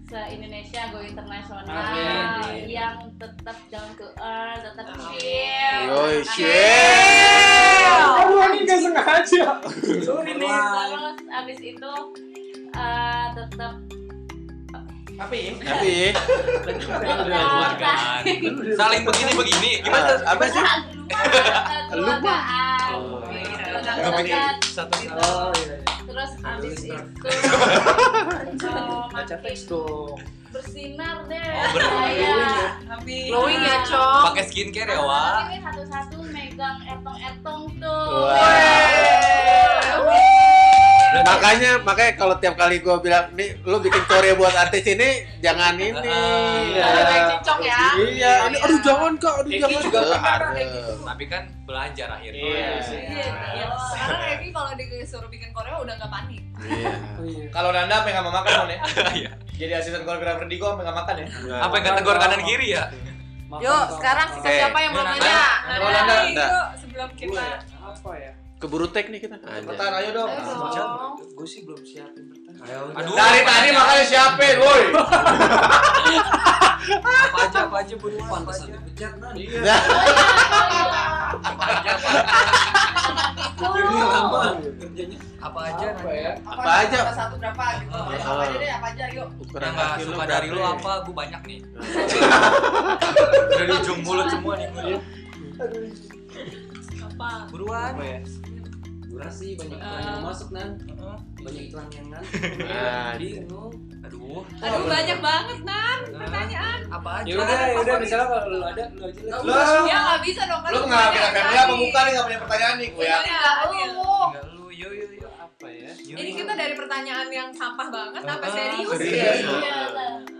[SPEAKER 5] se Indonesia go internasional
[SPEAKER 7] Amin.
[SPEAKER 5] yang tetap down to earth, tetap chill. Amin.
[SPEAKER 1] Yoi, chill.
[SPEAKER 8] Aduh, Anin gak sengaja.
[SPEAKER 7] Sorry nih.
[SPEAKER 5] Terus abis itu eh, tetap
[SPEAKER 7] Apa ya?
[SPEAKER 1] Tapi,
[SPEAKER 5] Nah,
[SPEAKER 10] Kan. Saling begini begini. Gimana?
[SPEAKER 1] gimana? Apa sih?
[SPEAKER 5] keluargaan.
[SPEAKER 4] Nggak
[SPEAKER 5] Tetap-
[SPEAKER 10] Satu satu.
[SPEAKER 7] iya. Oh iya.
[SPEAKER 5] Terus abis itu eh,
[SPEAKER 7] Baca
[SPEAKER 5] makin
[SPEAKER 7] teks dong.
[SPEAKER 5] bersinar deh
[SPEAKER 10] Oh, bersinar.
[SPEAKER 2] iya.
[SPEAKER 5] saya.
[SPEAKER 2] Amin.
[SPEAKER 4] Glowing ya, Cong.
[SPEAKER 10] Pakai skincare ya, Wak.
[SPEAKER 5] Anak-anak ini satu-satu megang etong-etong tuh.
[SPEAKER 1] Wah.
[SPEAKER 10] Berarti-
[SPEAKER 1] Makanya, makanya kalau tiap kali gue bilang nih, lu bikin story buat artis ini, jangan ini.
[SPEAKER 10] Iya.
[SPEAKER 1] Ya.
[SPEAKER 4] Jangan
[SPEAKER 6] gitu.
[SPEAKER 4] cincong ya.
[SPEAKER 1] Iya, ini aduh jangan kak, aduh
[SPEAKER 7] Eki
[SPEAKER 1] jangan.
[SPEAKER 7] juga
[SPEAKER 1] Aduh.
[SPEAKER 7] pernah
[SPEAKER 10] Tapi kan belajar akhirnya.
[SPEAKER 7] Iya.
[SPEAKER 2] Iya, iya. Sekarang Egi kalau disuruh bikin Korea udah nggak panik.
[SPEAKER 1] Iya.
[SPEAKER 7] Oh iya.
[SPEAKER 6] Kalau Nanda sampai nggak mau makan Mon, ya.
[SPEAKER 10] Iya.
[SPEAKER 6] Jadi asisten koreografer di gua sampai nggak makan ya.
[SPEAKER 1] Iya.
[SPEAKER 10] Apa yang kata gor kanan kiri ya?
[SPEAKER 7] Maafkan
[SPEAKER 4] Yuk,
[SPEAKER 7] kau.
[SPEAKER 4] sekarang sisa
[SPEAKER 1] Oke. Iya.
[SPEAKER 4] siapa yang belum
[SPEAKER 10] Nanda.
[SPEAKER 4] nanya?
[SPEAKER 2] Nah,
[SPEAKER 1] Kalau Nanda,
[SPEAKER 2] dari
[SPEAKER 1] Nanda.
[SPEAKER 2] itu sebelum
[SPEAKER 7] Gua
[SPEAKER 2] kita
[SPEAKER 7] ya, apa ya?
[SPEAKER 1] Keburu tek nih kita.
[SPEAKER 6] Pertan ayo dong.
[SPEAKER 2] Ayo dong.
[SPEAKER 7] Gue sih belum siapin pertanyaan.
[SPEAKER 10] Aduh.
[SPEAKER 6] Dari tadi makanya siapin, woi.
[SPEAKER 11] Apa aja, apa aja buruan.
[SPEAKER 8] Pantesan dipecat, Nan.
[SPEAKER 1] Nah,
[SPEAKER 5] Oh, iya, oh, iya.
[SPEAKER 10] Panjang.
[SPEAKER 5] Anak
[SPEAKER 7] Lama
[SPEAKER 8] Apa?
[SPEAKER 7] kerjanya.
[SPEAKER 10] apa aja
[SPEAKER 7] Apa ya?
[SPEAKER 1] Apa aja?
[SPEAKER 4] Apa satu berapa gitu.
[SPEAKER 10] Ah.
[SPEAKER 4] Ya, Apa aja deh, apa aja yuk.
[SPEAKER 1] Ukuran
[SPEAKER 10] yang nggak
[SPEAKER 1] kaki
[SPEAKER 10] suka
[SPEAKER 1] berapa
[SPEAKER 10] dari lu
[SPEAKER 1] ya?
[SPEAKER 10] apa gue banyak nih dari ujung mulut semua nih gua.
[SPEAKER 5] apa
[SPEAKER 10] buruan
[SPEAKER 7] Apa ya?
[SPEAKER 8] Durasi banyak iklan yang masuk nan,
[SPEAKER 10] Heeh.
[SPEAKER 8] banyak iklan yang nan.
[SPEAKER 1] Nah,
[SPEAKER 8] Bingung.
[SPEAKER 10] aduh
[SPEAKER 2] Aduh banyak banget nah pertanyaan.
[SPEAKER 10] apa aja
[SPEAKER 7] Ya udah, ya
[SPEAKER 10] Iya,
[SPEAKER 7] udah misalnya kalau lu ada lu aja lah.
[SPEAKER 6] Lu
[SPEAKER 2] Ya nggak bisa dong kan.
[SPEAKER 6] lu nggak
[SPEAKER 2] banyak
[SPEAKER 6] punya kamera
[SPEAKER 2] tadi.
[SPEAKER 6] pemuka nih nggak punya pertanyaan nih gue ya.
[SPEAKER 2] Iya, iya.
[SPEAKER 10] Tinggal lu yo yo yo
[SPEAKER 7] Apa ya?
[SPEAKER 2] Ini kita dari pertanyaan yang sampah banget sampai
[SPEAKER 10] Ah,
[SPEAKER 2] serius.
[SPEAKER 1] serius.
[SPEAKER 2] Iya.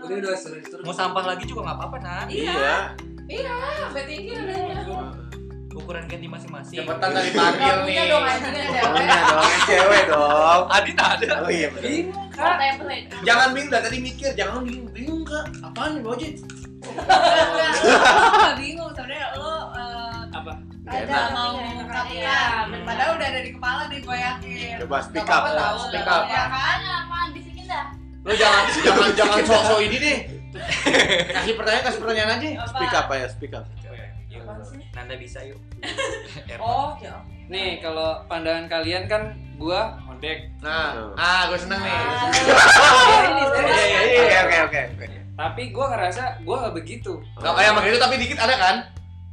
[SPEAKER 8] Udah udah serius terus.
[SPEAKER 10] mau sampah lagi juga nggak apa-apa nah
[SPEAKER 2] Iya. Iya, sampai tinggi udah.
[SPEAKER 10] ukuran ganti masing-masing
[SPEAKER 6] Cepetan tadi panggil nih.
[SPEAKER 4] Punya dong anjingnya cewek.
[SPEAKER 1] Punya dong, yang cewek dong.
[SPEAKER 10] Adi tak ada
[SPEAKER 1] Oh iya benar.
[SPEAKER 5] template
[SPEAKER 6] Jangan bingung dah tadi mikir, jangan bingung bingung kak. Apaan nih bojit?
[SPEAKER 2] Enggak, enggak bingung sebenarnya lo eh,
[SPEAKER 7] Apa?
[SPEAKER 1] Gak
[SPEAKER 2] ada
[SPEAKER 1] enak.
[SPEAKER 2] mau
[SPEAKER 5] Iya,
[SPEAKER 2] mengungkapkan
[SPEAKER 5] benar.
[SPEAKER 2] padahal udah ada di kepala nih gue yakin
[SPEAKER 1] Coba speak
[SPEAKER 4] Gak
[SPEAKER 1] up.
[SPEAKER 4] apa-apa, tahu,
[SPEAKER 6] Speak
[SPEAKER 4] gak
[SPEAKER 6] up.
[SPEAKER 2] ya
[SPEAKER 4] apa-apa.
[SPEAKER 2] kan
[SPEAKER 5] mana apaan bisikin dah
[SPEAKER 6] Lu jangan jangan jangan sok sok ini deh. Kasih pertanyaan kasih pertanyaan aja.
[SPEAKER 1] Speak up ya, speak up.
[SPEAKER 2] Iya,
[SPEAKER 10] Nanda bisa yuk
[SPEAKER 4] Oh, ya.
[SPEAKER 7] Nih, kalau pandangan kalian kan gua ngondek,
[SPEAKER 6] Nah, ah gue seneng nih.
[SPEAKER 2] Iya,
[SPEAKER 10] Ah! Oh,
[SPEAKER 6] Iya,
[SPEAKER 10] iya,
[SPEAKER 1] Oke oke oke.
[SPEAKER 7] Iya, tapi gua ngerasa gua nggak begitu.
[SPEAKER 6] Gak kayak sama gitu tapi dikit ada kan?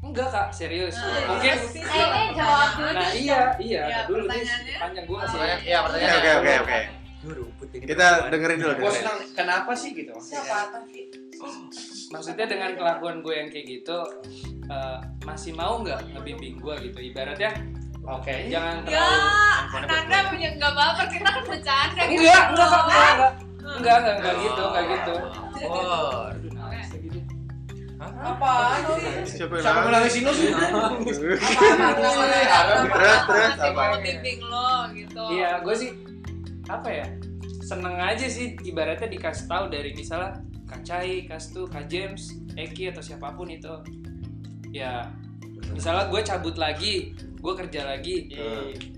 [SPEAKER 7] Enggak, Kak, serius.
[SPEAKER 2] Ah,
[SPEAKER 7] Mungkin
[SPEAKER 5] kayaknya jawab dulu
[SPEAKER 7] Nah, iya, iya,
[SPEAKER 2] Ya,
[SPEAKER 7] ntar dulu nih.
[SPEAKER 2] pertanyaannya.
[SPEAKER 7] Panjang ya. gua kasih.
[SPEAKER 6] Pertanyaan, iya
[SPEAKER 1] Oke
[SPEAKER 6] pertanyaan.
[SPEAKER 1] oke oke oke.
[SPEAKER 10] Duh, rumput ini
[SPEAKER 1] Kita dengerin dulu
[SPEAKER 7] Gua
[SPEAKER 1] dengerin.
[SPEAKER 7] senang kenapa sih gitu?
[SPEAKER 4] Siapa tapi?
[SPEAKER 7] Maksudnya dengan kelakuan gue yang kayak gitu eh, masih mau nggak ngebimbing gua gitu? Ibaratnya
[SPEAKER 6] Oke.
[SPEAKER 7] jangan
[SPEAKER 2] ya
[SPEAKER 7] terlalu
[SPEAKER 2] Nanda punya nggak baper kita kan bercanda gitu
[SPEAKER 7] Enggak, enggak, Kak,
[SPEAKER 2] loh.
[SPEAKER 7] enggak, enggak. Enggak, enggak, enggak gitu, enggak gitu.
[SPEAKER 10] oh
[SPEAKER 7] Aduh, nangis lagi deh.
[SPEAKER 4] Apa sih?
[SPEAKER 1] Siapa
[SPEAKER 6] Siapa yang
[SPEAKER 1] nangis?
[SPEAKER 6] nangis sih?
[SPEAKER 4] Apa apa
[SPEAKER 1] Terus terus
[SPEAKER 2] Masih
[SPEAKER 1] apa?
[SPEAKER 2] mau bimbing lo gitu
[SPEAKER 7] Iya, gue sih apa ya? Seneng aja sih ibaratnya dikasih tahu dari misalnya Kak Cai, Kak Stu, Kak James, Eki atau siapapun itu. Ya, misalnya gue cabut lagi, gue kerja lagi,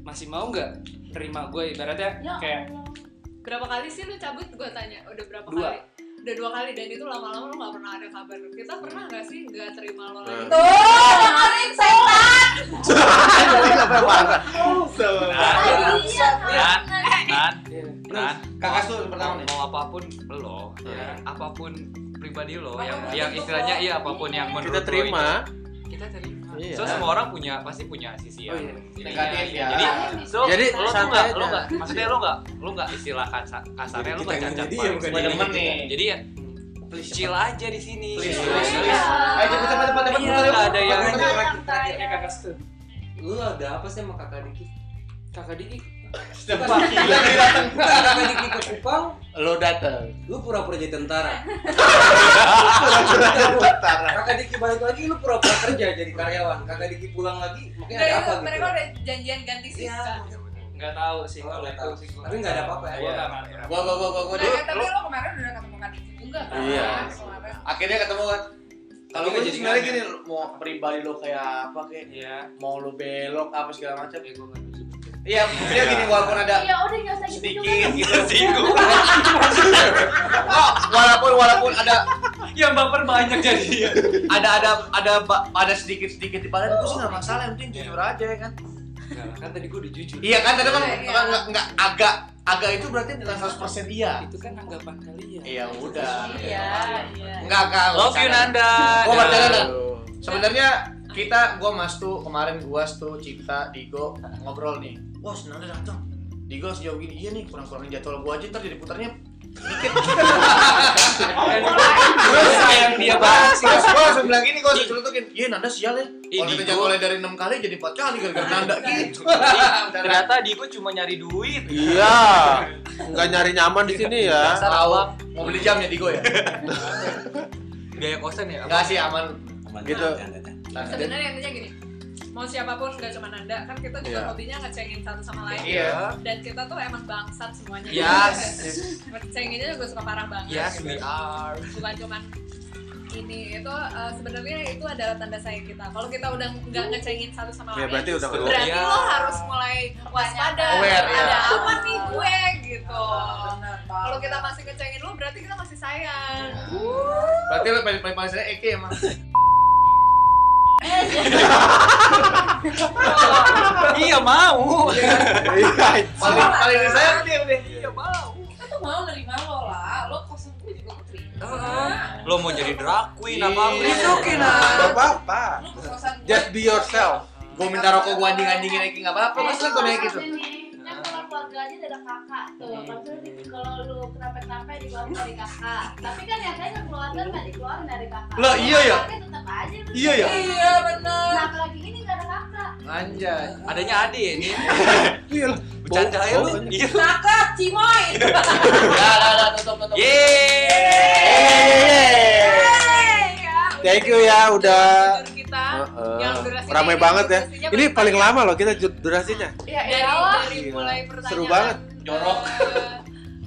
[SPEAKER 7] masih mau nggak terima gue ibaratnya
[SPEAKER 5] Ya
[SPEAKER 7] kayak
[SPEAKER 5] Allah.
[SPEAKER 2] berapa kali sih lu cabut gue tanya udah berapa
[SPEAKER 7] Dua.
[SPEAKER 2] kali udah dua kali dan itu lama-lama lo gak pernah ada kabar
[SPEAKER 5] Nah.
[SPEAKER 2] kita pernah gak sih gak terima lo lagi
[SPEAKER 1] Tuh,
[SPEAKER 2] dengerin saya
[SPEAKER 1] Apa marah?
[SPEAKER 5] iya
[SPEAKER 10] Nan
[SPEAKER 5] kan
[SPEAKER 10] Nan Nan
[SPEAKER 7] Iya.
[SPEAKER 6] Terus, kakak tuh yang pertama nih.
[SPEAKER 10] mau apapun lo
[SPEAKER 1] Iya.
[SPEAKER 10] ya, apapun pribadi lo
[SPEAKER 4] Apapun
[SPEAKER 10] yang
[SPEAKER 4] pribadi
[SPEAKER 10] yang
[SPEAKER 4] lo.
[SPEAKER 10] istilahnya iya apapun yang menurut
[SPEAKER 1] Kita
[SPEAKER 10] lo
[SPEAKER 1] terima.
[SPEAKER 10] itu, kita terima
[SPEAKER 1] Iya.
[SPEAKER 10] so semua orang punya pasti punya sisi yang
[SPEAKER 7] Oh, iya.
[SPEAKER 10] ininya,
[SPEAKER 6] Negatif
[SPEAKER 10] iya.
[SPEAKER 6] ya.
[SPEAKER 10] jadi so
[SPEAKER 1] Jadi,
[SPEAKER 10] lo tuh
[SPEAKER 1] santai
[SPEAKER 10] nggak
[SPEAKER 1] aja.
[SPEAKER 10] lo nggak maksudnya lo nggak lo nggak istilah kasa- kasarnya lo
[SPEAKER 8] Jadi
[SPEAKER 10] nggak
[SPEAKER 8] kita
[SPEAKER 10] cacat
[SPEAKER 8] ngomongin dia,
[SPEAKER 10] manis.
[SPEAKER 8] bukan
[SPEAKER 6] Gue demen nih.
[SPEAKER 10] jadi ya chill aja di sini
[SPEAKER 6] Please,
[SPEAKER 10] Iya.
[SPEAKER 6] please, please. Ayo cepet cepet cepet cepet
[SPEAKER 10] Iya,
[SPEAKER 6] cepet,
[SPEAKER 10] nggak ada
[SPEAKER 6] cepet,
[SPEAKER 10] yang-
[SPEAKER 6] cepet, cepet.
[SPEAKER 7] kayak Kakak Stu,
[SPEAKER 8] Lu ada apa sih sama kakak Diki?
[SPEAKER 7] Kakak Diki,
[SPEAKER 6] Sumpah, gila dia dateng.
[SPEAKER 8] Bukan kakak Diki ke Kupang,
[SPEAKER 1] Lo dateng.
[SPEAKER 8] lu pura-pura jadi tentara.
[SPEAKER 1] Tentara.
[SPEAKER 8] Kakak Diki balik lagi, lu pura-pura kerja jadi karyawan. Kakak Diki pulang lagi, makanya ada
[SPEAKER 4] iya,
[SPEAKER 8] apa gitu?
[SPEAKER 2] mereka udah janjian ganti
[SPEAKER 8] Iya.
[SPEAKER 2] sisa
[SPEAKER 7] nggak tahu sih
[SPEAKER 8] Oh, nggak
[SPEAKER 7] kalau itu
[SPEAKER 8] tahu.
[SPEAKER 7] sih. gua.
[SPEAKER 8] Tapi nggak ada apa-apa ya?
[SPEAKER 7] Gua nggak marah.
[SPEAKER 6] Gua gua gua gua gua dulu.
[SPEAKER 4] Tapi lo kemarin udah ketemu Kak Diki juga kan?
[SPEAKER 1] Iya.
[SPEAKER 4] Kemarin.
[SPEAKER 6] Akhirnya ketemu kan. Kalau
[SPEAKER 8] Tapi
[SPEAKER 6] gue
[SPEAKER 8] nggak jadi
[SPEAKER 6] sebenarnya
[SPEAKER 8] kan?
[SPEAKER 6] gini, mau pribadi lo kayak apa kayak
[SPEAKER 7] Iya,
[SPEAKER 6] mau lo belok apa segala macam.
[SPEAKER 7] tapi gue nggak tahu.
[SPEAKER 6] Iya, maksudnya gini walaupun ada
[SPEAKER 5] ya udah nggak usah gitu
[SPEAKER 6] sedikit
[SPEAKER 5] juga.
[SPEAKER 6] gitu Oh, walaupun walaupun ada
[SPEAKER 10] yang baper banyak jadi
[SPEAKER 6] ada ada ada ba- ada sedikit sedikit di badan gue sih nggak masalah yang penting jujur aja ya kan
[SPEAKER 7] Nggak lah, kan tadi gue udah jujur.
[SPEAKER 6] iya kan tadi kan
[SPEAKER 2] Iya, iya.
[SPEAKER 6] kan nggak nggak agak agak itu berarti bukan 100% iya
[SPEAKER 7] Itu kan anggapan kalian.
[SPEAKER 6] iya udah
[SPEAKER 5] iya iya
[SPEAKER 6] nggak nggak
[SPEAKER 10] love you
[SPEAKER 6] bercanda.
[SPEAKER 10] Nanda
[SPEAKER 6] Gua bercanda, Nan.
[SPEAKER 1] Aduh.
[SPEAKER 6] sebenarnya kita gua mas tuh kemarin gua tuh Cipta Digo ngobrol nih wah senangnya datang Digo sejauh gini iya nih kurang-kurangin jadwal gua aja ntar jadi putarnya
[SPEAKER 7] Gue sayang dia banget
[SPEAKER 10] ya.
[SPEAKER 7] sih.
[SPEAKER 6] Terus gue langsung bilang gini, gue langsung celutukin Iya Nanda sial ya Kalau
[SPEAKER 10] Ini
[SPEAKER 6] kita
[SPEAKER 10] gua-
[SPEAKER 6] jadwalnya dari 6 kali jadi 4 kali gara-gara Nanda gitu
[SPEAKER 10] ternyata Diko cuma nyari duit
[SPEAKER 1] Iya. Nggak nyari nyaman
[SPEAKER 10] Iya.
[SPEAKER 1] di sini ya.
[SPEAKER 10] Dasar abang.
[SPEAKER 6] Mau beli jamnya Digo ya?
[SPEAKER 10] biaya kosan ya
[SPEAKER 6] Enggak sih aman
[SPEAKER 1] Gitu.
[SPEAKER 6] Nah,
[SPEAKER 2] sebenarnya intinya gini mau siapapun gak cuma Nanda kan kita juga
[SPEAKER 1] Iya.
[SPEAKER 2] hobinya ngecengin satu sama lain
[SPEAKER 6] Iya
[SPEAKER 2] dan kita tuh emang bangsat semuanya
[SPEAKER 10] yes Iya.
[SPEAKER 2] cenginnya juga suka parah banget
[SPEAKER 10] yes we are
[SPEAKER 2] bukan cuman ini itu eh, sebenarnya itu adalah tanda sayang kita kalau kita udah nggak ngecengin satu sama
[SPEAKER 1] Ya
[SPEAKER 2] lain
[SPEAKER 1] berarti udah
[SPEAKER 10] Seru.
[SPEAKER 2] berarti
[SPEAKER 10] Iya.
[SPEAKER 2] lo harus mulai waspada
[SPEAKER 6] Aware, ya.
[SPEAKER 2] ada apa nih gue gitu
[SPEAKER 4] Benar, Pak.
[SPEAKER 2] kalau kita masih ngecengin lo berarti kita masih sayang
[SPEAKER 6] Berarti lo paling paling paling saya Eke emang
[SPEAKER 5] eh aja
[SPEAKER 7] iya mau
[SPEAKER 6] paling paling disayang dia deh
[SPEAKER 4] Kan tuh mau nerima lo lah, lo kosong gue juga gue terima.
[SPEAKER 10] lo mau jadi drag queen apa
[SPEAKER 4] Iya.
[SPEAKER 10] apa
[SPEAKER 7] Masukin lah.
[SPEAKER 1] Oh, iya. Gak apa-apa.
[SPEAKER 4] Lo kosan gue.
[SPEAKER 1] Just be yourself.
[SPEAKER 6] gue minta rokok gue anding andingin lagi nggak apa apa
[SPEAKER 5] Kayak
[SPEAKER 6] mas lah gue naik gitu
[SPEAKER 5] Iya,
[SPEAKER 6] Hmm.
[SPEAKER 5] sendiri. Kan kalau keluarga aja ada kakak tuh. Maksudnya di- kalau lu kenapa-kenapa dibawa dari kakak. Tapi kan yang lain keluarga nggak dikeluarin dari kakak.
[SPEAKER 6] Iya. Lah, iya ya?
[SPEAKER 5] Keluarga tetap aja lu.
[SPEAKER 6] Iya ya?
[SPEAKER 4] Iya benar.
[SPEAKER 5] Nah, apalagi ini nggak ada kakak.
[SPEAKER 6] anjay
[SPEAKER 10] adanya ade ya ini
[SPEAKER 1] Iya lah.
[SPEAKER 10] bercanda ya lu iya
[SPEAKER 4] Nakak, cimoy.
[SPEAKER 6] udah udah udah tutup tutup
[SPEAKER 2] Iya,
[SPEAKER 1] Thank you ya udah.
[SPEAKER 2] Jujur kita
[SPEAKER 1] Heeh.
[SPEAKER 2] yang durasinya
[SPEAKER 1] Ramai
[SPEAKER 2] ini
[SPEAKER 1] banget ya.
[SPEAKER 2] durasinya
[SPEAKER 1] Ini
[SPEAKER 2] paling
[SPEAKER 1] paling lama loh kita ju- durasinya.
[SPEAKER 2] ya, dari,
[SPEAKER 5] iyalah.
[SPEAKER 2] dari
[SPEAKER 1] Gila.
[SPEAKER 2] mulai pertanyaan
[SPEAKER 1] Seru banget.
[SPEAKER 6] jorok
[SPEAKER 2] eh,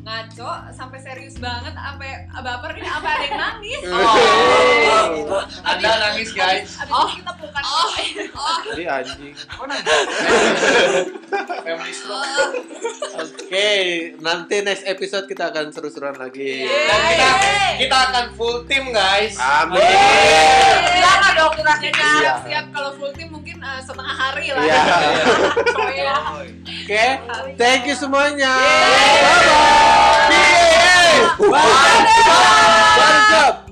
[SPEAKER 2] ngaco sampai serius banget sampai baper ini apa ada yang nangis
[SPEAKER 6] Oh. anda nangis guys
[SPEAKER 2] abis itu kita Iya. pelukan
[SPEAKER 1] Jadi anjing.
[SPEAKER 6] family stroke
[SPEAKER 1] Oke, nanti next episode kita akan seru-seruan lagi.
[SPEAKER 6] dan kita kita akan full team guys
[SPEAKER 1] Ah. Amin.
[SPEAKER 4] Jangan dong
[SPEAKER 2] jadi
[SPEAKER 4] durasinya.
[SPEAKER 1] Iya.
[SPEAKER 2] siap kalau full team mungkin eh, setengah hari lah
[SPEAKER 1] Iya.
[SPEAKER 2] Soalnya
[SPEAKER 1] Oke, thank you semuanya. Bye bye. One job.